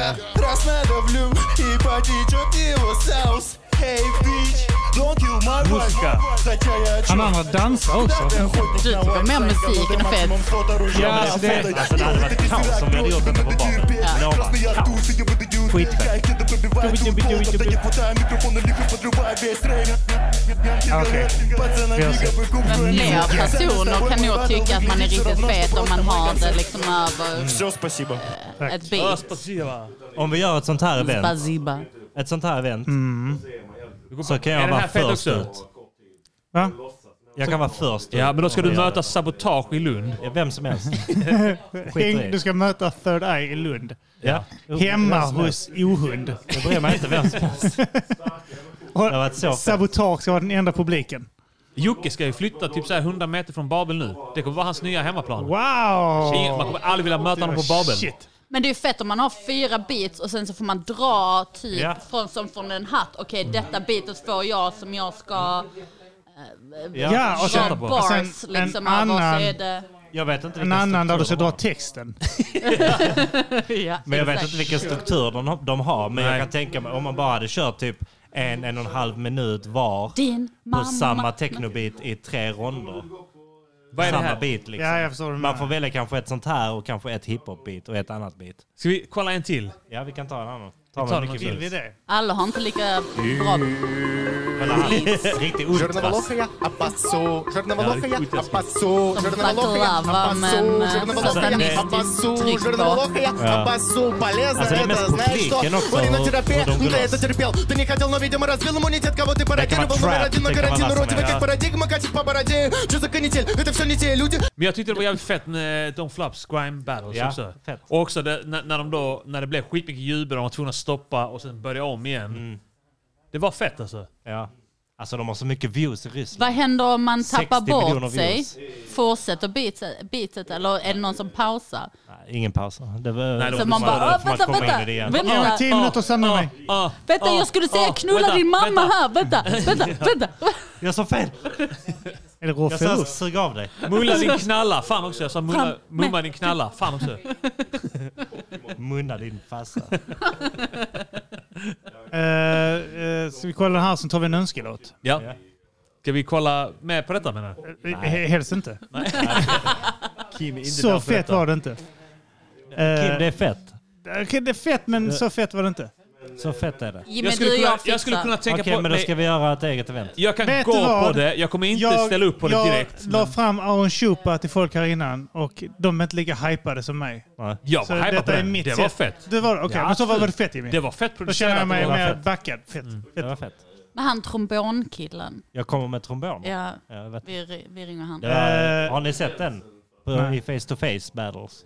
[SPEAKER 21] Раз надавлю и потечет его соус. Hey, bitch, don't kill my vibe.
[SPEAKER 5] Музыка.
[SPEAKER 21] Хотя я
[SPEAKER 5] Han andra dansar också.
[SPEAKER 21] Du
[SPEAKER 4] tycker mer musiken är fet.
[SPEAKER 5] Ja, alltså det...
[SPEAKER 3] Alltså det hade varit kaos om vi hade gjort detta på Babel. Lova. Kaos. Skitfett.
[SPEAKER 5] Okej. Vi har sett.
[SPEAKER 4] Men fler personer kan nog tycka att man är riktigt fet om man har det liksom över
[SPEAKER 3] спасибо.
[SPEAKER 2] Mm.
[SPEAKER 4] ett beat.
[SPEAKER 3] Om vi gör ett sånt här event.
[SPEAKER 4] Spaziba.
[SPEAKER 3] Ett sånt här event. Så kan
[SPEAKER 2] Mm. Är
[SPEAKER 3] jag
[SPEAKER 2] den
[SPEAKER 3] vara
[SPEAKER 2] här fet
[SPEAKER 3] först
[SPEAKER 2] också?
[SPEAKER 3] ut. Jag kan vara först
[SPEAKER 2] Ja, men då ska
[SPEAKER 3] ut.
[SPEAKER 2] du möta Sabotage i Lund.
[SPEAKER 3] Vem som helst.
[SPEAKER 5] Häng- Du ska möta Third Eye i Lund.
[SPEAKER 3] Ja.
[SPEAKER 5] Hemma
[SPEAKER 3] Vem som
[SPEAKER 5] hos
[SPEAKER 3] helst.
[SPEAKER 5] ohund.
[SPEAKER 3] Jag bryr mig inte vem som helst.
[SPEAKER 5] Och
[SPEAKER 3] har varit så fett.
[SPEAKER 5] Sabotage ska vara den enda publiken.
[SPEAKER 2] Jocke ska ju flytta typ så här 100 meter från Babel nu. Det kommer vara hans nya hemmaplan.
[SPEAKER 5] Wow!
[SPEAKER 2] Man kommer aldrig vilja möta honom på Babel.
[SPEAKER 5] Shit.
[SPEAKER 4] Men det är ju fett om man har fyra beats och sen så får man dra typ
[SPEAKER 2] Ja.
[SPEAKER 4] från, som från en hatt. Okej, detta beatet får jag som jag ska... eh,
[SPEAKER 5] Ja,
[SPEAKER 4] dra
[SPEAKER 5] och sen- och sen
[SPEAKER 4] bars
[SPEAKER 5] en
[SPEAKER 4] liksom över.
[SPEAKER 5] annan-
[SPEAKER 4] Så är det...
[SPEAKER 3] Jag vet inte
[SPEAKER 5] En
[SPEAKER 3] vilken
[SPEAKER 5] annan där du ska
[SPEAKER 3] struktur
[SPEAKER 5] dra texten.
[SPEAKER 4] ja,
[SPEAKER 3] Men jag vet
[SPEAKER 4] exakt.
[SPEAKER 3] inte vilken struktur de, de har. Men jag kan tänka mig om man bara hade kört typ en, en och en halv minut var
[SPEAKER 4] Din
[SPEAKER 3] på
[SPEAKER 4] mamma.
[SPEAKER 3] samma technobit i tre ronder.
[SPEAKER 2] Vad är det
[SPEAKER 3] samma
[SPEAKER 2] här?
[SPEAKER 3] beat liksom.
[SPEAKER 5] Ja, jag förstår vad du
[SPEAKER 3] man
[SPEAKER 5] menar.
[SPEAKER 3] får välja kanske ett sånt här och kanske ett hiphop-beat och ett annat beat.
[SPEAKER 2] Ska vi kolla en till?
[SPEAKER 3] Ja, vi kan ta en annan.
[SPEAKER 2] Vi tar
[SPEAKER 3] Ta
[SPEAKER 2] en
[SPEAKER 3] en
[SPEAKER 2] till.
[SPEAKER 3] mycket
[SPEAKER 2] Vill vi
[SPEAKER 3] det?
[SPEAKER 4] Alla har inte lika bra...
[SPEAKER 3] Riktig ultras.
[SPEAKER 21] Черноволосая, опасу, черноволосая, опасу,
[SPEAKER 4] Som
[SPEAKER 21] черноволосая,
[SPEAKER 4] baklava, men
[SPEAKER 21] опасу,
[SPEAKER 4] eh,
[SPEAKER 21] черноволосая,
[SPEAKER 4] satanistiskt
[SPEAKER 21] опасу,
[SPEAKER 4] tryck
[SPEAKER 21] черноволосая,
[SPEAKER 4] på.
[SPEAKER 21] опасу. Полезно
[SPEAKER 3] А за время
[SPEAKER 21] это, знаешь
[SPEAKER 3] спутник,
[SPEAKER 21] что?
[SPEAKER 3] кино, кто-
[SPEAKER 21] Уринотерапия,
[SPEAKER 3] кто там
[SPEAKER 21] ну
[SPEAKER 3] у
[SPEAKER 21] ты
[SPEAKER 3] нас?
[SPEAKER 21] это терпел. Ты не хотел, но, видимо, развил иммунитет, кого ты пародировал.
[SPEAKER 3] как
[SPEAKER 21] Номер
[SPEAKER 3] трап,
[SPEAKER 21] один на
[SPEAKER 3] ты
[SPEAKER 21] карантин,
[SPEAKER 3] кабана
[SPEAKER 21] уродивый,
[SPEAKER 3] смотрел,
[SPEAKER 21] как
[SPEAKER 3] да?
[SPEAKER 21] парадигма, катит по бороде. Что за канитель? Это все не те люди.
[SPEAKER 2] Men jag tyckte det var jävligt fett med Don't Flaps Crime Battles
[SPEAKER 3] Ja,
[SPEAKER 2] också.
[SPEAKER 3] fett.
[SPEAKER 2] Och också det, när, när, de då, när det blev skitmycket jubel, de var tvungna att stoppa och sen börja om igen. Det var fett alltså.
[SPEAKER 3] Mm. Ja. Alltså de har så mycket views i Ryssland.
[SPEAKER 4] Vad händer om man
[SPEAKER 3] 60
[SPEAKER 4] tappar
[SPEAKER 3] miljoner
[SPEAKER 4] bort sig?
[SPEAKER 3] views.
[SPEAKER 4] Fortsätter beatet, beatet eller är det någon som pausar?
[SPEAKER 3] Ingen paus. Det var,
[SPEAKER 4] Så man bara, "Åh, vänta, vänta, vänta."
[SPEAKER 5] Jag har tio minuter att samla mig.
[SPEAKER 4] Vänta, jag skulle säga knulla din mamma här! Vänta, vänta, vänta!
[SPEAKER 3] Jag sa fel!
[SPEAKER 5] Är det rå
[SPEAKER 3] Jag sa
[SPEAKER 5] förlust?
[SPEAKER 3] sug av dig. Alltså-
[SPEAKER 2] Mulla din knalla. Fan också. Jag sa
[SPEAKER 4] Fram
[SPEAKER 2] mulla,
[SPEAKER 4] med-
[SPEAKER 2] mumma din knalla. Fan också.
[SPEAKER 3] Munna din farsa.
[SPEAKER 5] Eh, eh, Ska vi kolla den här, sen tar vi en önskelåt.
[SPEAKER 2] Ja. Ska vi kolla mer på detta menar du?
[SPEAKER 5] Eh, he- Helst inte.
[SPEAKER 2] Kim, inte
[SPEAKER 5] Så
[SPEAKER 2] dansa
[SPEAKER 5] fett
[SPEAKER 2] detta.
[SPEAKER 5] var det inte.
[SPEAKER 3] Kim, det är fett.
[SPEAKER 5] Okej, det är fett, men så fett var det inte.
[SPEAKER 3] Så fett är det.
[SPEAKER 4] Jimmy,
[SPEAKER 2] Jag skulle
[SPEAKER 4] du och
[SPEAKER 2] kunna-
[SPEAKER 4] jag fixar.
[SPEAKER 2] jag skulle kunna tänka
[SPEAKER 3] Okej,
[SPEAKER 2] på-
[SPEAKER 3] men då
[SPEAKER 2] nej.
[SPEAKER 3] ska vi göra ett eget event.
[SPEAKER 2] Jag kan
[SPEAKER 5] Vet
[SPEAKER 2] gå
[SPEAKER 5] du
[SPEAKER 2] på
[SPEAKER 5] vad?
[SPEAKER 2] det. Jag kommer inte ställa upp på det direkt.
[SPEAKER 5] Jag la fram Aron Shupa till folk här innan och de är inte lika hypade som mig.
[SPEAKER 2] Jag
[SPEAKER 5] Så
[SPEAKER 2] var hypad på
[SPEAKER 5] detta är
[SPEAKER 2] den.
[SPEAKER 5] mitt
[SPEAKER 2] Det var
[SPEAKER 5] sätt.
[SPEAKER 2] fett.
[SPEAKER 5] Det var det? Okej,
[SPEAKER 2] Ja,
[SPEAKER 5] men så var
[SPEAKER 2] absolut.
[SPEAKER 5] det fett Jimmy?
[SPEAKER 2] Det var fett
[SPEAKER 5] Då känner
[SPEAKER 2] producerat.
[SPEAKER 5] jag mig
[SPEAKER 2] Det var
[SPEAKER 5] mer
[SPEAKER 2] fett.
[SPEAKER 5] backad. Fett.
[SPEAKER 3] Det var Mm. fett.
[SPEAKER 4] Men han trombonkillen.
[SPEAKER 3] Jag kommer med trombon.
[SPEAKER 4] Ja,
[SPEAKER 3] jag vet.
[SPEAKER 4] vi, ri- vi ringer han.
[SPEAKER 3] Det var,
[SPEAKER 5] Eh,
[SPEAKER 3] har ni sett den? På,
[SPEAKER 5] nej.
[SPEAKER 3] I Face to Face Battles?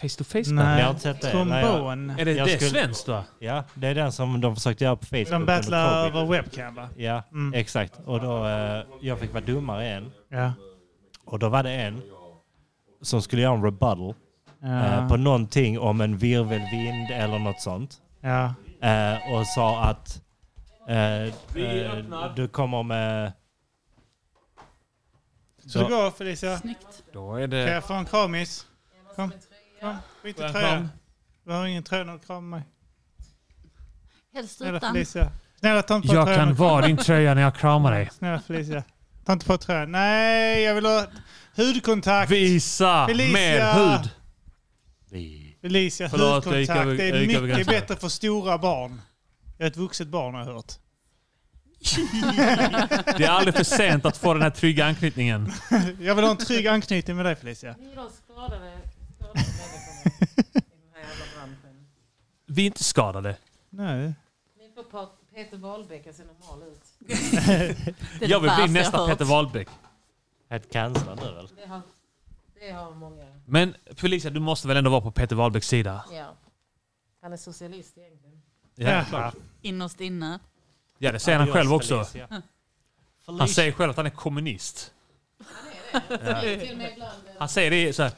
[SPEAKER 2] Face to face
[SPEAKER 5] Nej.
[SPEAKER 3] Ni har inte sett det?
[SPEAKER 5] Trombon.
[SPEAKER 3] Nej, jag-
[SPEAKER 2] Är det,
[SPEAKER 3] jag
[SPEAKER 2] det är
[SPEAKER 3] skulle-
[SPEAKER 2] svenskt va?
[SPEAKER 3] Ja, det är den som de försökte göra på Facebook.
[SPEAKER 5] De
[SPEAKER 3] under
[SPEAKER 5] battlar
[SPEAKER 3] covid.
[SPEAKER 5] över webcam va? Mm.
[SPEAKER 3] Ja, exakt. Och då, eh, jag fick vara domare en.
[SPEAKER 5] Ja.
[SPEAKER 3] Och då var det en som skulle göra en rebuttal
[SPEAKER 5] Ja.
[SPEAKER 3] eh, på någonting om en virvelvind eller något sånt.
[SPEAKER 5] Ja.
[SPEAKER 3] Eh, och sa att eh,
[SPEAKER 5] Vi
[SPEAKER 3] eh,
[SPEAKER 5] öppnar.
[SPEAKER 3] du kommer med...
[SPEAKER 5] Så det går Felicia.
[SPEAKER 2] Då är
[SPEAKER 5] Kan
[SPEAKER 2] det...
[SPEAKER 5] jag få en kramis? Kom. Kom. Skit
[SPEAKER 2] Får jag
[SPEAKER 5] i
[SPEAKER 2] en kram?
[SPEAKER 5] tröjan. Du har ingen tröja när du kramar mig.
[SPEAKER 4] Helst
[SPEAKER 5] Snälla
[SPEAKER 4] utan.
[SPEAKER 5] Felicia. Snälla ta inte på
[SPEAKER 2] Jag
[SPEAKER 5] tröjan.
[SPEAKER 2] kan vara din tröja när jag kramar dig.
[SPEAKER 5] Snälla Felicia. Ta inte på tröjan. Nej, jag vill ha hudkontakt.
[SPEAKER 2] Visa
[SPEAKER 5] Felicia.
[SPEAKER 2] med hud.
[SPEAKER 5] Felicia,
[SPEAKER 2] Förlåt, jag gick
[SPEAKER 5] hudkontakt.
[SPEAKER 2] över-
[SPEAKER 5] Det
[SPEAKER 2] jag
[SPEAKER 5] är
[SPEAKER 2] gick över
[SPEAKER 5] mycket
[SPEAKER 2] gränsen.
[SPEAKER 5] bättre för stora barn. Jag är ett vuxet barn har jag hört.
[SPEAKER 2] Det är aldrig för sent att få den här trygga anknytningen.
[SPEAKER 5] Jag vill ha en trygg anknytning med dig Felicia.
[SPEAKER 2] Vi är inte skadade.
[SPEAKER 5] Nej.
[SPEAKER 10] Nu får Peter Wahlbeck se normal ut.
[SPEAKER 2] Jag vill bli nästa Peter Wahlbeck.
[SPEAKER 3] Ett cancer nu eller?
[SPEAKER 10] Det har många.
[SPEAKER 2] Men Felicia, du måste väl ändå vara på Peter Wahlbecks sida?
[SPEAKER 10] Ja. Han är socialist egentligen.
[SPEAKER 2] Ja, klart.
[SPEAKER 4] Innerst inne.
[SPEAKER 2] Ja, det säger han
[SPEAKER 4] Adios,
[SPEAKER 2] själv också.
[SPEAKER 4] Felicia.
[SPEAKER 2] Han säger själv att han är kommunist.
[SPEAKER 10] Han
[SPEAKER 2] Ja.
[SPEAKER 10] är till och med ibland
[SPEAKER 2] Han säger det så här,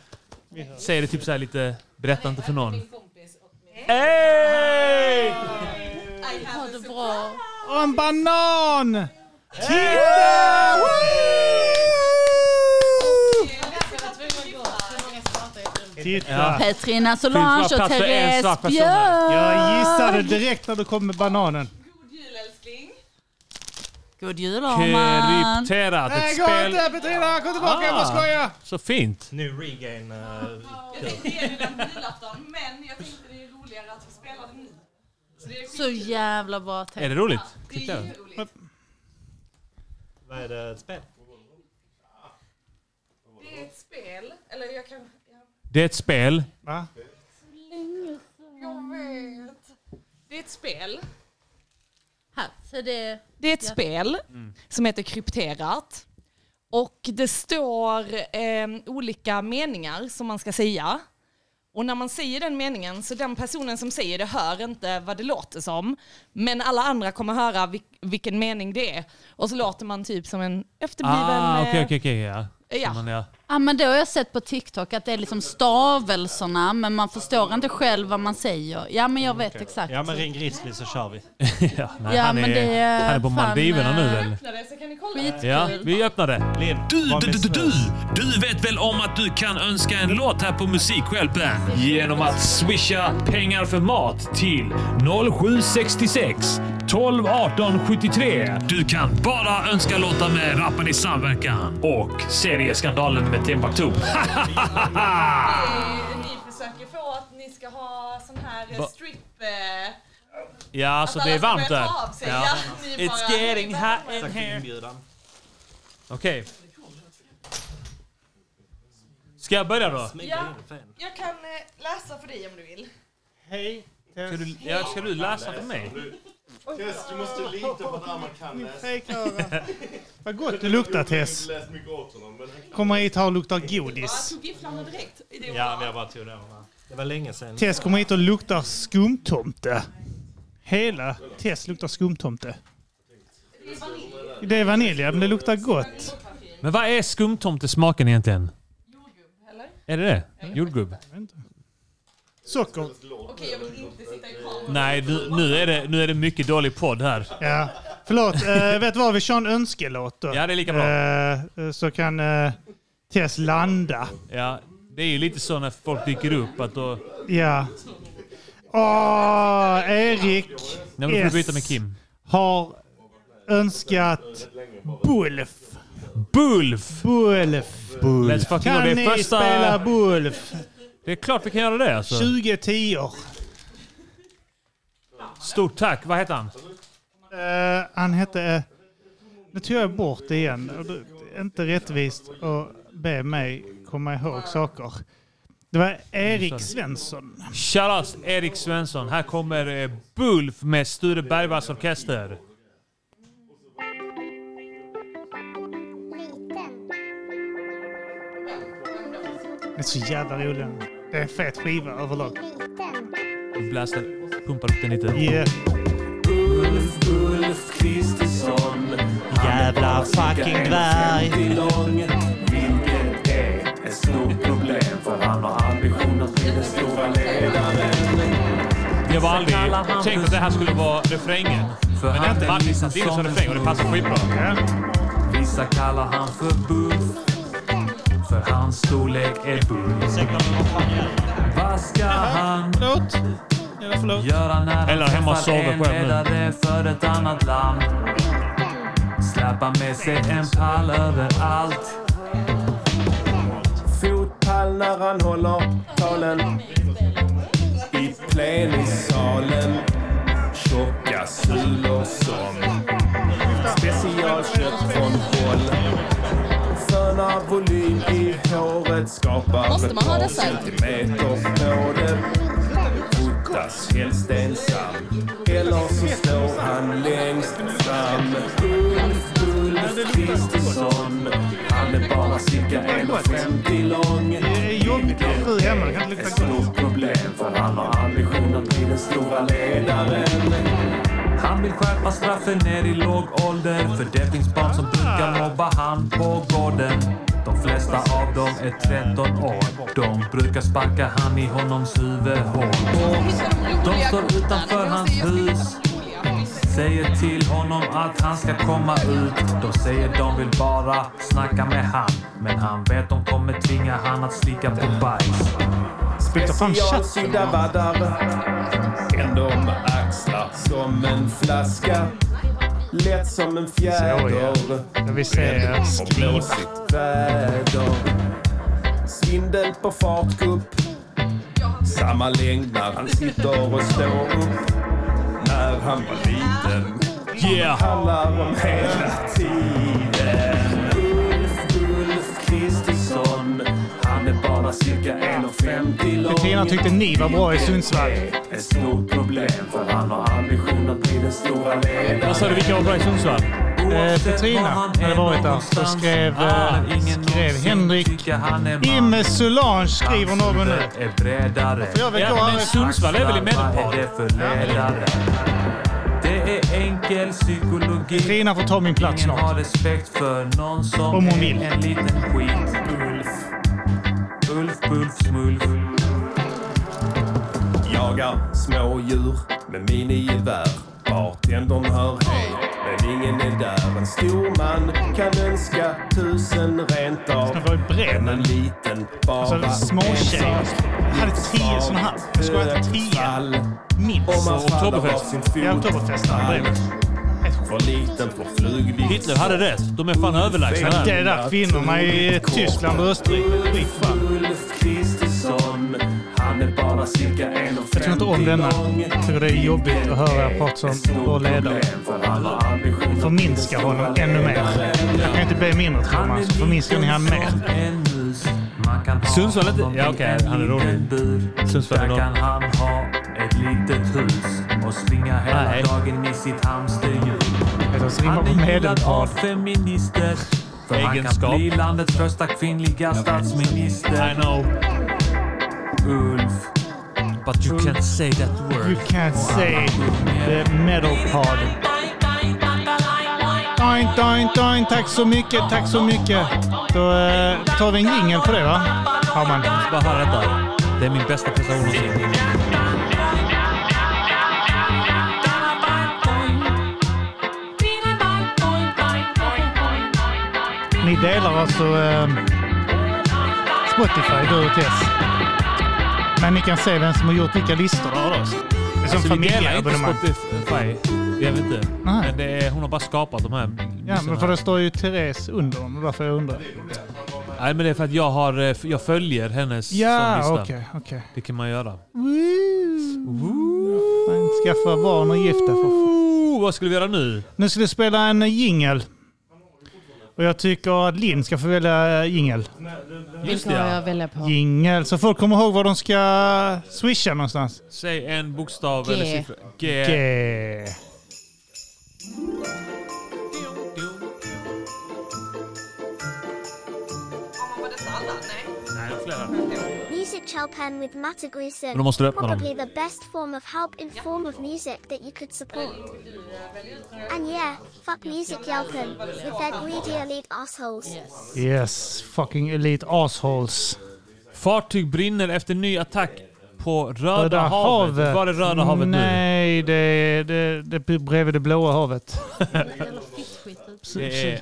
[SPEAKER 2] säger det typ så här lite, berätta inte för någon.
[SPEAKER 5] Hej!
[SPEAKER 4] Ha det bra.
[SPEAKER 5] Och en banan!
[SPEAKER 10] Titta!
[SPEAKER 5] Titta!
[SPEAKER 4] Ja. Petrina Solange och Therese Björk.
[SPEAKER 5] Jag gissade direkt när du kom med bananen.
[SPEAKER 4] God jul Arman.
[SPEAKER 2] Krypterat.
[SPEAKER 22] Eh,
[SPEAKER 5] Nej,
[SPEAKER 2] Ett
[SPEAKER 5] gå
[SPEAKER 2] spel... Ah,
[SPEAKER 5] inte Petrina! Kom tillbaka,
[SPEAKER 3] Ah!
[SPEAKER 5] jag bara skojar!
[SPEAKER 2] Så fint.
[SPEAKER 3] Nu regain. eh,
[SPEAKER 4] Så jävla bra tänkt.
[SPEAKER 2] Är det roligt?
[SPEAKER 4] Det är ju-
[SPEAKER 3] Vad är det? Ett spel?
[SPEAKER 22] Det är ett spel, eller jag kan...
[SPEAKER 2] Det är ett spel.
[SPEAKER 22] Jag vet. Det är ett spel.
[SPEAKER 4] Här, så det...
[SPEAKER 22] Det är ett
[SPEAKER 4] Ja.
[SPEAKER 22] spel som heter Krypterat. Och det står eh, olika meningar som man ska säga. Och när man säger den meningen så den personen som säger det hör inte vad det låter som. Men alla andra kommer höra vil- vilken mening det är. Och så låter man typ som en efterbliven...
[SPEAKER 2] Ah,
[SPEAKER 22] eh,
[SPEAKER 2] okej, okej, okej. Ja.
[SPEAKER 22] ja.
[SPEAKER 2] Så man, ja.
[SPEAKER 4] Ja men det har jag sett på TikTok att det är liksom stavelserna men man förstår inte själv vad man säger. Ja men jag
[SPEAKER 2] Mm,
[SPEAKER 4] vet exakt.
[SPEAKER 3] Ja men ring Grizzly så kör vi.
[SPEAKER 2] ja,
[SPEAKER 4] nej, Ja, han men är- det är
[SPEAKER 2] han är på fan, Maldiverna nu, eh, väl? Ja, vi öppnar det.
[SPEAKER 23] Du, du, du, du, du, du vet väl om att du kan önska en låt här på Musikhjälpen? Genom att swisha pengar för mat till 0766 12 18 73. Du kan bara önska låtar med Rappan i samverkan och serieskandalen med Timbuktu.
[SPEAKER 22] Ni försöker få att ni ska ha sån här eh,
[SPEAKER 2] Va-
[SPEAKER 22] strip... eh,
[SPEAKER 2] Ja, så
[SPEAKER 22] Att
[SPEAKER 2] det är
[SPEAKER 22] alla
[SPEAKER 2] varmt
[SPEAKER 22] ska börja
[SPEAKER 2] där.
[SPEAKER 22] ta av sig.
[SPEAKER 2] Ja.
[SPEAKER 22] Ja, ni är bara-
[SPEAKER 2] in here.
[SPEAKER 3] inbjudan.
[SPEAKER 2] Okej. Ska jag börja då?
[SPEAKER 22] Ja, jag kan eh, läsa för dig om du vill.
[SPEAKER 5] Hej.
[SPEAKER 2] Ska du, ja, ska du läsa för mig?
[SPEAKER 24] Tess, du måste lita på att Arman kan läsa.
[SPEAKER 5] Vad gott det luktar, Tess.
[SPEAKER 24] Jag har inte läst mycket åt honom, men han kan-
[SPEAKER 5] Kommer hit här och luktar godis.
[SPEAKER 22] tog gifflarna direkt.
[SPEAKER 3] Ja men jag bara tog den. va. Det var länge sedan.
[SPEAKER 5] Tess kommer hit och luktar skumtomte. Hela Tess luktar skumtomte. Det är vanilja, men det luktar gott.
[SPEAKER 2] Men vad är skumtomtesmaken egentligen? Är det det? Jordgubb?
[SPEAKER 5] Socker.
[SPEAKER 22] Okej, jag vill inte sitta i kameran.
[SPEAKER 2] Nej, nu, nu, är det, nu är det mycket dålig podd här.
[SPEAKER 5] Ja. Förlåt, eh, vet du vad? Vi kör en önskelåt då.
[SPEAKER 2] Ja, det är lika bra.
[SPEAKER 5] Eh, så kan eh, Tess landa.
[SPEAKER 2] Ja, det är ju lite så när folk dyker upp att då...
[SPEAKER 5] Ja. Åh, Erik
[SPEAKER 2] Nej, men då får du
[SPEAKER 5] S
[SPEAKER 2] byta med Kim.
[SPEAKER 5] har önskat Bulf.
[SPEAKER 2] Bulf!
[SPEAKER 5] Bulf.
[SPEAKER 2] Let's fucking
[SPEAKER 5] Kan
[SPEAKER 2] go. Det är
[SPEAKER 5] ni
[SPEAKER 2] första-
[SPEAKER 5] spela Bulf?
[SPEAKER 2] Det är klart vi kan göra det alltså.
[SPEAKER 5] 20 tior.
[SPEAKER 2] Stort tack. Vad heter han?
[SPEAKER 5] Eh, han hette... eh, nu tog jag bort det igen. Och det är inte rättvist att be mig komma ihåg saker. Det var Erik Svensson.
[SPEAKER 2] Shoutout Erik Svensson. Här kommer eh, Bulf med Sture Bergvalls orkester.
[SPEAKER 5] Det är så jävla rolig. Det är en fet skiva överlag.
[SPEAKER 2] Blastar, pumpar upp den lite.
[SPEAKER 5] Yeah.
[SPEAKER 18] Ulf, Ulf Kristersson
[SPEAKER 3] Jävla fucking dvärg.
[SPEAKER 18] Vilket är ett stort problem för han har ambition att bli den stora ledaren
[SPEAKER 2] Jag var aldrig tänkt att det här skulle vara refrängen. Men det är Martin Sandin som refräng och det passar skitbra.
[SPEAKER 18] Vissa kallar han för Buff För hans storlek är Buff Vad ska han göra när
[SPEAKER 2] Eller hemma och
[SPEAKER 18] han träffar
[SPEAKER 2] sover
[SPEAKER 18] en
[SPEAKER 2] själv nu.
[SPEAKER 18] ledare för ett annat land? Släppa med sig en pall över allt
[SPEAKER 8] Fotpall när han håller talen I plenisalen Tjocka sulor som Specialkött från Koll Sönar volym i håret Skapar
[SPEAKER 22] Måste man ha
[SPEAKER 8] par
[SPEAKER 22] dessa?
[SPEAKER 8] centimeter på det Fotas helst ensam Eller så står han längst fram
[SPEAKER 18] Ulf Kristersson Han är bara
[SPEAKER 7] bara cirka 1,50 lång. Det är jobbigt att ha fru hemma, det kan inte lukta gott. Ett stort problem för han har ambitionen att bli den stora ledaren.
[SPEAKER 8] Han vill skärpa straffen ner i låg ålder För det finns barn som brukar mobba han på gården De flesta av dem är 13 år De brukar sparka han i honoms huvud hårt De står utanför hans hus Säger till honom att han ska komma ut De säger de vill bara snacka med han Men han vet de kommer tvinga han att slicka på bajs
[SPEAKER 7] Spytta fram Specialsydda vaddar. Ändå med axlar som en flaska. Lätt som en fjäder.
[SPEAKER 5] vi ser.
[SPEAKER 7] Och blåsigt väder. Svindel på fartkupp. Samma längd när han sitter och står upp. När han var liten.
[SPEAKER 2] Yeah.
[SPEAKER 7] Handlar om hela tiden.
[SPEAKER 8] Ulf, Ulf Kristersson Han är bara cirka 1,50 lång
[SPEAKER 5] Petrina tyckte ni var bra i Sundsvall.
[SPEAKER 7] Ett stort problem för han har ambition att bli den stora ledaren.
[SPEAKER 5] Vad sa du, vilka var bra i Sundsvall? Eh, Petrina hade varit där. Så skrev,
[SPEAKER 8] ah,
[SPEAKER 5] eh, skrev Henrik. Imme Solange skriver någon nu.
[SPEAKER 8] är bredare.
[SPEAKER 5] jag väl gå
[SPEAKER 8] Ja, men
[SPEAKER 5] här?
[SPEAKER 8] Sundsvall är väl i
[SPEAKER 5] Axlar,
[SPEAKER 8] medelpad?
[SPEAKER 5] vad är
[SPEAKER 8] det för ledare? Det är enkel psykologi.
[SPEAKER 5] Trina får ta min plats
[SPEAKER 8] Ingen
[SPEAKER 5] snart.
[SPEAKER 8] har respekt för någon som
[SPEAKER 5] Om hon
[SPEAKER 8] är
[SPEAKER 5] vill.
[SPEAKER 8] en liten skit. Ulf. Ulf, Bulf, Smulf.
[SPEAKER 7] Jagar smådjur med minigevär. Bartendern hör hej, men ingen är där. En stor man kan önska tusen rent av. Men en liten bara
[SPEAKER 5] Alltså, småtjejer. Jag hade tio såna här. Jag skojar inte, tio. Minst.
[SPEAKER 7] Om man faller av
[SPEAKER 2] Oktoberfest.
[SPEAKER 7] sin fot.
[SPEAKER 2] Ja, Oktoberfest, han drev.
[SPEAKER 7] För liten på flugvikt.
[SPEAKER 2] Hitler hade rätt. De är fan överlägsna där.
[SPEAKER 5] Det är där kvinnorna i Tyskland och Österrike. Fy fan.
[SPEAKER 8] Ulf Kristersson. Han är bara cirka 1,50
[SPEAKER 5] Jag tycker inte om denna. Jag tycker det är jobbigt att höra jag prata som vår ledare. Förminska honom ännu mer. Jag kan inte be mindre tror man, så förminskar ni han mer.
[SPEAKER 2] Sundsvall är inte... Ja, okej. Han är rolig. Sundsvall är
[SPEAKER 8] Där
[SPEAKER 2] rolig.
[SPEAKER 8] kan han ha ett litet hus och springa hela dagen med sitt hamsterhjul.
[SPEAKER 5] rimmar
[SPEAKER 8] Han
[SPEAKER 5] på
[SPEAKER 8] är hyllad
[SPEAKER 5] medelpad.
[SPEAKER 8] av feminister. För han
[SPEAKER 2] Egenskap.
[SPEAKER 8] kan bli landets första kvinnliga statsminister. I know. Ulf.
[SPEAKER 2] But you can't say that word.
[SPEAKER 5] You can't say the metal pod. Doin, doin, doin. Tack så mycket, tack så mycket. Då eh, tar vi en jingel på det va? Har
[SPEAKER 2] Bara höra detta. Det är min bästa prestation någonsin.
[SPEAKER 5] Ni delar alltså eh, Spotify, du och Tess. Men ni kan se vem som har gjort vilka listor av oss. Det är som
[SPEAKER 2] Alltså, vi delar inte
[SPEAKER 5] familjeabonnemang.
[SPEAKER 2] Spotify. Det gör vi inte.
[SPEAKER 5] Nej.
[SPEAKER 2] Men det är, hon har bara skapat de här.
[SPEAKER 5] Ja, men för det står ju Therese under dem. Därför jag undrar.
[SPEAKER 2] Nej, men det är för att jag, har, eh, jag följer hennes
[SPEAKER 5] Ja,
[SPEAKER 2] sånglista.
[SPEAKER 5] okej, okej.
[SPEAKER 2] Det kan man göra.
[SPEAKER 5] Man skaffar barn och gifta för
[SPEAKER 2] Oh, vad skulle vi göra nu?
[SPEAKER 5] Nu ska vi spela en jingel. Och jag tycker att Linn ska få välja eh, jingel.
[SPEAKER 2] Just det, ja.
[SPEAKER 5] Jingel, så folk kommer ihåg var de ska swisha någonstans.
[SPEAKER 2] Säg en bokstav
[SPEAKER 5] G.
[SPEAKER 2] eller siffra. G.
[SPEAKER 5] G.
[SPEAKER 2] Nej, flera.
[SPEAKER 15] Music Chelpen with Matta Grusen.
[SPEAKER 2] Men då måste du öppna dem.
[SPEAKER 15] Probably the best form of help in form of music that you could support. And yeah, fuck Music Yelpen with their greedy elite assholes.
[SPEAKER 5] Yes, fucking elite assholes.
[SPEAKER 2] Fartyg brinner efter ny attack på Röda, havet. Var är Röda havet nu?
[SPEAKER 5] Nej, det är det, det är bredvid det blåa havet.
[SPEAKER 2] Det är...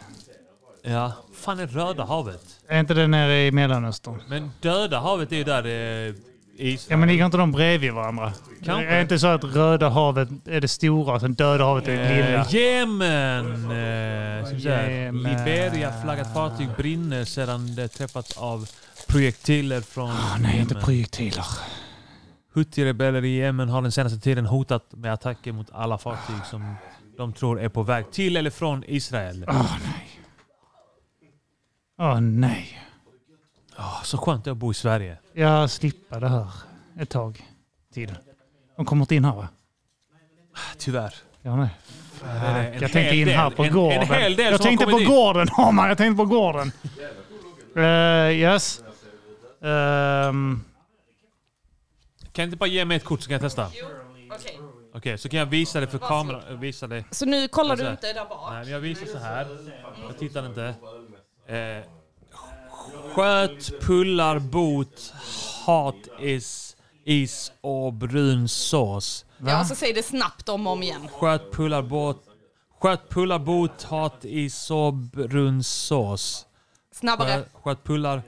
[SPEAKER 2] Ja. fan är Röda havet?
[SPEAKER 5] Är inte det nere i Mellanöstern?
[SPEAKER 2] Men Döda havet är ju där eh, Israel.
[SPEAKER 5] Ja, men ligger inte de bredvid varandra?
[SPEAKER 2] Kanske.
[SPEAKER 5] Är det inte så att Röda havet är det stora och sen Döda havet är det lilla?
[SPEAKER 2] Eh, Jemen! Eh, ska vi säga.
[SPEAKER 5] Jemen.
[SPEAKER 2] Liberia flaggat fartyg brinner sedan det träffats av projektiler från ah,
[SPEAKER 5] nej, inte projektiler.
[SPEAKER 2] Houthi-rebeller i Jemen har den senaste tiden hotat med attacker mot alla fartyg som de tror är på väg till eller från Israel.
[SPEAKER 5] Ah, Åh nej.
[SPEAKER 2] Ah, så skönt det är att bo i Sverige.
[SPEAKER 5] Jag slipper det här ett tag till. De kommer inte in här va?
[SPEAKER 2] Tyvärr.
[SPEAKER 5] Ja, nej.
[SPEAKER 2] Det är en
[SPEAKER 5] jag
[SPEAKER 2] hel
[SPEAKER 5] tänkte in här
[SPEAKER 2] del-
[SPEAKER 5] på
[SPEAKER 2] en- en
[SPEAKER 5] gården.
[SPEAKER 2] hel del
[SPEAKER 5] jag
[SPEAKER 2] som har
[SPEAKER 5] tänkte på
[SPEAKER 2] kommit in.
[SPEAKER 5] gården, Hammar. Jag tänkte på gården. Eh, yes. Ehm,
[SPEAKER 2] Kan du inte bara ge mig ett kort så kan jag testa?
[SPEAKER 22] Okej.
[SPEAKER 2] Okej, så kan jag visa det för
[SPEAKER 22] Varsågod.
[SPEAKER 2] kameran. Visa dig.
[SPEAKER 22] Så nu kollar du
[SPEAKER 2] här.
[SPEAKER 22] inte där bak?
[SPEAKER 2] Nej, men jag visar så här. Jag tittar inte. Eh, sköt, pullar, bot, hat is, is och brun sås.
[SPEAKER 22] Ja, så säg det snabbt om och om igen.
[SPEAKER 2] Sköt, pullar, bot, sköt, pullar, bot, hat is och brun sås.
[SPEAKER 22] Snabbare.
[SPEAKER 2] Sköt, sköt, pullar,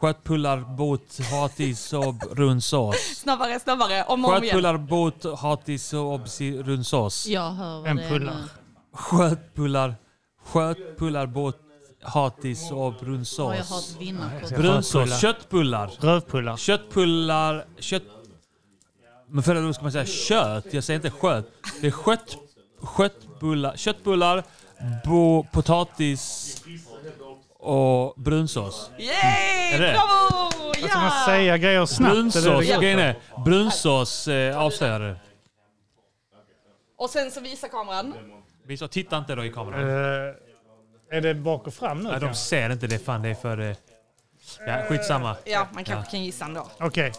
[SPEAKER 2] sköt, pullar, bot, hat is och brun sås.
[SPEAKER 22] Snabbare, snabbare. Om och om
[SPEAKER 2] Sköt
[SPEAKER 22] igen.
[SPEAKER 2] pullar, bot, hatis och obsi rundsås.
[SPEAKER 4] Jag hör vad En det är pullar. nu.
[SPEAKER 2] Sköt pullar, sköt pullar, bot, hatis och brunsås.
[SPEAKER 4] Ja, jag har ett vinnarkort.
[SPEAKER 2] Brunsås,
[SPEAKER 5] Rövpullar.
[SPEAKER 2] köttbullar. Rövpullar. Köttbullar, kött... Men för då ska man säga kött, jag säger inte sköt. Det är skött, sköttbullar, köttbullar, bo, potatis och brunsås.
[SPEAKER 22] Yay!
[SPEAKER 2] Är det?
[SPEAKER 22] Bravo!
[SPEAKER 5] Ska man säga grejer snabbt? eller är
[SPEAKER 2] Brunsås,
[SPEAKER 5] det gott?
[SPEAKER 2] grejen är, brunsås eh, avslöjar det.
[SPEAKER 22] Och sen så visar kameran.
[SPEAKER 2] Vi så titta inte då i kameran.
[SPEAKER 5] Eh, är det bak och fram nu?
[SPEAKER 2] Nej, de
[SPEAKER 5] kanske?
[SPEAKER 2] ser inte det. Fan, det är för... eh, Ja, skitsamma.
[SPEAKER 22] Ja, man kanske kan gissa ändå.
[SPEAKER 5] Okej.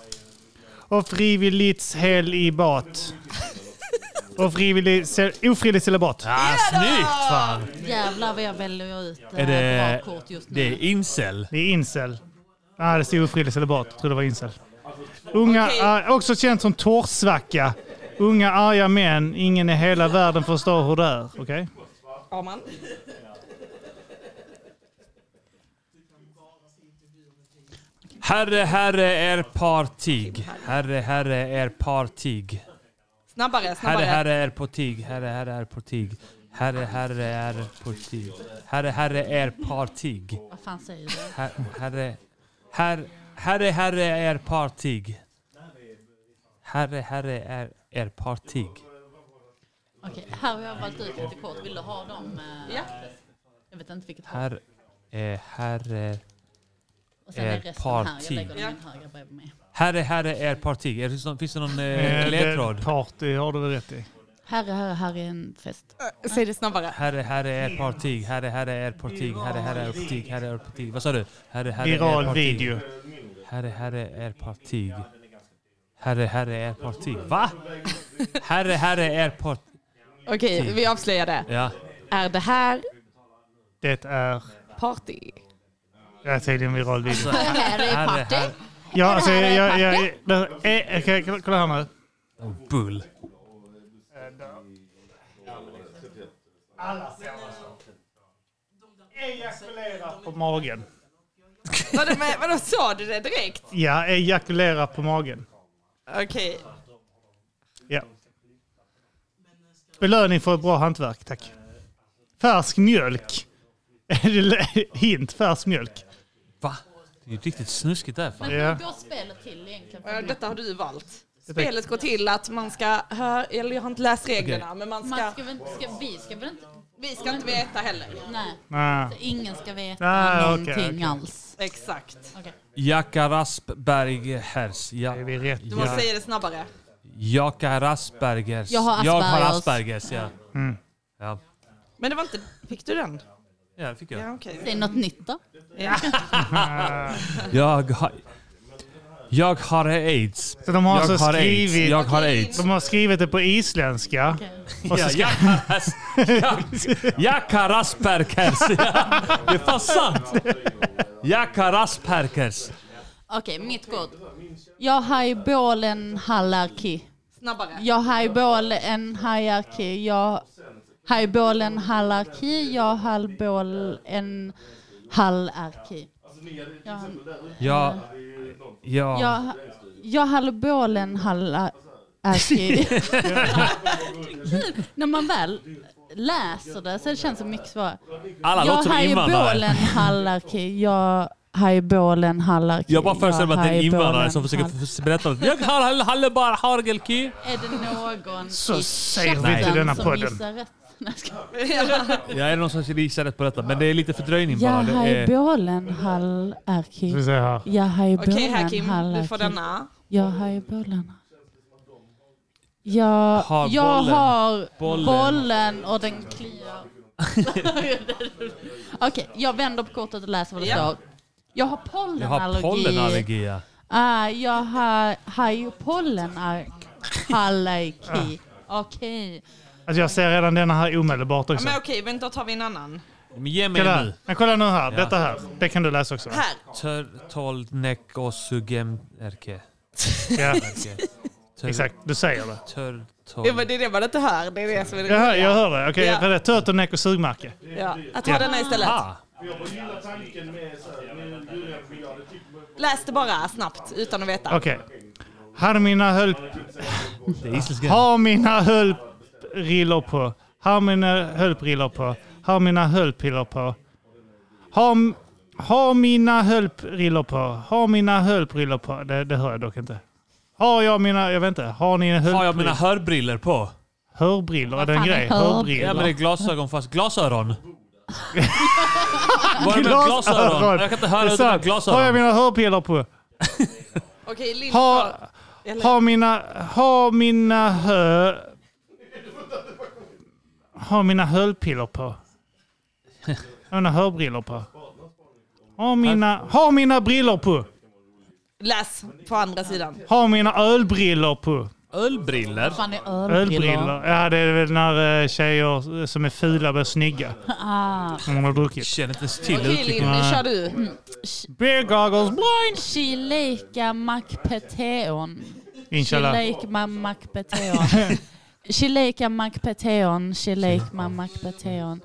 [SPEAKER 5] Och frivilligt celibat. och frivilligt cel, ofrivilligt celibat.
[SPEAKER 2] Ja, snyggt fan!
[SPEAKER 4] Jävlar vad jag väljer ut eh,
[SPEAKER 5] Är det-
[SPEAKER 4] bra kort just nu.
[SPEAKER 2] Det är incel.
[SPEAKER 5] Det är incel. Nej, det stod ofrivilligt celibat. Jag tror det var incel. Unga, ar- också känt som torrsvacka. Unga arga män. Ingen i hela världen förstår hur det är. Okej?
[SPEAKER 22] Aman.
[SPEAKER 2] Herre, herre är partig. Herre, herre är partig.
[SPEAKER 22] Snabbare, snabbare.
[SPEAKER 2] Herre, herre är partig. Herre, herre är partig. Herre, herre är partig. Herre, herre är partig.
[SPEAKER 4] Vad fan säger du?
[SPEAKER 2] Her- Herre, herre, herre, herre är partig. Herre, herre är, är partig.
[SPEAKER 4] Okej, här har jag valt ut lite kort. Vill du ha dem? eh,
[SPEAKER 22] Ja.
[SPEAKER 4] Jag vet inte vilket
[SPEAKER 2] Herre, eh, herre
[SPEAKER 4] Och sen är
[SPEAKER 2] är
[SPEAKER 4] resten här. Jag
[SPEAKER 2] partig.
[SPEAKER 4] lägger dem i en hög bredvid mig.
[SPEAKER 2] Herre, herre är partig. Är det så- Finns det någon eh,
[SPEAKER 5] Eh,
[SPEAKER 2] ledtråd?
[SPEAKER 5] det- Party har du väl rätt i.
[SPEAKER 4] Herre, herre, herre är en fest.
[SPEAKER 22] Eh, Säg det snabbare.
[SPEAKER 2] Herre, herre är partig. Herre, herre är partig. Herre, herre är partig. Herre är partig. Vad sa du? Herre, herre
[SPEAKER 5] Viral
[SPEAKER 2] är partig.
[SPEAKER 5] video.
[SPEAKER 2] Herre, herre är partig. Herre, herre är partig. Va? Herre, herre är partig.
[SPEAKER 22] Okej,
[SPEAKER 5] Mm.
[SPEAKER 22] vi avslöjar det.
[SPEAKER 2] Ja.
[SPEAKER 22] Är det här
[SPEAKER 5] Det är...
[SPEAKER 22] party?
[SPEAKER 5] Jag säger en viral video.
[SPEAKER 22] Alltså, Här är party.
[SPEAKER 5] Ja, alltså,
[SPEAKER 22] Här är
[SPEAKER 5] jag,
[SPEAKER 22] party.
[SPEAKER 5] jag, jag, eh, okej, kolla- kolla här nu.
[SPEAKER 2] Oh, Bull.
[SPEAKER 5] Alla ser Ejakulera på magen.
[SPEAKER 22] Vadå, men- vadå, sa du det direkt?
[SPEAKER 5] Ja, ejakulera på magen.
[SPEAKER 22] Okej.
[SPEAKER 5] Ja. Belöning för ett bra hantverk, tack. Färsk mjölk. Är det lä- Hint, färsk mjölk.
[SPEAKER 2] Va? Det är ju riktigt snuskigt där.
[SPEAKER 4] Men
[SPEAKER 2] Fan.
[SPEAKER 5] Ja.
[SPEAKER 4] hur går spelet till egentligen?
[SPEAKER 22] Eh, Detta har du valt.
[SPEAKER 2] Detta-
[SPEAKER 22] Spelet går till att man ska höra, eller jag har inte läst reglerna,
[SPEAKER 2] Okej.
[SPEAKER 22] men man ska...
[SPEAKER 4] Man ska väl inte, ska, vi ska väl inte...
[SPEAKER 22] Vi ska inte veta heller.
[SPEAKER 4] Nej.
[SPEAKER 2] Nej.
[SPEAKER 4] Så ingen ska veta
[SPEAKER 2] Nej, okej,
[SPEAKER 4] någonting
[SPEAKER 2] okej.
[SPEAKER 4] alls.
[SPEAKER 22] Exakt.
[SPEAKER 2] Jacka Raspberg Hers. Ja,
[SPEAKER 22] Du måste säga det snabbare.
[SPEAKER 2] Jacka Raspbergers.
[SPEAKER 22] Jag har
[SPEAKER 2] Jag har
[SPEAKER 22] Aspergers.
[SPEAKER 2] Aspergers, ja.
[SPEAKER 5] Mm.
[SPEAKER 2] ja.
[SPEAKER 22] Men det var inte... Fick du den?
[SPEAKER 2] Ja, det fick jag.
[SPEAKER 22] Ja, okej.
[SPEAKER 4] Säg något nytt då.
[SPEAKER 22] Ja.
[SPEAKER 2] Jag har... Jag har aids.
[SPEAKER 5] Så de har
[SPEAKER 2] jag
[SPEAKER 5] alltså
[SPEAKER 2] har
[SPEAKER 5] skrivit,
[SPEAKER 2] aids. Jag har aids.
[SPEAKER 5] De har skrivit det på isländska. Och så
[SPEAKER 2] Ja,
[SPEAKER 5] ska-
[SPEAKER 2] jag har as- jag- Jag har aspergers. Ja, Det är fan sant. Jag har aspergers.
[SPEAKER 4] Okej, mitt kort. Jag har en halarki.
[SPEAKER 22] Snabbare.
[SPEAKER 4] Jag har en hierarki. Jag har en halarki. Jag har en halarki. Jag,
[SPEAKER 2] Jag... Jag...
[SPEAKER 4] jag, jag har en halarki. Kul, Typ, När man väl läser det så det känns det mycket svårare.
[SPEAKER 2] Alla låter som invandrare.
[SPEAKER 4] Jag har en halarki. Jag har en halarki.
[SPEAKER 2] Jag bara föreställer mig att det är en
[SPEAKER 4] highballen
[SPEAKER 2] invandrare som försöker
[SPEAKER 4] hal-
[SPEAKER 2] f- berätta något. Jag har hallebar hargelki.
[SPEAKER 4] Är det någon
[SPEAKER 2] Så
[SPEAKER 4] i
[SPEAKER 2] säger vi
[SPEAKER 4] chatten
[SPEAKER 2] inte i denna
[SPEAKER 4] som
[SPEAKER 2] podden.
[SPEAKER 4] gissar rätt? Nej, jag skojar.
[SPEAKER 2] Jag är någon som gissar rätt på detta, men det är lite fördröjning
[SPEAKER 4] Jag
[SPEAKER 2] bara. Det
[SPEAKER 4] har
[SPEAKER 2] är...
[SPEAKER 4] bollen hall arki.
[SPEAKER 2] Ska vi se här.
[SPEAKER 4] Jag har
[SPEAKER 22] Okej,
[SPEAKER 4] bollen
[SPEAKER 22] här, Kim.
[SPEAKER 4] hall
[SPEAKER 22] Du får
[SPEAKER 4] arki.
[SPEAKER 22] denna.
[SPEAKER 4] Jag har bollen. Jag
[SPEAKER 2] Har
[SPEAKER 4] jag
[SPEAKER 2] bollen.
[SPEAKER 4] har
[SPEAKER 2] Bollen.
[SPEAKER 4] bollen. och den kliar. Okej, jag vänder på kortet och läser vad det
[SPEAKER 2] Ja.
[SPEAKER 4] står. Jag har
[SPEAKER 2] Jag har
[SPEAKER 4] pollenallergi.
[SPEAKER 2] pollenallergi. ja.
[SPEAKER 4] Ah, jag har, har ju pollenallergi. Okej.
[SPEAKER 5] Alltså jag ser redan denna här omedelbart
[SPEAKER 22] Ja,
[SPEAKER 5] också.
[SPEAKER 22] men okej, vänta, tar vi en annan.
[SPEAKER 2] Men ge mig
[SPEAKER 5] Kolla,
[SPEAKER 2] nu.
[SPEAKER 5] men kolla nu här,
[SPEAKER 2] Ja.
[SPEAKER 5] detta här. Det kan du läsa också.
[SPEAKER 22] Här.
[SPEAKER 2] Turtle neck osugem erke.
[SPEAKER 5] Ja.
[SPEAKER 2] Erke. Tur-
[SPEAKER 5] Exakt, du säger det.
[SPEAKER 22] Det var- det är det man inte hör. Det är det som är det
[SPEAKER 5] Jag hör,
[SPEAKER 22] roliga.
[SPEAKER 5] jag hör det. Okej,
[SPEAKER 22] Ja.
[SPEAKER 5] vad är det? Turtleneck och sugmärke.
[SPEAKER 22] Ja, jag tar denna istället.
[SPEAKER 5] Ah.
[SPEAKER 22] Läs det bara snabbt utan att veta.
[SPEAKER 5] Okej. Har mina höll...
[SPEAKER 2] Det är isländska.
[SPEAKER 5] Har mina höllbrillor på. Har mina höllbrillor på. Har mina höllpiller på. Har, m- har mina höllbrillor på. Har mina höllbrillor på. Det, det hör jag dock inte. Har jag mina... Jag vet inte. Har ni höllbrillor?
[SPEAKER 2] Har jag mina hörbriller på?
[SPEAKER 5] Hörbrillor? Är det en grej? Hörbrillor?
[SPEAKER 2] Ja men det är glasögon fast glasöron. Var det med
[SPEAKER 5] Glasöron.
[SPEAKER 2] glasöron? Jag kan inte höra
[SPEAKER 5] Det är
[SPEAKER 2] utan
[SPEAKER 5] sant. Har jag
[SPEAKER 2] glasöron.
[SPEAKER 5] mina hörpiller på?
[SPEAKER 22] Okej, Linn.
[SPEAKER 5] Har,
[SPEAKER 22] Eller-
[SPEAKER 5] har mina... Har mina hö... Har mina hörpiller på? Har mina hörbrillor på? Har mina, har mina brillor på?
[SPEAKER 22] Läs på andra sidan.
[SPEAKER 5] Har mina ölbrillor på?
[SPEAKER 2] Ölbriller?
[SPEAKER 4] Fan, det är ölbrillor.
[SPEAKER 5] Ölbrillor? Ja, det är väl när eh, tjejer eh, som är fula blir snygga.
[SPEAKER 4] Ah. Mm.
[SPEAKER 5] När man har druckit.
[SPEAKER 2] Känner inte
[SPEAKER 4] till Okej, uttrycket. Linn, nu kör du.
[SPEAKER 5] Beer goggles
[SPEAKER 4] blind. Chilika makpeteon.
[SPEAKER 5] Inshallah.
[SPEAKER 4] Chilika makpeteon. Chilika makpeteon. Chilika makpeteon.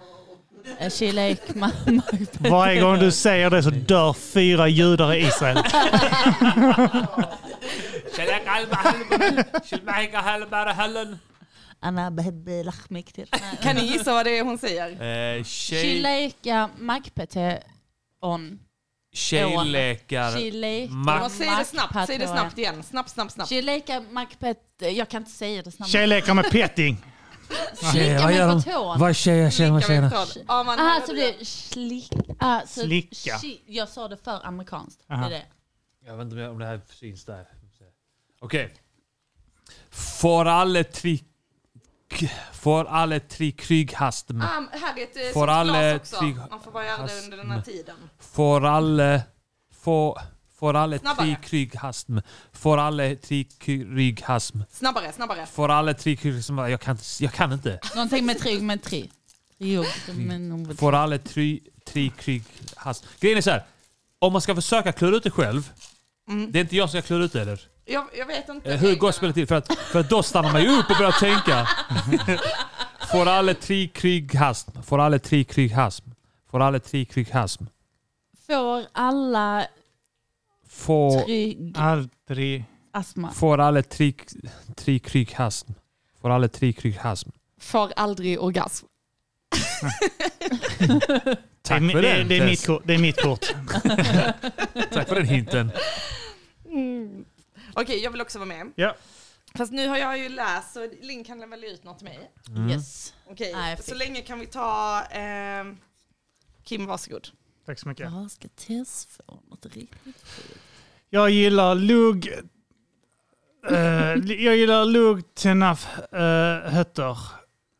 [SPEAKER 4] Eh, Chilika makpeteon.
[SPEAKER 5] Varje gång du säger det så dör fyra judar i Israel.
[SPEAKER 2] Kärlek halva halva. Kärlek halva hallen.
[SPEAKER 4] Anna behöver lachmik till.
[SPEAKER 22] Kan ni gissa vad det är hon säger?
[SPEAKER 2] Eh, tjej-
[SPEAKER 4] Chilika makpeteon.
[SPEAKER 2] Tjejlekar.
[SPEAKER 4] Chilika
[SPEAKER 2] Mac-
[SPEAKER 22] Säg det snabbt, säg det snabbt igen. Snabbt, snabbt, snabbt.
[SPEAKER 4] Chilika makpeteon. Jag kan inte säga det snabbt.
[SPEAKER 5] Tjejlekar med petting.
[SPEAKER 4] Slicka mig på tån.
[SPEAKER 2] Vad tjejer, tjejer, vad tjejer.
[SPEAKER 4] Aha, Ah, så blir det slick, ah, så
[SPEAKER 2] Slicka.
[SPEAKER 4] shi- Jag sa det för amerikanskt. Det
[SPEAKER 2] Aha.
[SPEAKER 4] är det.
[SPEAKER 2] Jag vet inte om det här syns där. Okej. Får alla tri... Får alla tri kryghastm.
[SPEAKER 22] Ah, här är ett eh,
[SPEAKER 2] Får
[SPEAKER 22] sånt
[SPEAKER 2] alla
[SPEAKER 22] glas också.
[SPEAKER 2] tri...
[SPEAKER 22] Man får bara göra det under den här tiden.
[SPEAKER 2] Får alla... Får... Får alla
[SPEAKER 22] Snabbare.
[SPEAKER 2] tri kryghastm. Får alla tri kryghastm.
[SPEAKER 22] Snabbare, snabbare.
[SPEAKER 2] Får alla tri kryghastm. Jag kan, inte- jag kan inte.
[SPEAKER 4] Någonting med trygg med tri. Jo, men
[SPEAKER 2] Mm. Får alla tri, tri kryghastm. Grejen är så här. Om man ska försöka klura ut det själv.
[SPEAKER 22] Mm.
[SPEAKER 2] Det är inte jag som ska klura ut det eller?
[SPEAKER 22] Jag, jag vet inte.
[SPEAKER 2] Eh, Hur går spelet till? För att, för att då stannar man ju upp och börjar tänka. Får alla tre krig hasm? Får alla tre krig hasm? Får alla tre krig hasm?
[SPEAKER 4] Får alla
[SPEAKER 2] Får...
[SPEAKER 4] trygg
[SPEAKER 5] Aldrig...
[SPEAKER 4] astma?
[SPEAKER 2] Får alla tre, tre krig hasm? Får alla tre krig hasm?
[SPEAKER 22] Får aldrig orgasm.
[SPEAKER 2] Tack
[SPEAKER 5] mi-
[SPEAKER 2] för
[SPEAKER 5] det-
[SPEAKER 2] den,
[SPEAKER 5] det är
[SPEAKER 2] Tess.
[SPEAKER 5] mitt kort- det är mitt kort.
[SPEAKER 2] Tack för den hinten.
[SPEAKER 22] Mm. Okej, jag vill också vara med.
[SPEAKER 5] Ja.
[SPEAKER 22] Fast nu har jag ju läst så Linn kan välja ut något till mig.
[SPEAKER 2] Mm. Yes.
[SPEAKER 22] Okej,
[SPEAKER 4] Ja, jag
[SPEAKER 22] så
[SPEAKER 4] fick.
[SPEAKER 22] länge kan vi ta... ehm, Kim, varsågod.
[SPEAKER 5] Tack så mycket.
[SPEAKER 4] Jag ska Tess få något riktigt
[SPEAKER 5] Jag gillar lugg... eh, jag gillar luggtenaf uh, hötter.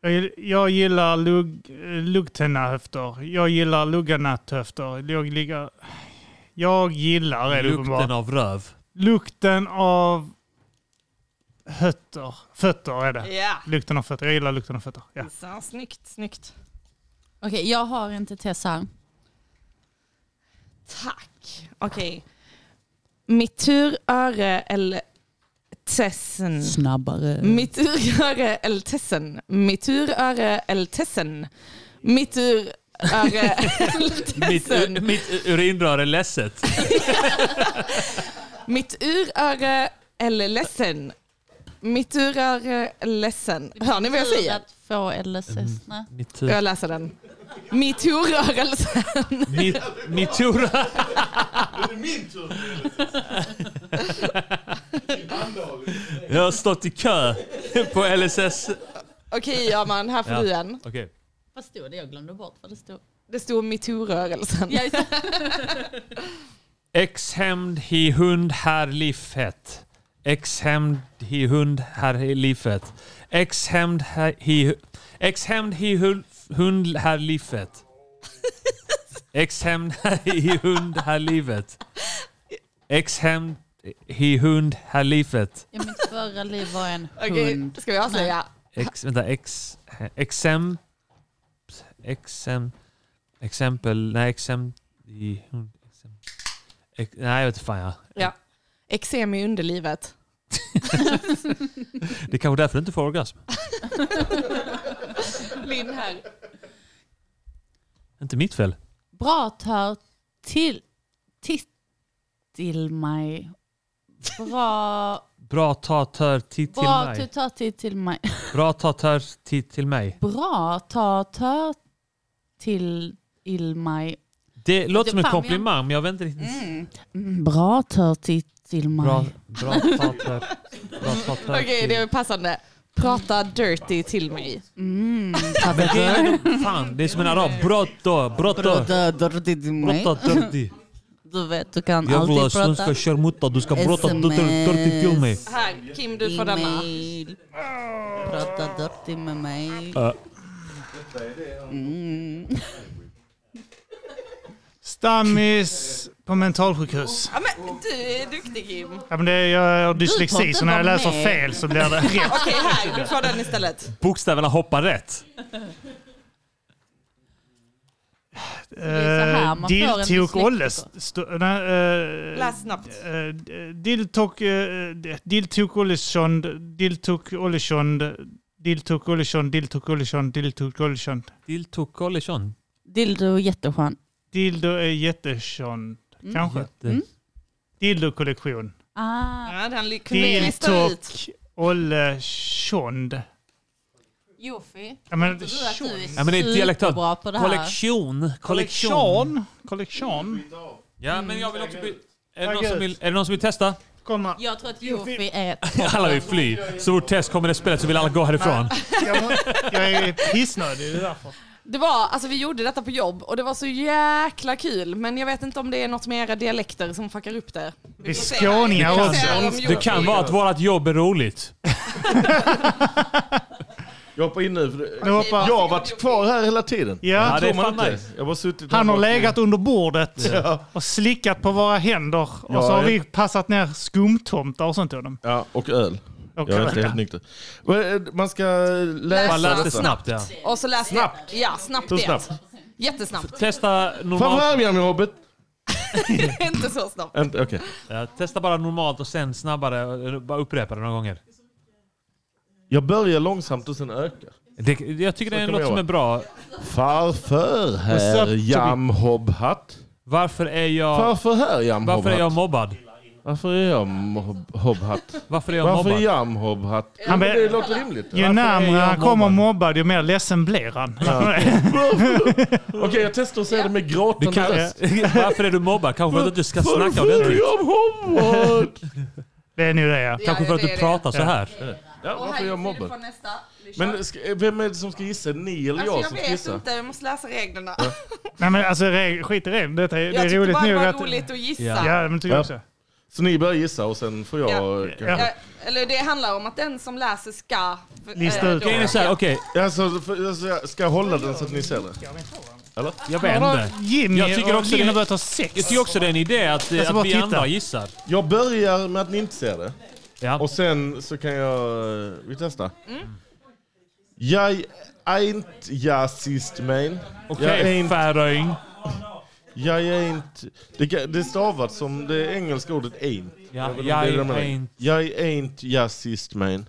[SPEAKER 5] Jag, gill- jag gillar lugg, eh, luggtenna höfter. Jag gillar lugganatthöfter. Jag, ligger- jag gillar är det uppenbart.
[SPEAKER 2] Lukten av röv.
[SPEAKER 5] Lukten av hötter. Fötter är det.
[SPEAKER 22] Ja.
[SPEAKER 5] Lukten av fötter. Jag gillar lukten av fötter. Ja.
[SPEAKER 22] Så, snyggt, snyggt.
[SPEAKER 4] Okej, jag har inte Tess här.
[SPEAKER 22] Tack. Okej. Mitt turöre eller tessen.
[SPEAKER 4] Snabbare.
[SPEAKER 22] Mm. Mitt uröre eller tessen. Mitt uröre eller tessen. Mitt uröre eller
[SPEAKER 2] Mitt,
[SPEAKER 22] tessen.
[SPEAKER 2] u- mitt urinrör är ledset.
[SPEAKER 22] Mitt uröre eller ledsen. Mitt uröre eller ledsen. Hör ni vad jag säger?
[SPEAKER 4] Att få LSS. Nej.
[SPEAKER 2] Mitt,
[SPEAKER 22] Jag läser den. Mitt uröre eller sen.
[SPEAKER 2] mitt, mitt urör...
[SPEAKER 22] Är det min tur?
[SPEAKER 2] Jag har stått i kö på LSS.
[SPEAKER 22] Okej, Arman, här får du en.
[SPEAKER 2] Okej.
[SPEAKER 4] Vad stod det? Jag glömde bort vad det stod.
[SPEAKER 22] Det stod metoo-rörelsen.
[SPEAKER 4] Ja, just
[SPEAKER 2] Exhämnd hi hund här liffet. Exhämnd hi hund här liffet. Exhämnd hi, exhämnd hi hund, hund här liffet. Ex-hämnd i hund här livet. Ex-hämnd i hund här livet.
[SPEAKER 4] I mitt förra liv var jag en hund.
[SPEAKER 22] Okej, ska vi avslöja?
[SPEAKER 2] Ex, vänta, ex, exem, exem, exempel, nej exem, i hund, exem, ex, nej jag vet inte fan jag.
[SPEAKER 22] Ja. Eksem i underlivet.
[SPEAKER 2] Det är kanske därför du inte får orgasm.
[SPEAKER 22] Linn här.
[SPEAKER 2] Inte mitt fel.
[SPEAKER 4] Bra tar till, till, till mig. Bra,
[SPEAKER 2] Bra ta tör tid till
[SPEAKER 4] bra du
[SPEAKER 2] mig.
[SPEAKER 4] tar till, till mig.
[SPEAKER 2] Bra ta tör tid till mig.
[SPEAKER 4] Bra tar tör till, till mig.
[SPEAKER 2] Det låter som en
[SPEAKER 4] Fan, vi-
[SPEAKER 2] komplimang men jag vet inte riktigt.
[SPEAKER 4] Mm. Mm, Bra tar till, till mig.
[SPEAKER 2] Bra, bra ta tör, bra ta tör
[SPEAKER 22] Okej,
[SPEAKER 2] till-
[SPEAKER 22] det är passande. Prata dirty till mig.
[SPEAKER 4] Mm,
[SPEAKER 2] Men det är ändå- Fan, det är som en arab. Brotto, brotto.
[SPEAKER 4] Prata dirty till mig.
[SPEAKER 2] Brotto dirty.
[SPEAKER 4] Du vet, du kan
[SPEAKER 2] Jag vill ha
[SPEAKER 4] alltid
[SPEAKER 2] svenska
[SPEAKER 4] prata.
[SPEAKER 2] kärmuta. Du ska brotta
[SPEAKER 4] SMS.
[SPEAKER 2] dirty till mig.
[SPEAKER 22] Här, Kim du får denna.
[SPEAKER 4] E-mail. Prata dirty med mig.
[SPEAKER 2] Ja.
[SPEAKER 4] Mm.
[SPEAKER 5] Stammis på mentalsjukhus.
[SPEAKER 22] Ja, men, du är duktig Kim.
[SPEAKER 5] Ja, men det är, jag har
[SPEAKER 22] får
[SPEAKER 5] dyslexi
[SPEAKER 22] inte
[SPEAKER 5] så när jag
[SPEAKER 22] vara
[SPEAKER 5] läser
[SPEAKER 22] med.
[SPEAKER 5] fel så blir det
[SPEAKER 22] Okej,
[SPEAKER 5] rätt.
[SPEAKER 22] här. Du får den istället.
[SPEAKER 2] Bokstäverna hoppar rätt.
[SPEAKER 4] så här
[SPEAKER 5] Eh,
[SPEAKER 4] man får en
[SPEAKER 5] Diltok
[SPEAKER 4] dyslektiker.
[SPEAKER 5] Olles. st- nej, eh,
[SPEAKER 22] Läs snabbt.
[SPEAKER 5] eh, Diltok eh, Diltok Ollesson. Diltok Ollesson. Diltok Ollesson. Diltok Ollesson. Diltok Ollesson.
[SPEAKER 2] Diltok Ollesson.
[SPEAKER 4] Dildo är jätteskön.
[SPEAKER 5] Dildo är jättekänd.
[SPEAKER 4] Mm.
[SPEAKER 5] Kanske.
[SPEAKER 4] Jätte. Mm.
[SPEAKER 5] Dildo-kollektion.
[SPEAKER 4] Ah.
[SPEAKER 22] Ja, den li- kunde jag lista ut.
[SPEAKER 5] Diltok Ollesson.
[SPEAKER 4] Jofi,
[SPEAKER 5] Ja, men-
[SPEAKER 4] tror du att du är
[SPEAKER 2] Ja, men det är dialektalt.
[SPEAKER 4] superbra på det här?
[SPEAKER 2] Kollektion. Kollektion.
[SPEAKER 5] Kollektion. Kollektion.
[SPEAKER 2] Ja, men jag vill
[SPEAKER 24] Mm.
[SPEAKER 2] också... bli- Är det,
[SPEAKER 5] Tagga
[SPEAKER 2] någon som
[SPEAKER 5] ut.
[SPEAKER 2] vill, är det någon som vill testa?
[SPEAKER 5] Komma.
[SPEAKER 4] Jag tror att Jofi är...
[SPEAKER 2] Alla vill fly. Så fort Tess kommer i det spelet så vill alla gå härifrån.
[SPEAKER 5] Jag är pissnödig, det är därför.
[SPEAKER 22] Det var, alltså vi gjorde detta på jobb och det var så jäkla kul men jag vet inte om det är något med era dialekter som fuckar upp det.
[SPEAKER 5] Det är
[SPEAKER 22] får se.
[SPEAKER 5] skåningar
[SPEAKER 22] Vi får se om
[SPEAKER 2] Det
[SPEAKER 22] Jofi-
[SPEAKER 2] kan vara att vårt jobb är roligt.
[SPEAKER 24] Jag hoppar in nu. För det,
[SPEAKER 5] Nu hoppar-
[SPEAKER 24] Jag har varit kvar här hela tiden.
[SPEAKER 5] Ja. Ja, det är
[SPEAKER 24] Tror man
[SPEAKER 5] fan
[SPEAKER 24] inte.
[SPEAKER 5] nice.
[SPEAKER 24] Jag har bara suttit
[SPEAKER 5] Han
[SPEAKER 24] här
[SPEAKER 5] har
[SPEAKER 24] bak.
[SPEAKER 5] legat under bordet
[SPEAKER 24] Ja.
[SPEAKER 5] och slickat på våra händer. Och
[SPEAKER 24] Ja,
[SPEAKER 5] så har
[SPEAKER 24] ja.
[SPEAKER 5] vi passat ner skumtomtar och sånt till honom.
[SPEAKER 24] Ja, och öl.
[SPEAKER 5] Och
[SPEAKER 24] jag är
[SPEAKER 5] öl,
[SPEAKER 24] inte
[SPEAKER 5] ja.
[SPEAKER 24] helt nykter. Men, eh, Man ska läsa.
[SPEAKER 2] Man läser snabbt, ja.
[SPEAKER 22] Och så läste snabbt. Ja, snabbt
[SPEAKER 24] Hur
[SPEAKER 22] det.
[SPEAKER 24] snabbt?
[SPEAKER 22] Jättesnabbt.
[SPEAKER 2] Testa
[SPEAKER 24] Fan
[SPEAKER 2] normalt.
[SPEAKER 24] fram Jamie Robert!
[SPEAKER 22] inte så snabbt.
[SPEAKER 24] Inte- Okej.
[SPEAKER 2] Ja, testa bara normalt och sen snabbare. Bara upprepa det några gånger.
[SPEAKER 24] Jag börjar långsamt och sen ökar.
[SPEAKER 2] Det, jag tycker det är
[SPEAKER 24] Så kan
[SPEAKER 2] något
[SPEAKER 24] vi
[SPEAKER 2] som
[SPEAKER 24] göra.
[SPEAKER 2] är bra.
[SPEAKER 24] Farför
[SPEAKER 2] What's up,
[SPEAKER 24] här
[SPEAKER 2] Tobi?
[SPEAKER 24] Jamhobhat.
[SPEAKER 2] Varför är jag...
[SPEAKER 24] Varför här Jamhobhat?
[SPEAKER 2] Varför är jag mobbad?
[SPEAKER 24] Varför är jag mob- hobhat?
[SPEAKER 2] Varför är jag
[SPEAKER 24] Varför är
[SPEAKER 2] mobbad?
[SPEAKER 24] jag mobbhat?
[SPEAKER 5] Han
[SPEAKER 24] Ja, men
[SPEAKER 5] ber-
[SPEAKER 24] det låter rimligt.
[SPEAKER 5] Ju närmare han kommer mobbad, ju mer ledsen blir han.
[SPEAKER 24] Okej, jag testar att säga det med gråtande
[SPEAKER 2] kan- Varför är du mobbad? Kanske för att du ska snacka
[SPEAKER 24] Varför är
[SPEAKER 2] ordentligt.
[SPEAKER 24] jag mobbad?
[SPEAKER 5] Det är nu det ja.
[SPEAKER 2] Kanske för att du pratar så här.
[SPEAKER 24] Ja, varför är jag
[SPEAKER 22] Du får
[SPEAKER 24] mobbad?
[SPEAKER 22] nästa. Vi kör.
[SPEAKER 24] Men ska, vem är det som ska gissa? Ni eller
[SPEAKER 22] alltså,
[SPEAKER 24] jag
[SPEAKER 22] jag
[SPEAKER 24] som
[SPEAKER 22] vet
[SPEAKER 24] ska gissa?
[SPEAKER 22] inte, jag måste läsa reglerna.
[SPEAKER 5] Nej men alltså reg- skit i det. Detta är, det
[SPEAKER 22] Jag
[SPEAKER 5] är
[SPEAKER 22] tyckte
[SPEAKER 5] roligt
[SPEAKER 22] bara det
[SPEAKER 5] nog
[SPEAKER 22] var
[SPEAKER 5] att...
[SPEAKER 22] roligt att gissa.
[SPEAKER 5] Ja, men tycker jag också.
[SPEAKER 24] Så ni börjar gissa och sen får jag...
[SPEAKER 22] Ja.
[SPEAKER 24] kanske-
[SPEAKER 22] Ja, Eller det handlar om att den som läser ska... eh, då-
[SPEAKER 2] okej.
[SPEAKER 24] Alltså, för- alltså, jag ska jag hålla den så att ni ser det? Eller?
[SPEAKER 2] Jag vet inte. Jag tycker också det- Jag tycker också det är en idé att,
[SPEAKER 24] Jag ska bara
[SPEAKER 2] att vi
[SPEAKER 24] titta.
[SPEAKER 2] andra gissar.
[SPEAKER 24] Jag börjar med att ni inte ser det. Och sen så kan jag... eh, Vi testar.
[SPEAKER 22] Mm.
[SPEAKER 24] Jag är inte jazzist, men...
[SPEAKER 2] Okej,
[SPEAKER 24] Jag är inte-
[SPEAKER 2] färöing.
[SPEAKER 24] Jag är inte... Det, kan- det är stavat som det engelska ordet ain't.
[SPEAKER 2] Ja,
[SPEAKER 24] vet inte om
[SPEAKER 2] jag
[SPEAKER 24] det är det de menar.
[SPEAKER 2] ain't.
[SPEAKER 24] Jag är inte jazzist, men...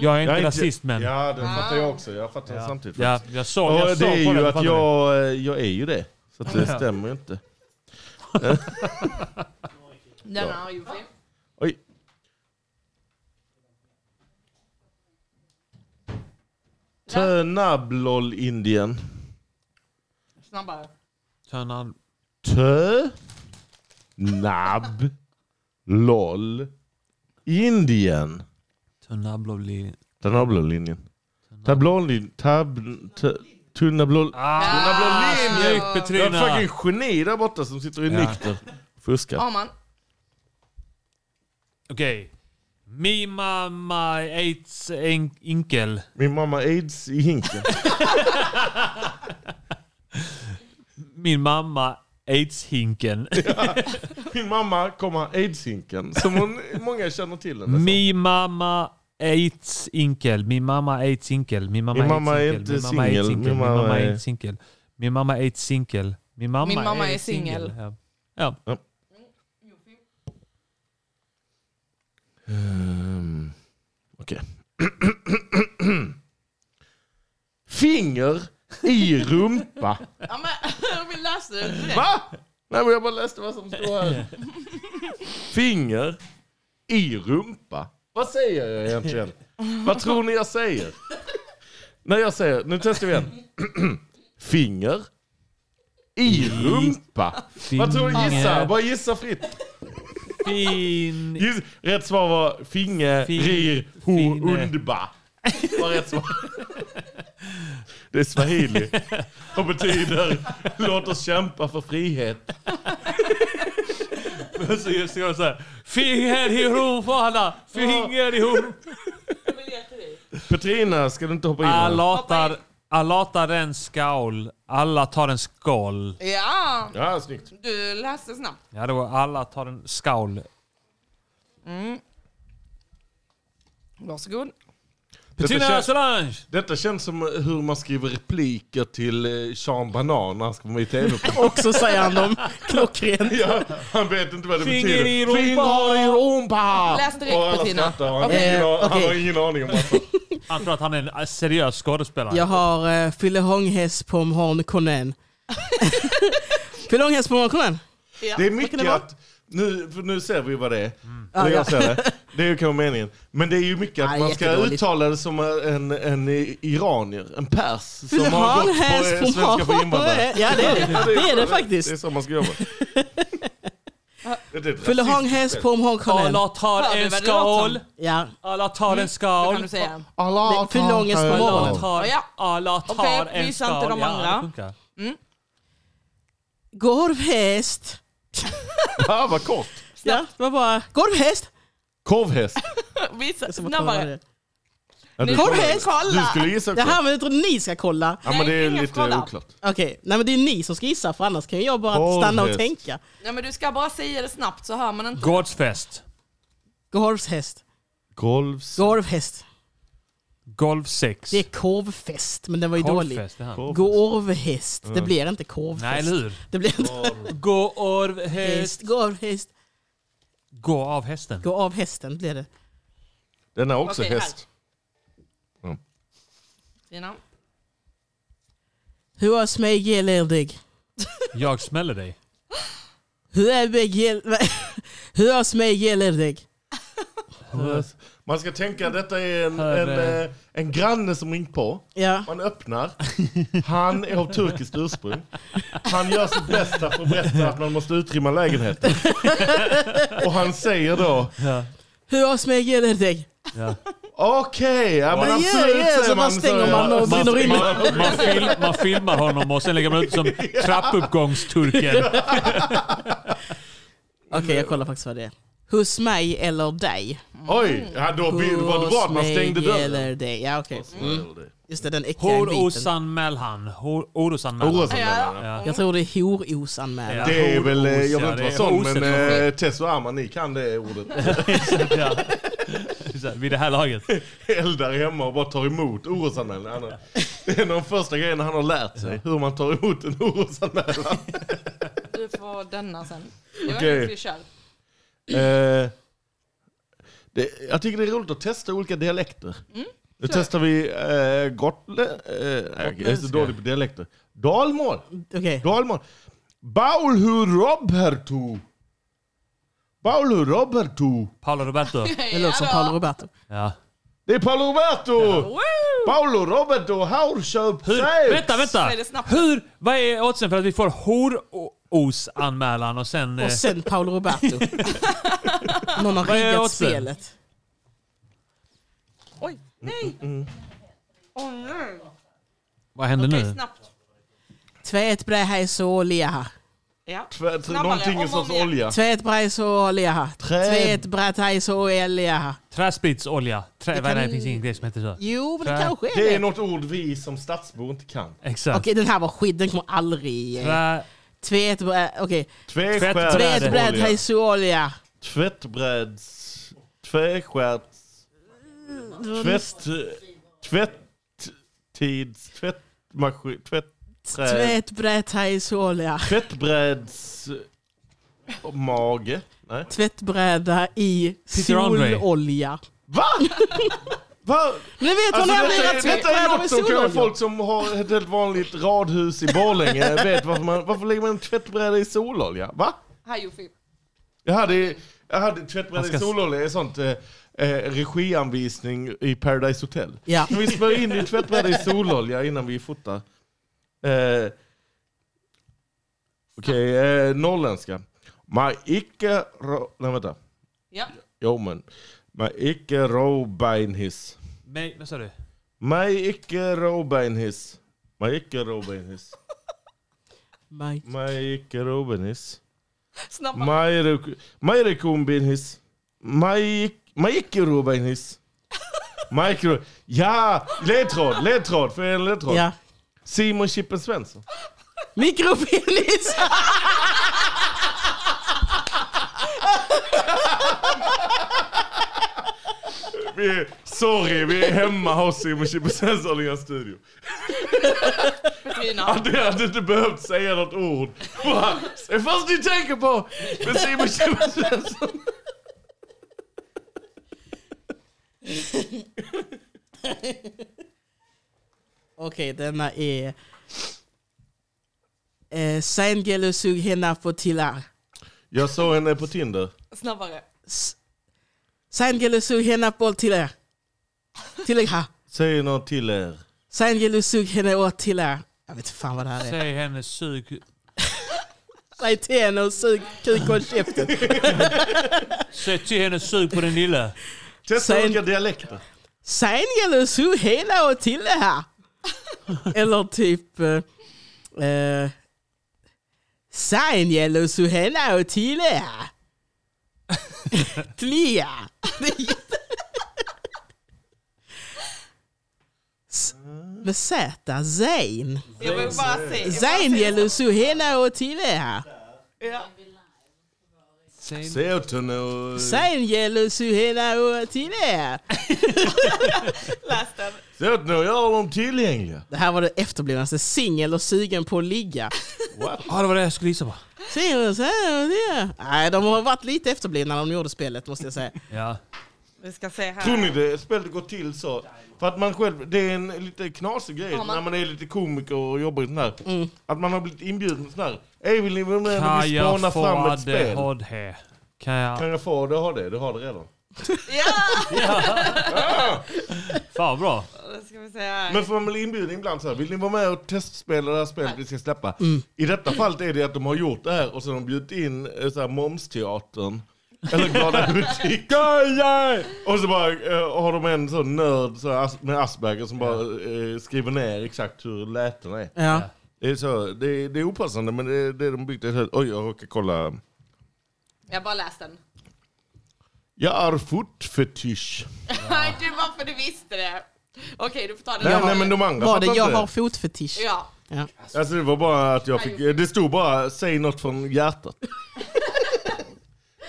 [SPEAKER 2] Jag är inte rasist, men.
[SPEAKER 24] Ja, det fattar jag också. Jag fattar
[SPEAKER 2] Ja.
[SPEAKER 24] samtidigt.
[SPEAKER 2] Ja,
[SPEAKER 24] typ, faktiskt.
[SPEAKER 2] jag såg- jag såg
[SPEAKER 24] Och det är
[SPEAKER 2] på den,
[SPEAKER 24] ju att
[SPEAKER 2] fattar
[SPEAKER 24] jag, eh, jag är ju det. Så att det
[SPEAKER 2] Ja.
[SPEAKER 24] stämmer ju inte.
[SPEAKER 22] Den har ju fel.
[SPEAKER 24] Oj. Tönablol Indien.
[SPEAKER 22] Snabbare.
[SPEAKER 2] Tönan.
[SPEAKER 24] Tö. Nab. Lol. Indien.
[SPEAKER 2] Tönabloli.
[SPEAKER 24] Tönablollinjen. Tablolin. Tab... tö- Tunnablol...
[SPEAKER 2] Ah, snyggt
[SPEAKER 24] Det är
[SPEAKER 2] Petrina!
[SPEAKER 24] ett fucking geni där borta som sitter i
[SPEAKER 2] Ja.
[SPEAKER 24] nykter. Fuskar.
[SPEAKER 22] Arman.
[SPEAKER 2] Okej. Mi mamma aids en- inkel.
[SPEAKER 24] Min mamma aids i hinken.
[SPEAKER 2] min mamma aids-hinken.
[SPEAKER 24] Min mamma, komma, aids-hinken. Som hon, många känner till henne som.
[SPEAKER 2] Min mamma aids-inkel. Min mamma aids-inkel. Min mamma
[SPEAKER 24] Min mamma är
[SPEAKER 2] aids-inkel.
[SPEAKER 24] inte
[SPEAKER 2] Min mamma aids-inkel.
[SPEAKER 24] singel. Min
[SPEAKER 2] Min
[SPEAKER 24] mamma
[SPEAKER 2] mamma
[SPEAKER 24] är-
[SPEAKER 2] aids-inkel. Min mamma aids-inkel. Min mamma,
[SPEAKER 22] Min mamma är
[SPEAKER 2] singel.
[SPEAKER 22] singel.
[SPEAKER 2] Ja. Ja.
[SPEAKER 24] Ehm, Okej. Finger i rumpa.
[SPEAKER 22] Ja, men vi läste det direkt.
[SPEAKER 24] Va? Nej, men jag bara läste vad som stod här. Finger i rumpa. Vad säger jag egentligen? Vad tror ni jag säger? När jag säger, nu testar vi igen. Finger i rumpa. Vad tror ni? Gissa,
[SPEAKER 2] Finger.
[SPEAKER 24] bara gissa fritt.
[SPEAKER 2] Fin...
[SPEAKER 24] Giss, rätt svar var finge,
[SPEAKER 2] Fin-
[SPEAKER 24] rir, ho, undba. Var rätt svar. Det är swahili och betyder låt oss kämpa för frihet.
[SPEAKER 2] Men så just jag så här. Finger i rumpan! Finger i rumpan!
[SPEAKER 24] Petrina, ska du inte hoppa in? här?
[SPEAKER 2] Alla tar- alla tar en skål. Alla tar en skål.
[SPEAKER 22] Ja.
[SPEAKER 24] Ja, snyggt.
[SPEAKER 22] Du läste snabbt.
[SPEAKER 2] Ja, det var alla tar en skål.
[SPEAKER 22] Mm. Varsågod. alltså-
[SPEAKER 2] Petrina Solange!
[SPEAKER 24] Detta känns som eh, hur man skriver repliker till eh, Sean Banan när han ska vara med i tv
[SPEAKER 25] Och så säger han dem klockrent.
[SPEAKER 24] ja, han vet inte vad det
[SPEAKER 25] Finger
[SPEAKER 24] betyder.
[SPEAKER 25] i rumpa.
[SPEAKER 24] Finger i rumpa!
[SPEAKER 25] Läs direkt,
[SPEAKER 24] Och alla
[SPEAKER 25] Petrina.
[SPEAKER 24] skrattar och Han,
[SPEAKER 25] Okej.
[SPEAKER 24] har ingen
[SPEAKER 25] Eh,
[SPEAKER 24] an- han har
[SPEAKER 25] okej.
[SPEAKER 24] ingen aning om vad
[SPEAKER 2] Han tror att han är en eh, seriös skådespelare.
[SPEAKER 25] Jag har uh, Fillehånghäst på Mhan Konen. Fillehånghäst på Mhan Konen.
[SPEAKER 24] Det är
[SPEAKER 25] Vad kan
[SPEAKER 24] mycket
[SPEAKER 25] det vara?
[SPEAKER 24] att, nu, för nu ser vi vad det är. Mm.
[SPEAKER 25] Ah,
[SPEAKER 24] jag
[SPEAKER 25] ja.
[SPEAKER 24] ser det. det är ju kanske meningen. Men det är ju mycket att
[SPEAKER 25] Ah,
[SPEAKER 24] man ska
[SPEAKER 25] jättedåligt.
[SPEAKER 24] uttala det som en, en iranier, en pers som
[SPEAKER 25] Vill
[SPEAKER 24] har
[SPEAKER 25] ha en
[SPEAKER 24] gått på
[SPEAKER 25] häst
[SPEAKER 24] eh,
[SPEAKER 25] på
[SPEAKER 24] svenska för
[SPEAKER 25] magen?
[SPEAKER 24] invandrare.
[SPEAKER 25] Ja, det är det. Det är det faktiskt.
[SPEAKER 24] Det är så man ska jobba. Det är ett
[SPEAKER 25] Fillehånghäst
[SPEAKER 24] rasistiskt
[SPEAKER 25] på Mhan
[SPEAKER 24] spel.
[SPEAKER 25] Konen.
[SPEAKER 2] Alla tar en skål.
[SPEAKER 25] Ja.
[SPEAKER 2] Alla tar en skål.
[SPEAKER 25] Då kan du säga. Alla Det är för tar långt en på skål.
[SPEAKER 2] Alla tar,
[SPEAKER 25] Ja.
[SPEAKER 2] alla tar
[SPEAKER 25] Okej,
[SPEAKER 2] en
[SPEAKER 25] visa
[SPEAKER 2] skål.
[SPEAKER 25] inte de
[SPEAKER 2] Ja,
[SPEAKER 25] andra.
[SPEAKER 2] det funkar.
[SPEAKER 25] Gorvhäst.
[SPEAKER 24] Ja, vad kort.
[SPEAKER 25] Ja, det var bara gorvhäst.
[SPEAKER 24] Korvhäst.
[SPEAKER 22] Visa
[SPEAKER 25] Så vad kan man göra
[SPEAKER 22] snabbare.
[SPEAKER 25] det?
[SPEAKER 24] Ja, du-
[SPEAKER 25] Korvhäst!
[SPEAKER 24] Du skulle gissa
[SPEAKER 25] Det
[SPEAKER 24] också.
[SPEAKER 25] här men jag tror ni ska kolla.
[SPEAKER 24] Ja, men det är lite oklart.
[SPEAKER 25] Okej, nej men det är ni som ska gissa för annars kan ju jag bara
[SPEAKER 2] Korvhäst.
[SPEAKER 25] stanna och tänka.
[SPEAKER 22] Nej, men du ska bara säga det snabbt så hör man inte.
[SPEAKER 2] Gårdsfest.
[SPEAKER 25] Golvshäst.
[SPEAKER 24] Golvs...
[SPEAKER 25] Golvhäst.
[SPEAKER 2] Golfsex.
[SPEAKER 25] Det är korvfest, men den var ju
[SPEAKER 2] Korvfest, det här.
[SPEAKER 25] dålig.
[SPEAKER 2] Korvfest.
[SPEAKER 25] Gorvhäst. Det
[SPEAKER 2] Mm.
[SPEAKER 25] blir inte korvfest.
[SPEAKER 2] Nej, eller hur?
[SPEAKER 25] Det blir inte...
[SPEAKER 2] Gårvhäst.
[SPEAKER 25] Gorvhäst.
[SPEAKER 2] Gå av hästen.
[SPEAKER 25] Gå av hästen blir det.
[SPEAKER 24] Den är också
[SPEAKER 25] Okej, här.
[SPEAKER 24] häst.
[SPEAKER 22] Tina.
[SPEAKER 25] Hur är smeg eländig?
[SPEAKER 2] Jag smäller dig.
[SPEAKER 25] Hur är meg el... Hur är smeg eländig?
[SPEAKER 24] Man ska tänka att detta är en,
[SPEAKER 25] Här,
[SPEAKER 24] en,
[SPEAKER 25] eh.
[SPEAKER 24] eh, en granne som ringt på.
[SPEAKER 25] Ja.
[SPEAKER 24] Man öppnar. Han är av turkiskt ursprung. Han gör sitt bästa för att berätta att man måste utrymma lägenheten. Och han säger då...
[SPEAKER 25] Hur är smeg eländig?
[SPEAKER 24] Okej, ja, men
[SPEAKER 25] Ja,
[SPEAKER 24] absolut
[SPEAKER 25] ja, ja,
[SPEAKER 24] säger
[SPEAKER 25] så bara
[SPEAKER 24] så-
[SPEAKER 25] stänger man och
[SPEAKER 2] Man,
[SPEAKER 25] brinner inne.
[SPEAKER 2] man, man, film, man filmar honom och sen lägger man ut som trappuppgångsturken.
[SPEAKER 25] Okej, jag kollar faktiskt vad det är. Hos mig eller dig?
[SPEAKER 24] Oj, ja, då var det bra att man
[SPEAKER 25] Hos
[SPEAKER 24] stängde
[SPEAKER 25] mig
[SPEAKER 24] dörren.
[SPEAKER 25] eller dig, ja okej. Mm. Just det, den äckliga inviten.
[SPEAKER 2] Horosanmälan. Hor- Orosanmälan.
[SPEAKER 25] Orosanmälan,
[SPEAKER 2] Ja.
[SPEAKER 25] Jag tror det är horosanmälan.
[SPEAKER 24] Det är väl, eh, jag vill
[SPEAKER 2] Ja,
[SPEAKER 24] inte
[SPEAKER 2] det
[SPEAKER 24] vara
[SPEAKER 2] är
[SPEAKER 24] sån
[SPEAKER 2] oset
[SPEAKER 24] men
[SPEAKER 2] som-
[SPEAKER 24] eh, Tess och Arman ni kan det ordet.
[SPEAKER 2] Så här, Vid det här laget.
[SPEAKER 24] Eldar hemma och bara tar emot orosanmälan. Han har- Det är en av de första grejerna han har lärt sig, hur man tar emot en orosanmälan.
[SPEAKER 22] Du får denna sen. Det var
[SPEAKER 24] Okej.
[SPEAKER 22] en klyschad.
[SPEAKER 24] Eh, det, jag tycker det är roligt att testa olika dialekter.
[SPEAKER 25] Mm,
[SPEAKER 24] Nu testar vi eh, gotle, eh, jag är så
[SPEAKER 25] Gotländska.
[SPEAKER 24] dålig på dialekter. Dalmål!
[SPEAKER 25] Okay.
[SPEAKER 24] Dalmål. Baulhu Roberto! Baulhu Roberto!
[SPEAKER 2] Paolo Roberto.
[SPEAKER 25] Det låter som Paolo Roberto.
[SPEAKER 2] Ja.
[SPEAKER 24] Det är Paolo Roberto! Paolo Roberto Haurköp
[SPEAKER 2] Hur, vänta, vänta!
[SPEAKER 25] Säg det snabbt.
[SPEAKER 2] Hur, vad är oddsen för att vi får horosanmälan och sen... eh,
[SPEAKER 25] Och sen Paolo Roberto. Någon har
[SPEAKER 2] Vad är
[SPEAKER 25] riggat
[SPEAKER 2] oddsen?
[SPEAKER 25] spelet.
[SPEAKER 22] Oj, nej! Åh nej!
[SPEAKER 2] Vad händer
[SPEAKER 22] Okej,
[SPEAKER 2] nu?
[SPEAKER 22] snabbt.
[SPEAKER 25] Tvätt brähäs och leha.
[SPEAKER 22] Ja. Ja.
[SPEAKER 24] Tvä- t- någonting i sorts olja.
[SPEAKER 25] Tvättbrejs och olja. här.
[SPEAKER 2] Trä-
[SPEAKER 25] Tvättbrejs och olja. här.
[SPEAKER 2] Träspritsolja. Trä,
[SPEAKER 25] Det
[SPEAKER 2] vad är det
[SPEAKER 25] kan-
[SPEAKER 2] finns ingen grej som heter så.
[SPEAKER 25] Jo, men det
[SPEAKER 2] Trä-
[SPEAKER 25] kanske är
[SPEAKER 24] Det är
[SPEAKER 25] det.
[SPEAKER 24] något ord vi som stadsbor inte kan.
[SPEAKER 2] Exakt.
[SPEAKER 25] Okej, den här var skit. Den kommer aldrig... eh,
[SPEAKER 24] Trä-
[SPEAKER 25] Tvättbrä... Okej.
[SPEAKER 24] Tvättbräd.
[SPEAKER 25] Tvättbräd,
[SPEAKER 24] Olja.
[SPEAKER 25] hejsolja.
[SPEAKER 24] Tvättbräds... Tvärskärts... Tvätt... Tvättids... Tvättmaskin... Tvättbräd...
[SPEAKER 25] Tvättbräd, hejsolja.
[SPEAKER 24] Tvättbräds... Mage? Nej.
[SPEAKER 25] Tvättbräda i
[SPEAKER 24] Peter Andre.
[SPEAKER 25] sololja.
[SPEAKER 24] Va? Va? Alltså,
[SPEAKER 25] Nu vet man aldrig
[SPEAKER 24] detta, är,
[SPEAKER 25] att
[SPEAKER 24] detta är
[SPEAKER 25] tvättbrädor
[SPEAKER 24] något
[SPEAKER 25] med
[SPEAKER 24] som kanske
[SPEAKER 25] sololja.
[SPEAKER 24] folk som har ett helt vanligt radhus i Borlänge vet varför man... Varför lägger man en tvättbräda i sololja? Va?
[SPEAKER 22] Hej Jofip.
[SPEAKER 24] Jag hade, jag hade tvättbräda
[SPEAKER 2] Man ska-
[SPEAKER 24] i sololja, ett sånt eh, eh, regianvisning i Paradise Hotel.
[SPEAKER 25] Ja.
[SPEAKER 24] Kan vi smörjer in i tvättbräda i sololja innan vi fotar. Eh, Okej, eh, norrländska. Man icke... Ro, nej vänta.
[SPEAKER 22] Ja.
[SPEAKER 24] Jo men. Man icke robeinhiss.
[SPEAKER 2] Nej, vad sa du?
[SPEAKER 24] Man icke robeinhiss. Man icke robeinhiss.
[SPEAKER 25] Mike.
[SPEAKER 24] Mike Robenis.
[SPEAKER 22] Snabbare.
[SPEAKER 24] Mike Kumbinis. Mike Robenis. Mike Ro- Ja! Ledtråd, ledtråd. För en ledtråd.
[SPEAKER 25] Ja.
[SPEAKER 24] Simon Chippen Svensson.
[SPEAKER 25] Mikropenis!
[SPEAKER 24] Vi, sorry, vi är hemma hos Simon Chippen Svensson i hans studio.
[SPEAKER 22] Petrina.
[SPEAKER 24] Att jag hade inte behövt säga något ord. Bara, Det första ni tänker på med Simon Chippen Svensson.
[SPEAKER 25] Okej, denna är... Eh, Sengelo sug henna på tillar.
[SPEAKER 24] Jag såg henne på Tinder.
[SPEAKER 22] Snabbare.
[SPEAKER 25] Sengelo sug henna på tillar. Tillar ha.
[SPEAKER 24] Säg något till er.
[SPEAKER 25] Sengelo sug henne åt tillar. Jag vet inte fan vad det här är.
[SPEAKER 2] Säg henne sug...
[SPEAKER 25] Säg till henne och sug kuk och käften.
[SPEAKER 2] Säg till henne sug på den lilla.
[SPEAKER 24] Testa olika dialekter.
[SPEAKER 25] Sengelo sug henna åt tillar ha. Eller typ... eh, Eh, Sengelo sug henna åt tillar ha. Tlia. S- Med Z, Zain.
[SPEAKER 22] Jag vill bara säga-
[SPEAKER 25] Zain gäller Suhena och Tilea.
[SPEAKER 22] Ja.
[SPEAKER 24] Säg åt henne och...
[SPEAKER 25] Zain gäller Suhena och Tilea.
[SPEAKER 24] Säg åt henne och gör dem tillgängliga.
[SPEAKER 25] Det här var det efterblivnaste. Singel och sugen på att ligga.
[SPEAKER 2] Ja, det var det jag skulle gissa på.
[SPEAKER 25] Singel och sugen och ligga. Nej, de har varit lite efterblivna när de gjorde spelet måste jag säga.
[SPEAKER 2] Ja.
[SPEAKER 22] Vi ska se här.
[SPEAKER 24] Tror ni det spelet går till så? För att man själv, det är en lite knasig grej
[SPEAKER 22] Har man- Mm.
[SPEAKER 24] när man är lite komiker och jobbar i sån här. Att man har blivit inbjuden till sån här. Ey vill ni vara med när
[SPEAKER 2] Kan
[SPEAKER 24] vi
[SPEAKER 2] jag
[SPEAKER 24] spanar
[SPEAKER 2] få
[SPEAKER 24] fram ett spel?
[SPEAKER 2] ADHD? Kan
[SPEAKER 24] Kan
[SPEAKER 2] jag...
[SPEAKER 24] jag få det? Har det? Du har det redan.
[SPEAKER 2] Fan bra.
[SPEAKER 22] Då ska vi se här.
[SPEAKER 24] Men får man väl inbjuden ibland så här, vill ni vara med och testspela det här spelet vi ska släppa?
[SPEAKER 25] Mm.
[SPEAKER 24] I detta fallet är det att de har gjort det här och så har de bjudit in eh, så här, Momsteatern. Eller Glada Hudik. och så bara, eh, har de en sån nörd så här, as- med Asperger som bara eh, skriver ner exakt hur lätena är.
[SPEAKER 25] Ja.
[SPEAKER 24] Det, är så, det, är- det är opassande men det är det de byggt. det är så här, Oj, jag råkar kolla.
[SPEAKER 22] Jag bara läste den.
[SPEAKER 24] Jag är fotfetisch.
[SPEAKER 22] du varför du visste det. Okej, du får ta den.
[SPEAKER 24] Nej, nej men de andra
[SPEAKER 25] Var det
[SPEAKER 24] fattar
[SPEAKER 25] jag
[SPEAKER 24] inte
[SPEAKER 25] har fotfetisch?
[SPEAKER 22] Ja.
[SPEAKER 25] Ja.
[SPEAKER 24] Alltså det var bara att jag fick, det stod bara säg något från hjärtat.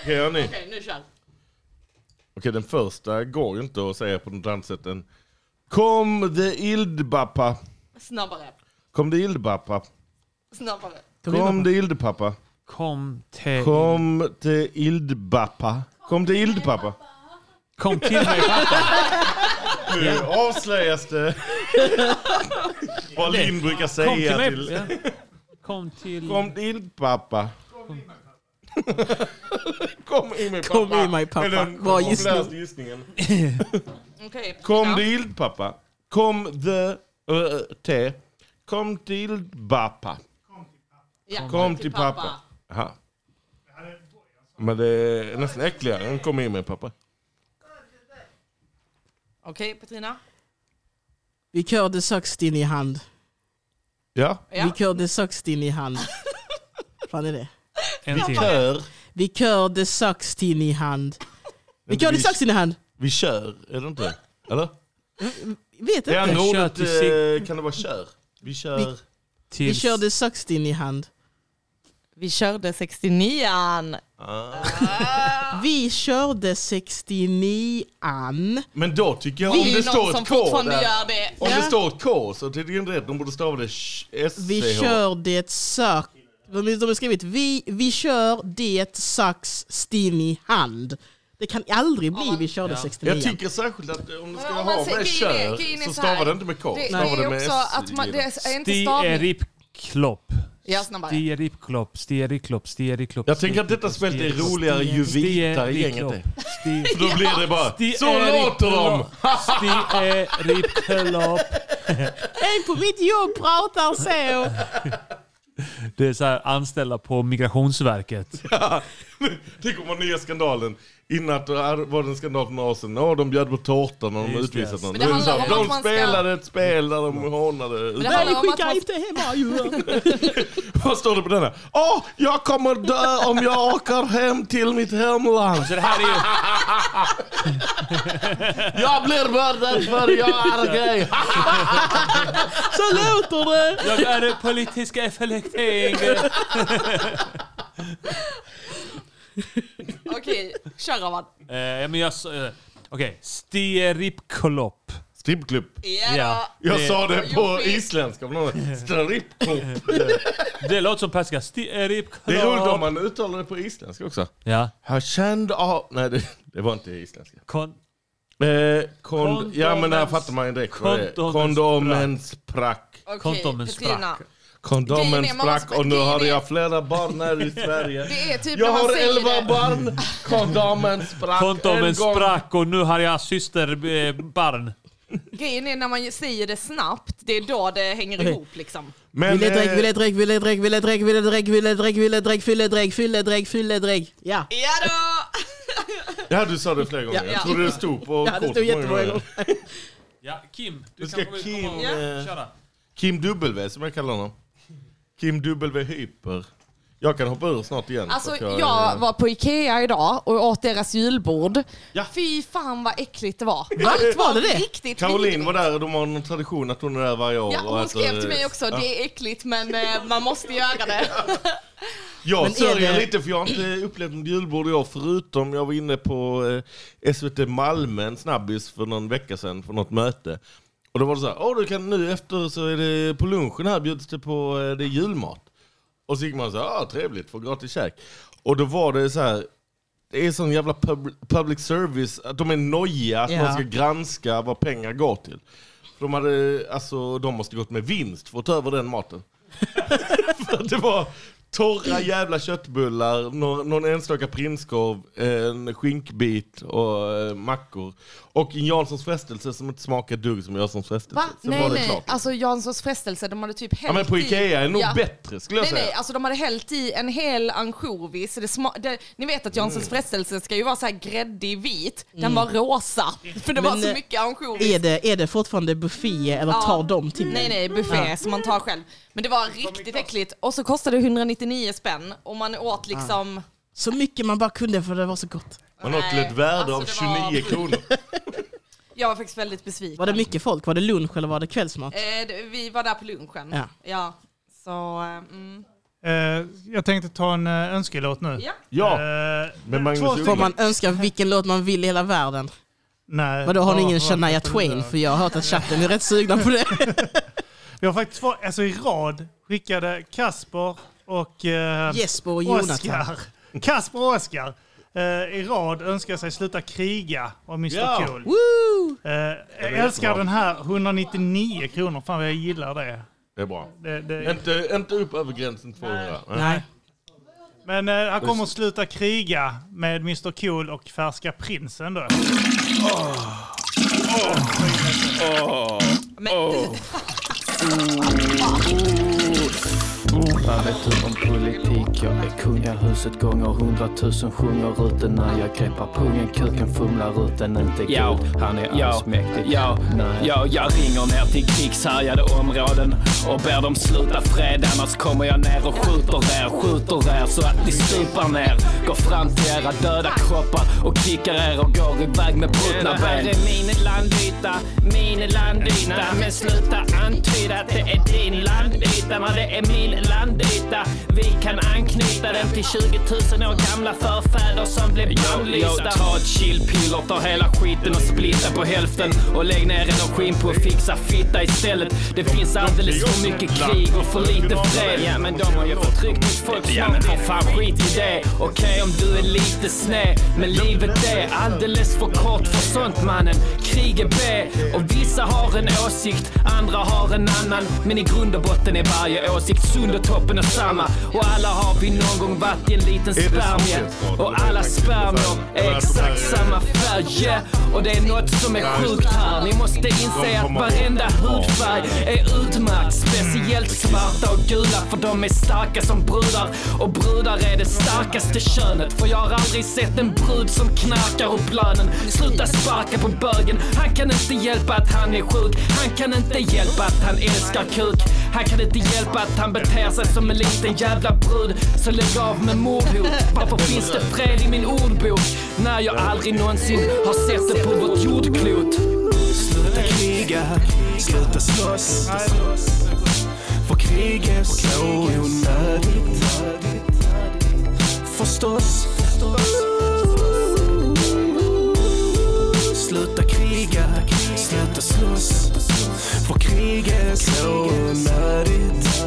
[SPEAKER 24] Okej, hörni.
[SPEAKER 22] Okej, nu kör.
[SPEAKER 24] Okej, den första går ju inte att säga på något annat sätt än Kom de ildbappa.
[SPEAKER 22] Snabbare.
[SPEAKER 24] Kom de ildbappa.
[SPEAKER 22] Snabbare.
[SPEAKER 24] Kom de ildpappa.
[SPEAKER 2] Kom till...
[SPEAKER 24] Kom de ildbappa. Kom de ildpappa.
[SPEAKER 2] Kom till mig pappa.
[SPEAKER 24] Nu avslöjas det vad Linn brukar
[SPEAKER 2] Kom till
[SPEAKER 24] säga
[SPEAKER 2] mig.
[SPEAKER 24] till...
[SPEAKER 2] Ja. Kom till...
[SPEAKER 24] Kom de ildpappa. Kom i mig pappa.
[SPEAKER 25] Kom i mig, pappa.
[SPEAKER 24] Är den
[SPEAKER 25] Bra gissning.
[SPEAKER 24] populäraste gissningen.
[SPEAKER 22] Okej.
[SPEAKER 24] Kom
[SPEAKER 22] Ja.
[SPEAKER 24] till pappa. Kom the uh, te. Kom till pappa.
[SPEAKER 22] Ja,
[SPEAKER 24] Kom till pappa. Aha. Men det är nästan äckligare än kom in med pappa.
[SPEAKER 22] Okej, Petrina.
[SPEAKER 25] Vi kör det sökst in i hand.
[SPEAKER 24] Ja.
[SPEAKER 22] Ja.
[SPEAKER 25] Vi kör det sökst in i hand. fan är det?
[SPEAKER 2] En till. Vikör.
[SPEAKER 25] Vikör det sax till i hand. Vikör det sax till i hand.
[SPEAKER 24] Vi kör, är det inte? Eller?
[SPEAKER 25] Vet inte.
[SPEAKER 24] Det andra
[SPEAKER 25] Kör
[SPEAKER 24] ordet
[SPEAKER 25] till sig-
[SPEAKER 24] eh, kan det vara kör. Vi kör...
[SPEAKER 25] Vi- Vi körde sax till i hand.
[SPEAKER 22] Vi körde 69an.
[SPEAKER 24] Ah.
[SPEAKER 25] Vi körde 69an.
[SPEAKER 24] Men då tycker jag
[SPEAKER 25] Vi
[SPEAKER 24] om
[SPEAKER 25] är
[SPEAKER 24] det
[SPEAKER 25] någon
[SPEAKER 24] står
[SPEAKER 25] som
[SPEAKER 24] ett K
[SPEAKER 25] fortfarande
[SPEAKER 24] där.
[SPEAKER 25] gör det.
[SPEAKER 24] Om
[SPEAKER 25] Ja.
[SPEAKER 24] det står ett K så tycker jag inte rätt. De borde stava det sh- SCH.
[SPEAKER 25] Vi kör det sax... De de har skrivit vi, vi kör det sax stin i hand. Det kan aldrig bli vi körde
[SPEAKER 24] Ja.
[SPEAKER 25] 69
[SPEAKER 24] Jag tycker särskilt att eh, om du ska
[SPEAKER 22] Men om
[SPEAKER 24] ha
[SPEAKER 22] man säger-
[SPEAKER 24] med
[SPEAKER 22] grejen är-
[SPEAKER 24] kör
[SPEAKER 22] grejen är
[SPEAKER 24] så
[SPEAKER 22] så
[SPEAKER 24] stavar
[SPEAKER 22] här.
[SPEAKER 24] det inte med K.
[SPEAKER 22] Det-
[SPEAKER 24] Stavar
[SPEAKER 22] det är
[SPEAKER 24] det med
[SPEAKER 22] också
[SPEAKER 24] S.
[SPEAKER 22] att man- det är inte stavning.
[SPEAKER 2] Stieripklopp.
[SPEAKER 22] Ja, snabbare.
[SPEAKER 2] Stieripklopp, stieriklopp, stieriklopp.
[SPEAKER 24] Jag tänker att detta spelet är roligare ju vitare gänget är. För då blir det bara, så låter de!
[SPEAKER 2] Stieriklopp.
[SPEAKER 25] En på mitt jobb pratar så.
[SPEAKER 2] Det är så här anställda på Migrationsverket.
[SPEAKER 24] Ja, Tänk om den nya skandalen. Innan det här var det en skandal för några år sedan. Ja, de bjöd på tårta när de
[SPEAKER 2] Just det.
[SPEAKER 24] utvisat någon.
[SPEAKER 2] Men
[SPEAKER 24] Nu
[SPEAKER 2] det
[SPEAKER 24] är det så
[SPEAKER 2] handlar
[SPEAKER 24] här,
[SPEAKER 2] om att
[SPEAKER 24] De
[SPEAKER 2] man ska-
[SPEAKER 24] spelade ett spel där de hånade
[SPEAKER 25] Men det handlar om att man... inte hemma ju.
[SPEAKER 24] Vad står det på denna? Åh, jag kommer dö om jag åker hem till mitt hemland.
[SPEAKER 2] Så det här är
[SPEAKER 24] jag blir mördad för jag är gay.
[SPEAKER 25] Så låter det.
[SPEAKER 2] Jag är politiska effekting.
[SPEAKER 22] Okej, kör Ravan.
[SPEAKER 2] Eh, men jag... s- Eh, Okej, stieripklopp.
[SPEAKER 24] Strippklubb.
[SPEAKER 22] Ja.
[SPEAKER 24] Jag sa det på isländska. men någon- Strippklubb.
[SPEAKER 2] Det låter som persiska. eh, Stieripklopp.
[SPEAKER 24] Det är roligt om man uttalar det på isländska också.
[SPEAKER 2] Ja.
[SPEAKER 24] Jag kände av... Nej, det, det var inte isländska.
[SPEAKER 2] Kon...
[SPEAKER 24] Eh, kon, ja, men där
[SPEAKER 2] Kondomens-
[SPEAKER 24] fattar man ju direkt vad det är.
[SPEAKER 2] kondomens
[SPEAKER 24] Kondomens sprack.
[SPEAKER 22] Okej,
[SPEAKER 2] Kondomen
[SPEAKER 22] Petrina.
[SPEAKER 2] sprack.
[SPEAKER 24] Kondomen
[SPEAKER 22] Grejen är, man måste-
[SPEAKER 24] sprack och nu
[SPEAKER 22] grejen
[SPEAKER 24] har
[SPEAKER 22] är-
[SPEAKER 24] jag flera barn här i Sverige.
[SPEAKER 22] Det är typ
[SPEAKER 24] jag
[SPEAKER 22] när man
[SPEAKER 24] har
[SPEAKER 22] säger
[SPEAKER 24] elva
[SPEAKER 22] det.
[SPEAKER 24] barn. Kondomen sprack
[SPEAKER 2] Kontomen
[SPEAKER 24] en gång.
[SPEAKER 2] sprack och nu har jag syster eh, barn.
[SPEAKER 22] Grejen är när man säger det snabbt, det är då det hänger
[SPEAKER 25] Okej.
[SPEAKER 22] ihop liksom.
[SPEAKER 24] eh,
[SPEAKER 25] Villedrägg, villedrägg, villedrägg, villedrägg, villedrägg, villedrägg, villedrägg, fylledrägg, fylledrägg, fylledrägg. Ja.
[SPEAKER 22] Ja då!
[SPEAKER 24] Ja, du sa det flera gånger.
[SPEAKER 25] Ja,
[SPEAKER 24] Jag
[SPEAKER 25] ja.
[SPEAKER 24] trodde det stod på
[SPEAKER 25] Ja, det
[SPEAKER 24] kort
[SPEAKER 25] stod
[SPEAKER 24] många
[SPEAKER 25] jättemånga gånger.
[SPEAKER 2] Ja, Kim. Du
[SPEAKER 24] Nu ska
[SPEAKER 2] kanske vill
[SPEAKER 24] Kim...
[SPEAKER 2] komma och
[SPEAKER 24] eh,
[SPEAKER 2] köra.
[SPEAKER 24] Kim W som jag kallar honom. Kim W Hyper. Jag kan hoppa ur snart igen. för
[SPEAKER 22] Alltså
[SPEAKER 24] att
[SPEAKER 22] jag
[SPEAKER 24] eh,
[SPEAKER 22] var på Ikea idag och åt deras julbord. Fy fan vad äckligt det var. Allt var riktigt
[SPEAKER 24] Caroline
[SPEAKER 22] vidrigt.
[SPEAKER 24] var där och de har någon tradition att hon är där varje år.
[SPEAKER 22] Ja, och
[SPEAKER 24] och
[SPEAKER 22] hon
[SPEAKER 24] äter-
[SPEAKER 22] skrev till mig också,
[SPEAKER 24] Ja.
[SPEAKER 22] det är äckligt men eh, man måste göra det.
[SPEAKER 24] Jag
[SPEAKER 22] Men är
[SPEAKER 24] sörjer
[SPEAKER 22] det-
[SPEAKER 24] lite för jag har inte upplevt något julbord i år förutom jag var inne på eh, SVT Malmö, en snabbis för någon vecka sedan för något möte. Och då var det så här, "Åh, du kan nu efter så är det på lunchen här bjuds det på eh, det är julmat. Och så gick man så här, ah, trevligt, får gratis käk. Och då var det så här, det är sån jävla pub- public service, att de är nojiga att
[SPEAKER 25] Ja.
[SPEAKER 24] man ska granska vad pengar går till. För de, hade, alltså, de måste gått med vinst för att ta över den maten. För att det var torra jävla köttbullar, någon, någon enstaka prinskorv, en skinkbit och eh, mackor. Och en Janssons frestelse som inte smakar dugg som Janssons frestelse.
[SPEAKER 22] Va?
[SPEAKER 24] Sen
[SPEAKER 22] nej
[SPEAKER 24] Typ. var det
[SPEAKER 22] nej,
[SPEAKER 24] klart.
[SPEAKER 22] alltså Janssons frestelse, de hade typ hällt
[SPEAKER 24] Ja, men på
[SPEAKER 22] i-
[SPEAKER 24] Ikea är nog bättre, skulle jag
[SPEAKER 22] nej,
[SPEAKER 24] säga.
[SPEAKER 22] Nej, alltså de hade hällt i en hel ansjovis. så Det sma- det, ni vet att Janssons
[SPEAKER 25] Mm.
[SPEAKER 22] frestelse ska ju vara så här gräddig vit, den
[SPEAKER 25] Mm.
[SPEAKER 22] var rosa. För det var
[SPEAKER 25] Men,
[SPEAKER 22] så
[SPEAKER 25] eh,
[SPEAKER 22] mycket ansjovis.
[SPEAKER 25] Är det, är det fortfarande buffé eller
[SPEAKER 22] Ja.
[SPEAKER 25] tar de till?
[SPEAKER 22] Nej nej, buffé
[SPEAKER 25] Ja.
[SPEAKER 22] som man tar själv. Men det var riktigt äckligt. Och så kostade det 199 spänn och man
[SPEAKER 25] Ah.
[SPEAKER 22] åt liksom...
[SPEAKER 25] Så mycket man bara kunde för det var så gott.
[SPEAKER 24] Man åt till ett värde
[SPEAKER 22] Alltså,
[SPEAKER 24] av 29 kronor.
[SPEAKER 22] Jag var faktiskt väldigt besviken.
[SPEAKER 25] Var det mycket folk? Var det lunch eller var det kvällsmat?
[SPEAKER 22] Eh, det- vi var där på lunchen.
[SPEAKER 25] Ja.
[SPEAKER 22] Så, eh, mm.
[SPEAKER 5] Eh, jag tänkte ta en eh, önskelåt nu.
[SPEAKER 22] Ja.
[SPEAKER 24] Ja.
[SPEAKER 5] Eh,
[SPEAKER 24] Men
[SPEAKER 5] två stycken.
[SPEAKER 25] Får man önska vilken låt man vill i hela världen?
[SPEAKER 24] Eh,
[SPEAKER 5] Nej.
[SPEAKER 25] Vadå, har ni
[SPEAKER 5] bara
[SPEAKER 25] ingen
[SPEAKER 5] för att
[SPEAKER 25] Shania
[SPEAKER 5] veta hur det
[SPEAKER 25] Twain?
[SPEAKER 5] är.
[SPEAKER 25] För jag har hört att chatten är rätt sugna på det.
[SPEAKER 5] Vi har faktiskt två, alltså i rad skickade Kasper och eh,
[SPEAKER 25] Jesper och Jonathan.
[SPEAKER 5] Oscar. Kasper och Oskar Eh, i rad önskar sig Sluta kriga av Mr
[SPEAKER 25] Ja.
[SPEAKER 5] Cool.
[SPEAKER 25] Woo!
[SPEAKER 5] Eh, jag älskar den här, 199 kronor. Fan vad jag gillar det.
[SPEAKER 24] Det är bra.
[SPEAKER 5] Det- det-
[SPEAKER 24] Inte, inte upp över gränsen 200.
[SPEAKER 5] Men eh, här kommer Sluta kriga med Mr Cool och Färska Prinsen då.
[SPEAKER 24] Åh. Åh.
[SPEAKER 1] Vad vet du om politik? Jag är kungahuset gånger hundratusen sjunger ut den när jag greppar pungen, kuken fumlar ut den, inte
[SPEAKER 7] Ja,
[SPEAKER 1] Gud. Han är
[SPEAKER 7] ja,
[SPEAKER 1] allsmäktig.
[SPEAKER 7] ja,
[SPEAKER 1] Nej.
[SPEAKER 7] ja, jag ringer ner till krigshärjade områden och ber dem sluta fred annars kommer jag ner och skjuter er, skjuter er så att ni stupar ner. Går fram till era döda kroppar och kickar er och går iväg med brutna
[SPEAKER 26] Det här
[SPEAKER 7] ben.
[SPEAKER 26] är min landyta, min landyta. Men sluta antyda att det är din landyta. När det är min landyta. Vi kan anknyta den till 20 000 år gamla förfäder som blev bannlysta.
[SPEAKER 7] Jag tar ett chillpiller, tar hela skiten och splittar på hälften och lägg ner energin på att fixa fitta istället. Det finns alldeles för mycket krig och för lite fred. Ja, men de har ju förtryckt mitt folk Ja, men ta fan skit i det. Okej om du är lite sned, men livet är alldeles för kort för sånt mannen. Krig är B och vissa har en åsikt, andra har en annan. Men i grund och botten är varje åsikt sund och toppen och samma. Och alla har vi någon gång varit i en liten
[SPEAKER 1] Är det så
[SPEAKER 7] spermie.
[SPEAKER 1] det
[SPEAKER 7] Och alla spermier är exakt samma färg. yeah. Och det är något som är sjukt här. Ni måste inse att varenda hudfärg är utmärkt. Speciellt svarta och gula för de är starka som brudar. Och brudar är det starkaste könet. För jag har aldrig sett en brud som knarkar upp lönen. Sluta sparka på bögen. Han kan inte hjälpa att han är sjuk. Han kan inte hjälpa att han älskar kuk. Han kan inte hjälpa att han beter sig som en liten jävla brud. Så lägg av med mordhot. Varför finns det fred i min ordbok? När jag aldrig någonsin har sett det på vårt jordklot.
[SPEAKER 26] Sluta kriga, sluta slåss. För krig är så onödigt. Förstås. Sluta kriga, sluta slåss. För krig är så onödigt.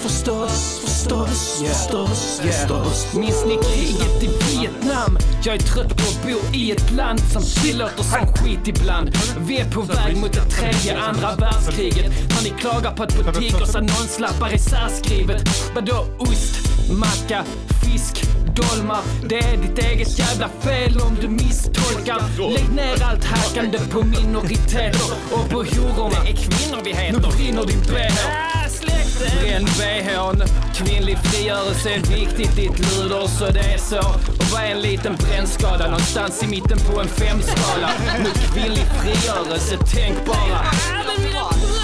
[SPEAKER 7] Förstås, förstås, förstås, förstås. Minns ni kriget i Vietnam? Jag är trött på att bo i ett land som tillåter sån skit ibland. Vi är på väg mot det tredje, andra världskriget. När ni klagar på att butikers annonslappar är särskrivet. Vadå ost, macka, fisk, dolmar? Det är ditt eget jävla fel om du misstolkar. Lägg ner allt hackande på minoriteter och på hororna. Det är kvinnor vi heter. Nu brinner din bh. Bränn bhn. Kvinnlig frigörelse är viktigt i ett luder, så det är så. Och vad är en liten brännskada? Någonstans i mitten på en femskala. Nu kvinnlig frigörelse, tänk bara.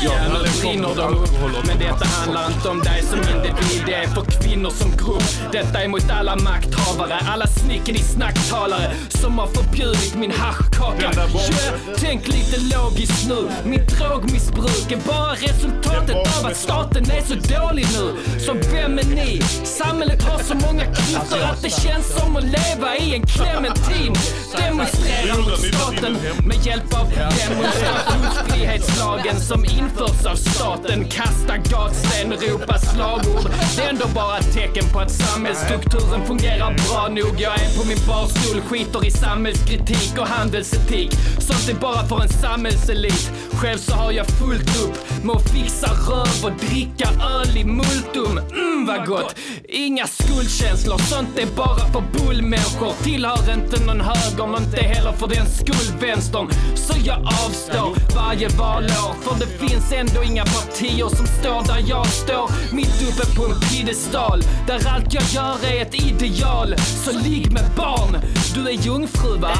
[SPEAKER 7] Ja, nu brinner de upp. Men detta handlar inte om dig som individ. Det är för kvinnor som grupp. Detta är mot alla makthavare, alla snickeri snacktalare som har förbjudit min haschkaka. Den där bomben. Yeah, tänk lite logiskt nu. Mitt drogmissbruk är bara resultatet av att staten är så dålig nu. Så vem är ni? Samhället har så många klyftor att det känns som att leva i en clementin. Demonstrera mot staten med hjälp av demonstrationsfrihetslagen som införs av staten. Kasta gatsten, ropa slagord. Det är ändå bara ett tecken på att samhällsstrukturen fungerar bra nog. Jag är på min barstol, skiter i samhällskritik och handelsetik. Sånt är bara för en samhällselit. Själv så har jag fullt upp med att fixa röv och dricka öl i multum. Mm vad gott! Inga skuldkänslor, sånt är bara för bullmänniskor. Tillhör inte någon höger, inte heller för den skull vänstern. Så jag avstår varje valår. För det finns ändå inga partier som står där jag står. Mitt uppe på en piedestal. Där allt jag gör är ett ideal. Så ligg med barn, du är jungfru va?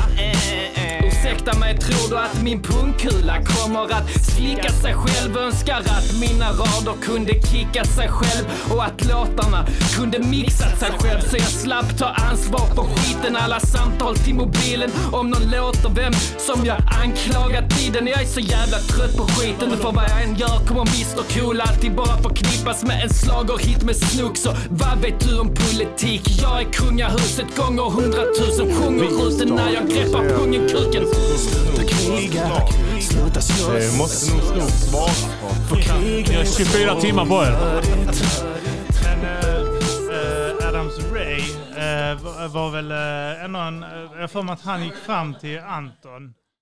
[SPEAKER 7] Ursäkta mig, tror du att min pungkula kommer att slicka sig själv? Önskar att mina rader kunde kicka sig själv och att låtarna kunde mixat sig själv så jag slapp ta ansvar för skiten. Alla samtal till mobilen om någon låter vem som jag anklagat tiden. Jag är så jävla trött på skiten och för vad jag än gör kommer Mr Cool alltid bara förknippas med en slagerhit med Snook. Så vad vet du om politik? Jag är kungahuset gånger hundratusen. Sjunger ut den när jag greppar pungen, kuken.
[SPEAKER 26] Sluta kriga, sluta
[SPEAKER 7] Eh,
[SPEAKER 24] Det
[SPEAKER 26] slåss.
[SPEAKER 24] måste nog Snoop svara på.
[SPEAKER 26] För krig
[SPEAKER 2] Ni har
[SPEAKER 26] är
[SPEAKER 2] 24
[SPEAKER 26] så
[SPEAKER 2] timmar på er.
[SPEAKER 26] onödigt.
[SPEAKER 5] Men eh, eh, Adams Ray eh, var, var väl eh, ändå en... eh, Jag har för mig att han gick fram till Anton